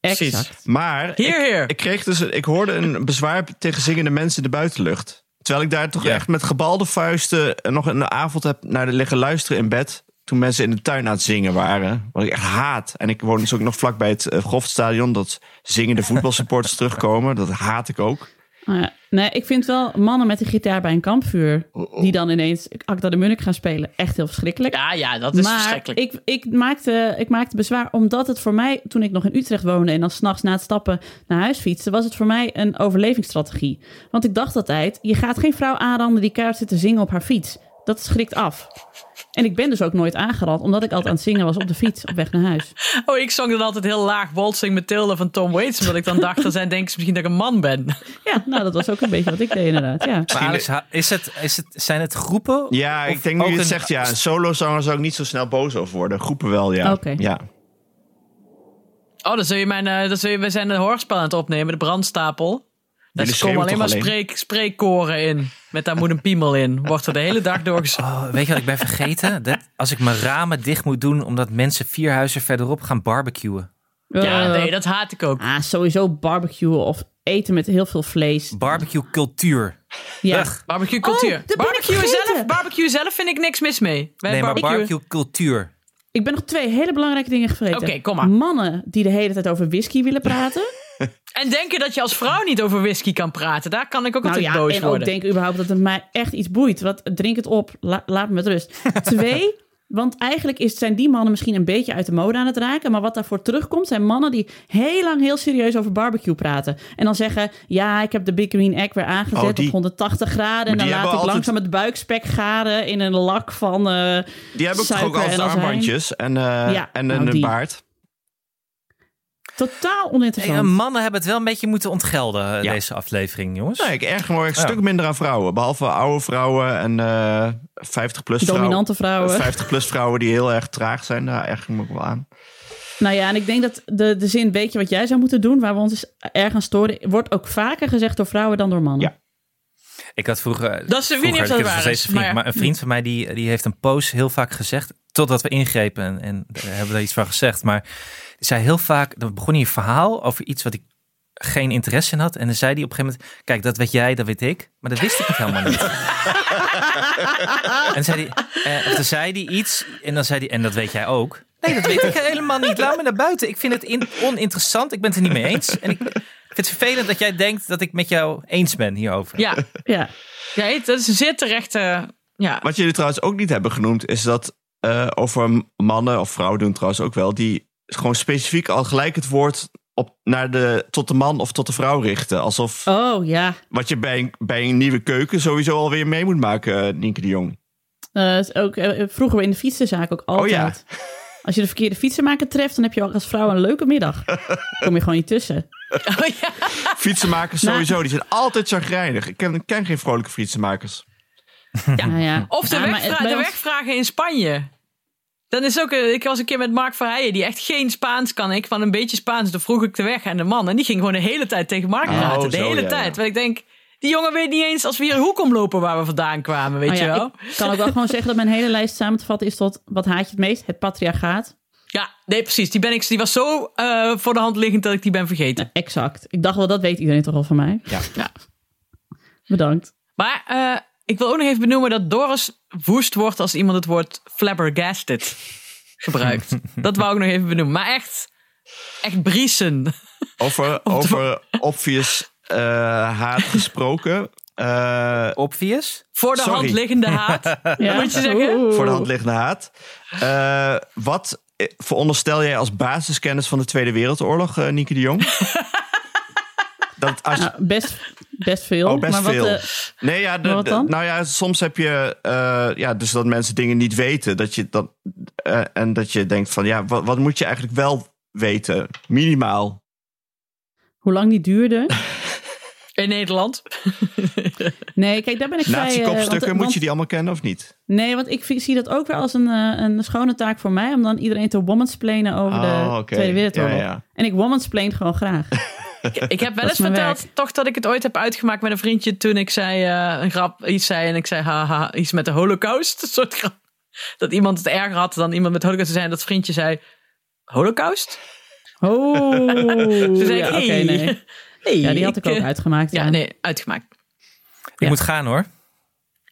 [SPEAKER 2] Precies.
[SPEAKER 1] Exact.
[SPEAKER 4] Maar
[SPEAKER 2] Hier,
[SPEAKER 4] ik,
[SPEAKER 2] hier.
[SPEAKER 4] ik kreeg dus, ik hoorde een bezwaar tegen zingende mensen in de buitenlucht. Terwijl ik daar toch echt met gebalde vuisten nog een avond heb naar de liggen luisteren in bed. Toen mensen in de tuin aan het zingen waren. Wat ik echt haat. En ik woon dus ook nog vlak bij het eh, Golfstadion. Dat zingende voetbalsupporters <laughs> terugkomen. Dat haat ik ook.
[SPEAKER 1] Nou ja, nee, ik vind wel mannen met een gitaar bij een kampvuur...
[SPEAKER 2] Oh,
[SPEAKER 1] die dan ineens Acta de Munnik gaan spelen... echt heel verschrikkelijk.
[SPEAKER 2] Ja, ja, dat is
[SPEAKER 1] maar
[SPEAKER 2] verschrikkelijk.
[SPEAKER 1] ik, ik, maakte, ik maakte bezwaar omdat het voor mij... toen ik nog in Utrecht woonde en dan s'nachts na het stappen naar huis fietste... was het voor mij een overlevingsstrategie. Want ik dacht altijd... je gaat geen vrouw aanranden die keihard zit te zingen op haar fiets. Dat schrikt af. En ik ben dus ook nooit aangerand... omdat ik altijd aan het zingen was op de fiets op weg naar huis.
[SPEAKER 2] Oh, ik zong dan altijd heel laag Waltzing Matilda van Tom Waits. Omdat ik dan dacht, er zijn denk ik misschien dat ik een man ben.
[SPEAKER 1] Ja, nou dat was ook een beetje wat ik deed inderdaad. Ja.
[SPEAKER 3] Maar Alex, ha- is het, is het, zijn het groepen?
[SPEAKER 4] Ja,
[SPEAKER 3] Of
[SPEAKER 4] ik denk nu
[SPEAKER 3] ook
[SPEAKER 4] je het
[SPEAKER 3] een-
[SPEAKER 4] zegt. Ja, een solozanger zou ik niet zo snel boos over worden. Groepen wel, ja.
[SPEAKER 1] Oké.
[SPEAKER 4] ja.
[SPEAKER 2] <laughs> Oh, dan zul je mijn, eh, dan zul je, we zijn een hoorspel aan het opnemen, de brandstapel. Daar
[SPEAKER 4] Jullie
[SPEAKER 2] komen
[SPEAKER 4] schreeuwen
[SPEAKER 2] alleen
[SPEAKER 4] toch
[SPEAKER 2] maar
[SPEAKER 4] alleen?
[SPEAKER 2] spreek, spreekkoren in. Met daar moet een piemel in. Wordt er de hele dag doorgezongen.
[SPEAKER 3] Oh, weet je wat ik ben vergeten? <laughs> Dat als ik mijn ramen dicht moet doen omdat mensen vier huizen verderop gaan barbecuen.
[SPEAKER 2] Ja,
[SPEAKER 1] Eh,
[SPEAKER 2] nee, dat haat ik ook.
[SPEAKER 1] Ah, sowieso barbecuen of eten met heel veel vlees.
[SPEAKER 3] Barbecue cultuur.
[SPEAKER 1] Ja.
[SPEAKER 3] Ugh.
[SPEAKER 2] Barbecue cultuur.
[SPEAKER 1] dat ben ik
[SPEAKER 2] barbecue,
[SPEAKER 1] vergeten.
[SPEAKER 2] zelf, barbecue zelf vind ik niks mis mee. Bij
[SPEAKER 3] Nee, maar
[SPEAKER 2] barbecue.
[SPEAKER 3] barbecue cultuur.
[SPEAKER 1] Ik ben nog twee hele belangrijke dingen vergeten.
[SPEAKER 2] Oké, kom maar.
[SPEAKER 1] Mannen die de hele tijd over whisky willen praten.
[SPEAKER 2] En denken dat je als vrouw niet over whisky kan praten. Daar kan ik ook
[SPEAKER 1] nou
[SPEAKER 2] altijd
[SPEAKER 1] ja,
[SPEAKER 2] boos
[SPEAKER 1] en ook
[SPEAKER 2] worden.
[SPEAKER 1] denk überhaupt dat het mij echt iets boeit. Wat, drink het op, la- laat me met rust. Twee, want eigenlijk is, zijn die mannen misschien een beetje uit de mode aan het raken. Maar wat daarvoor terugkomt zijn mannen die heel lang heel serieus over barbecue praten. En dan zeggen, ja, ik heb de Big Green Egg weer aangezet
[SPEAKER 4] Oh, die-
[SPEAKER 1] op 180 graden. En
[SPEAKER 4] die
[SPEAKER 1] dan laat ik
[SPEAKER 4] hebben altijd-
[SPEAKER 1] langzaam het buikspek garen in een lak van eh
[SPEAKER 4] Die hebben ook toch ook
[SPEAKER 1] suiker
[SPEAKER 4] altijd
[SPEAKER 1] en azijn.
[SPEAKER 4] armbandjes en, eh,
[SPEAKER 1] Ja,
[SPEAKER 4] en
[SPEAKER 1] nou,
[SPEAKER 4] een
[SPEAKER 1] die.
[SPEAKER 4] baard.
[SPEAKER 1] Totaal
[SPEAKER 3] Hey,
[SPEAKER 1] oninteressant.
[SPEAKER 3] eh, mannen hebben het wel een beetje moeten ontgelden, eh,
[SPEAKER 4] Ja.
[SPEAKER 3] deze aflevering, jongens.
[SPEAKER 4] Nee, ik erg me wel een
[SPEAKER 3] Ja.
[SPEAKER 4] stuk minder aan vrouwen. Behalve oude vrouwen en eh 50-plus vrouwen.
[SPEAKER 1] Dominante
[SPEAKER 4] <laughs>
[SPEAKER 1] vrouwen.
[SPEAKER 4] 50-plus vrouwen die heel erg traag zijn. Daar erg ik me ook wel aan.
[SPEAKER 1] Nou ja, en ik denk dat de, de zin, weet je wat jij zou moeten doen, waar we ons eens erg aan storen, wordt ook vaker gezegd door vrouwen dan door mannen.
[SPEAKER 4] Ja.
[SPEAKER 3] Ik had vroeger.
[SPEAKER 2] Dat is- ik weet niet of dat
[SPEAKER 3] vroeger, ik heb
[SPEAKER 2] waar
[SPEAKER 3] nog steeds
[SPEAKER 2] is,
[SPEAKER 3] een vriend,
[SPEAKER 2] maar-
[SPEAKER 3] maar een vriend van mij die, die heeft een poos heel vaak gezegd. Totdat we ingrepen en, en daar hebben we daar iets van gezegd. Maar die zei heel vaak. Dan begon hij een verhaal over iets wat ik geen interesse in had. En dan zei hij op een gegeven moment: Kijk, dat weet jij, dat weet ik. Maar dat wist ik het helemaal niet. en dan zei hij, eh, of dan zei hij iets. En dan zei hij: En dat weet jij ook. Nee, dat weet ik helemaal niet. Laat me naar buiten. Ik vind het in- oninteressant. Ik ben het er niet mee eens. En ik. ik vind het vervelend dat jij denkt dat ik met jou eens ben hierover.
[SPEAKER 2] Ja, <laughs>
[SPEAKER 1] Ja.
[SPEAKER 2] ja, dat is een zeer terechte... Ja,
[SPEAKER 4] Wat jullie trouwens ook niet hebben genoemd, is dat eh, over mannen of vrouwen doen trouwens ook wel, die gewoon specifiek al gelijk het woord op, naar de, tot de man of tot de vrouw richten. Alsof
[SPEAKER 1] Oh ja.
[SPEAKER 4] wat je bij een, bij een nieuwe keuken sowieso alweer mee moet maken, eh, Nienke de Jong.
[SPEAKER 1] Eh, is ook, eh, vroeger in de fietsenzaak ook
[SPEAKER 4] Oh,
[SPEAKER 1] altijd. Als je de verkeerde fietsenmaker treft, dan heb je ook als vrouw een leuke
[SPEAKER 4] <laughs>
[SPEAKER 1] middag. Kom je gewoon niet tussen.
[SPEAKER 2] Oh, ja.
[SPEAKER 4] Fietsenmakers sowieso, die zijn altijd chagrijnig. Ik ken, ik ken geen vrolijke fietsenmakers.
[SPEAKER 1] Nou ja.
[SPEAKER 2] Of de,
[SPEAKER 1] Ja, maar
[SPEAKER 2] wegvra-
[SPEAKER 1] het- bij
[SPEAKER 2] de
[SPEAKER 1] ons-
[SPEAKER 2] wegvragen in Spanje. Dan is ook, eh, ik was een keer met Mark Verheijen, die echt geen Spaans kan. Ik van een beetje Spaans, dan vroeg ik de weg aan de man. En die ging gewoon de hele tijd tegen Mark
[SPEAKER 4] Oh,
[SPEAKER 2] praten. De
[SPEAKER 4] zo,
[SPEAKER 2] hele
[SPEAKER 4] ja,
[SPEAKER 2] tijd.
[SPEAKER 4] ja.
[SPEAKER 2] Want ik denk, Die jongen weet niet eens als we hier een hoek omlopen waar we vandaan kwamen, weet
[SPEAKER 1] Maar
[SPEAKER 2] je
[SPEAKER 1] Oh ja,
[SPEAKER 2] wel?
[SPEAKER 1] Ik kan ook wel gewoon zeggen dat mijn hele lijst samen te vatten is tot wat haat je het meest? Het patriarchaat.
[SPEAKER 2] Ja, nee, precies. Die, ben ik, die was zo eh, voor de hand liggend dat ik die ben vergeten.
[SPEAKER 1] Exact. Ik dacht wel, dat weet iedereen toch al van mij.
[SPEAKER 3] Ja.
[SPEAKER 1] Bedankt.
[SPEAKER 2] Maar eh, ik wil ook nog even benoemen dat Doris woest wordt als iemand het woord flabbergasted gebruikt. dat wou ik nog even benoemen. Maar echt, echt briesen.
[SPEAKER 4] Over, over obvious eh,
[SPEAKER 1] <laughs>
[SPEAKER 4] haat gesproken. Eh,
[SPEAKER 3] Obvious?
[SPEAKER 2] Voor de
[SPEAKER 4] Sorry.
[SPEAKER 2] hand liggende haat.
[SPEAKER 1] Ja.
[SPEAKER 2] moet je zeggen?
[SPEAKER 1] Oeh.
[SPEAKER 4] voor de hand liggende haat. Eh, wat eh, veronderstel jij als basiskennis van de Tweede Wereldoorlog, eh Nieke de
[SPEAKER 1] <laughs>
[SPEAKER 4] Jong? Dat als,
[SPEAKER 1] Nou, best, best veel.
[SPEAKER 4] Oh, best
[SPEAKER 1] maar wat,
[SPEAKER 4] veel.
[SPEAKER 1] eh,
[SPEAKER 4] nee, ja, de-
[SPEAKER 1] maar wat
[SPEAKER 4] de-
[SPEAKER 1] dan?
[SPEAKER 4] nou ja, soms heb je eh, ja, dus dat mensen dingen niet weten. Dat je dat, eh, en dat je denkt van ja, wat, wat moet je eigenlijk wel weten? Minimaal.
[SPEAKER 1] hoe lang die duurde?
[SPEAKER 2] In Nederland.
[SPEAKER 1] Nee, kijk, daar ben ik vrij... eh,
[SPEAKER 4] Nazi-kopstukken,
[SPEAKER 1] want-
[SPEAKER 4] moet
[SPEAKER 1] want-
[SPEAKER 4] je die allemaal kennen of niet?
[SPEAKER 1] Nee, want ik vi- zie dat ook weer als een, eh, een schone taak voor mij... om dan iedereen te womansplainen over
[SPEAKER 4] Oh,
[SPEAKER 1] de
[SPEAKER 4] oké.
[SPEAKER 1] Tweede Wereldoorlog.
[SPEAKER 4] Ja, ja.
[SPEAKER 1] En ik womansplain gewoon graag.
[SPEAKER 2] Ik heb wel
[SPEAKER 1] Dat
[SPEAKER 2] eens
[SPEAKER 1] is mijn
[SPEAKER 2] verteld,
[SPEAKER 1] werk.
[SPEAKER 2] toch dat ik het ooit heb uitgemaakt met een vriendje toen ik zei eh, een grap, iets zei en ik zei haha, iets met de holocaust. <laughs> Een soort grap. Dat iemand het erger had dan iemand met holocaust te zijn. Dat vriendje zei, holocaust?
[SPEAKER 1] <laughs> Oh,
[SPEAKER 2] Toen zei
[SPEAKER 1] ja,
[SPEAKER 2] ik,
[SPEAKER 1] oké,
[SPEAKER 2] hey.
[SPEAKER 1] nee.
[SPEAKER 2] <laughs> Hey,
[SPEAKER 1] Ja, die had ik ook
[SPEAKER 2] eh,
[SPEAKER 1] uitgemaakt. Ja,
[SPEAKER 2] Ja, nee, uitgemaakt.
[SPEAKER 3] Ik moet gaan hoor.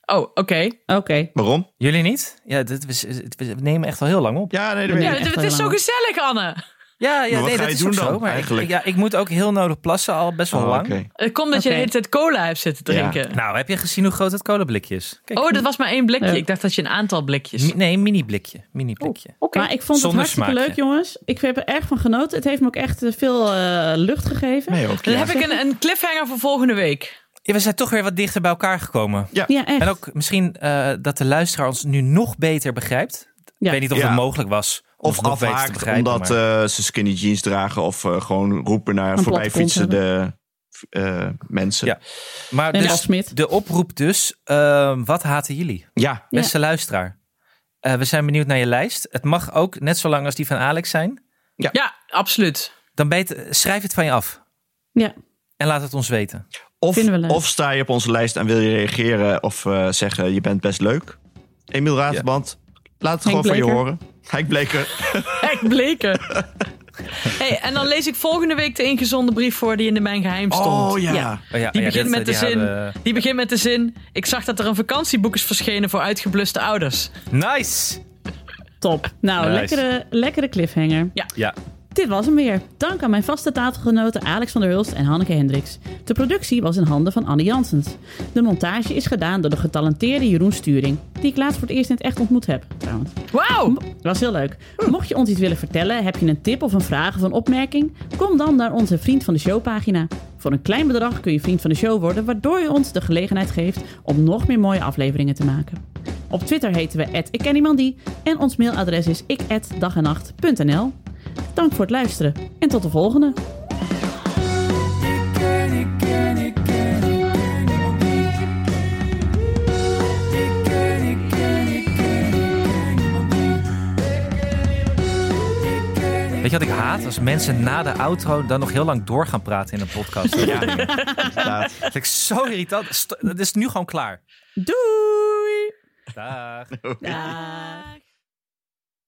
[SPEAKER 2] Oh, oké.
[SPEAKER 1] Oké.
[SPEAKER 4] Waarom?
[SPEAKER 3] Jullie niet? Ja, dit, we, het- we nemen echt wel heel lang op.
[SPEAKER 4] Ja, nee, dat
[SPEAKER 1] Ja,
[SPEAKER 4] weet
[SPEAKER 2] Ja,
[SPEAKER 4] ik.
[SPEAKER 1] echt
[SPEAKER 2] het, het
[SPEAKER 1] heel
[SPEAKER 2] is zo
[SPEAKER 1] lang.
[SPEAKER 2] gezellig, Anne.
[SPEAKER 3] Ja, ja
[SPEAKER 4] Maar wat
[SPEAKER 3] nee,
[SPEAKER 4] ga
[SPEAKER 3] dat
[SPEAKER 4] je
[SPEAKER 3] is
[SPEAKER 4] doen
[SPEAKER 3] ook
[SPEAKER 4] dan,
[SPEAKER 3] zo. Maar ik,
[SPEAKER 4] eigenlijk?
[SPEAKER 3] ja, ik moet ook heel nodig plassen, al best wel
[SPEAKER 4] Oh,
[SPEAKER 3] lang.
[SPEAKER 4] oké.
[SPEAKER 2] Het komt dat je de
[SPEAKER 1] Oké.
[SPEAKER 2] hele tijd cola hebt zitten
[SPEAKER 4] Ja.
[SPEAKER 2] drinken.
[SPEAKER 3] Nou, heb je gezien hoe groot dat cola-blikje is? Kijk,
[SPEAKER 2] Oh, dat was maar één blikje.
[SPEAKER 1] Ja.
[SPEAKER 2] Ik dacht dat je een aantal blikjes.
[SPEAKER 3] mi- nee, mini-blikje. Mini-blikje.
[SPEAKER 1] Maar ik vond
[SPEAKER 3] Zonder
[SPEAKER 1] het hartstikke
[SPEAKER 3] smaakje.
[SPEAKER 1] leuk, jongens. Ik heb er erg van genoten. Het heeft me ook echt eh, veel eh, lucht gegeven.
[SPEAKER 4] Nee, ook.
[SPEAKER 2] Dan
[SPEAKER 4] ja.
[SPEAKER 2] heb ik een, een cliffhanger voor volgende week.
[SPEAKER 3] Ja, we zijn toch weer wat dichter bij elkaar gekomen.
[SPEAKER 1] Ja, echt.
[SPEAKER 3] En ook misschien eh, dat de luisteraar ons nu nog beter begrijpt. Ik
[SPEAKER 1] Ja.
[SPEAKER 3] weet niet of
[SPEAKER 4] Ja.
[SPEAKER 3] het mogelijk was. om ons
[SPEAKER 4] Of
[SPEAKER 3] nog beter te
[SPEAKER 4] afhaakt
[SPEAKER 3] begrijpen.
[SPEAKER 4] omdat
[SPEAKER 3] maar-
[SPEAKER 4] eh, ze skinny jeans dragen. Of eh, gewoon roepen naar
[SPEAKER 1] Een
[SPEAKER 4] voorbij
[SPEAKER 1] platte kont
[SPEAKER 4] fietsende eh, mensen.
[SPEAKER 3] Ja. maar
[SPEAKER 1] En
[SPEAKER 3] dus
[SPEAKER 1] Ralf Smit.
[SPEAKER 3] de oproep dus. eh, wat haten jullie?
[SPEAKER 4] Ja.
[SPEAKER 1] Ja.
[SPEAKER 3] Beste luisteraar. eh, we zijn benieuwd naar je lijst. Het mag ook net zo lang als die van Alex zijn.
[SPEAKER 2] Ja, absoluut.
[SPEAKER 3] Dan beter, schrijf het van je af.
[SPEAKER 1] Ja.
[SPEAKER 3] En laat het ons weten.
[SPEAKER 4] Of,
[SPEAKER 1] Vinden we leuk.
[SPEAKER 4] of sta je op onze lijst en wil je reageren of eh, zeggen je bent best leuk. Emiel Raterband, laat het
[SPEAKER 1] Henk
[SPEAKER 4] gewoon van je
[SPEAKER 1] Bleker.
[SPEAKER 4] horen. Henk Bleker.
[SPEAKER 2] Echt
[SPEAKER 4] <laughs>
[SPEAKER 2] bleken. hey, en dan lees ik volgende week de ingezonden brief voor die in de Mijn Geheim stond.
[SPEAKER 4] Oh
[SPEAKER 1] Ja.
[SPEAKER 4] ja.
[SPEAKER 3] Oh ja,
[SPEAKER 2] Die
[SPEAKER 3] oh ja,
[SPEAKER 2] begint
[SPEAKER 3] dit-
[SPEAKER 2] met de
[SPEAKER 3] die
[SPEAKER 2] zin.
[SPEAKER 3] hadden-
[SPEAKER 2] Die begint met de zin. Ik zag dat er een vakantieboek is verschenen voor uitgebluste ouders.
[SPEAKER 3] Nice!
[SPEAKER 1] Top. Nou,
[SPEAKER 3] Nice.
[SPEAKER 1] lekkere, lekkere cliffhanger.
[SPEAKER 3] Ja.
[SPEAKER 1] Dit was hem weer. Dank aan mijn vaste tafelgenoten Alex van der Hulst en Hanneke Hendricks. De productie was in handen van Anne Jansens. De montage is gedaan door de getalenteerde Jeroen Sturing, die ik laatst voor het eerst in het echt ontmoet heb, trouwens.
[SPEAKER 2] Wauw!
[SPEAKER 1] was heel leuk. Mocht je ons iets willen vertellen, heb je een tip of een vraag of een opmerking? Kom dan naar onze Vriend van de Show pagina. Voor een klein bedrag kun je Vriend van de Show worden, waardoor je ons de gelegenheid geeft om nog meer mooie afleveringen te maken. Op Twitter heten we ikkenniemandie en ons mailadres is ik@dagennacht.nl. Dank voor het luisteren en tot de volgende.
[SPEAKER 3] Weet je wat ik haat? Als mensen na de outro dan nog heel lang door gaan praten in een
[SPEAKER 2] <laughs>
[SPEAKER 3] podcast. Dat
[SPEAKER 4] inderdaad.
[SPEAKER 3] vind ik zo irritant. Sto- Dat is nu gewoon klaar.
[SPEAKER 1] Doei!
[SPEAKER 3] Dag.
[SPEAKER 1] Dag.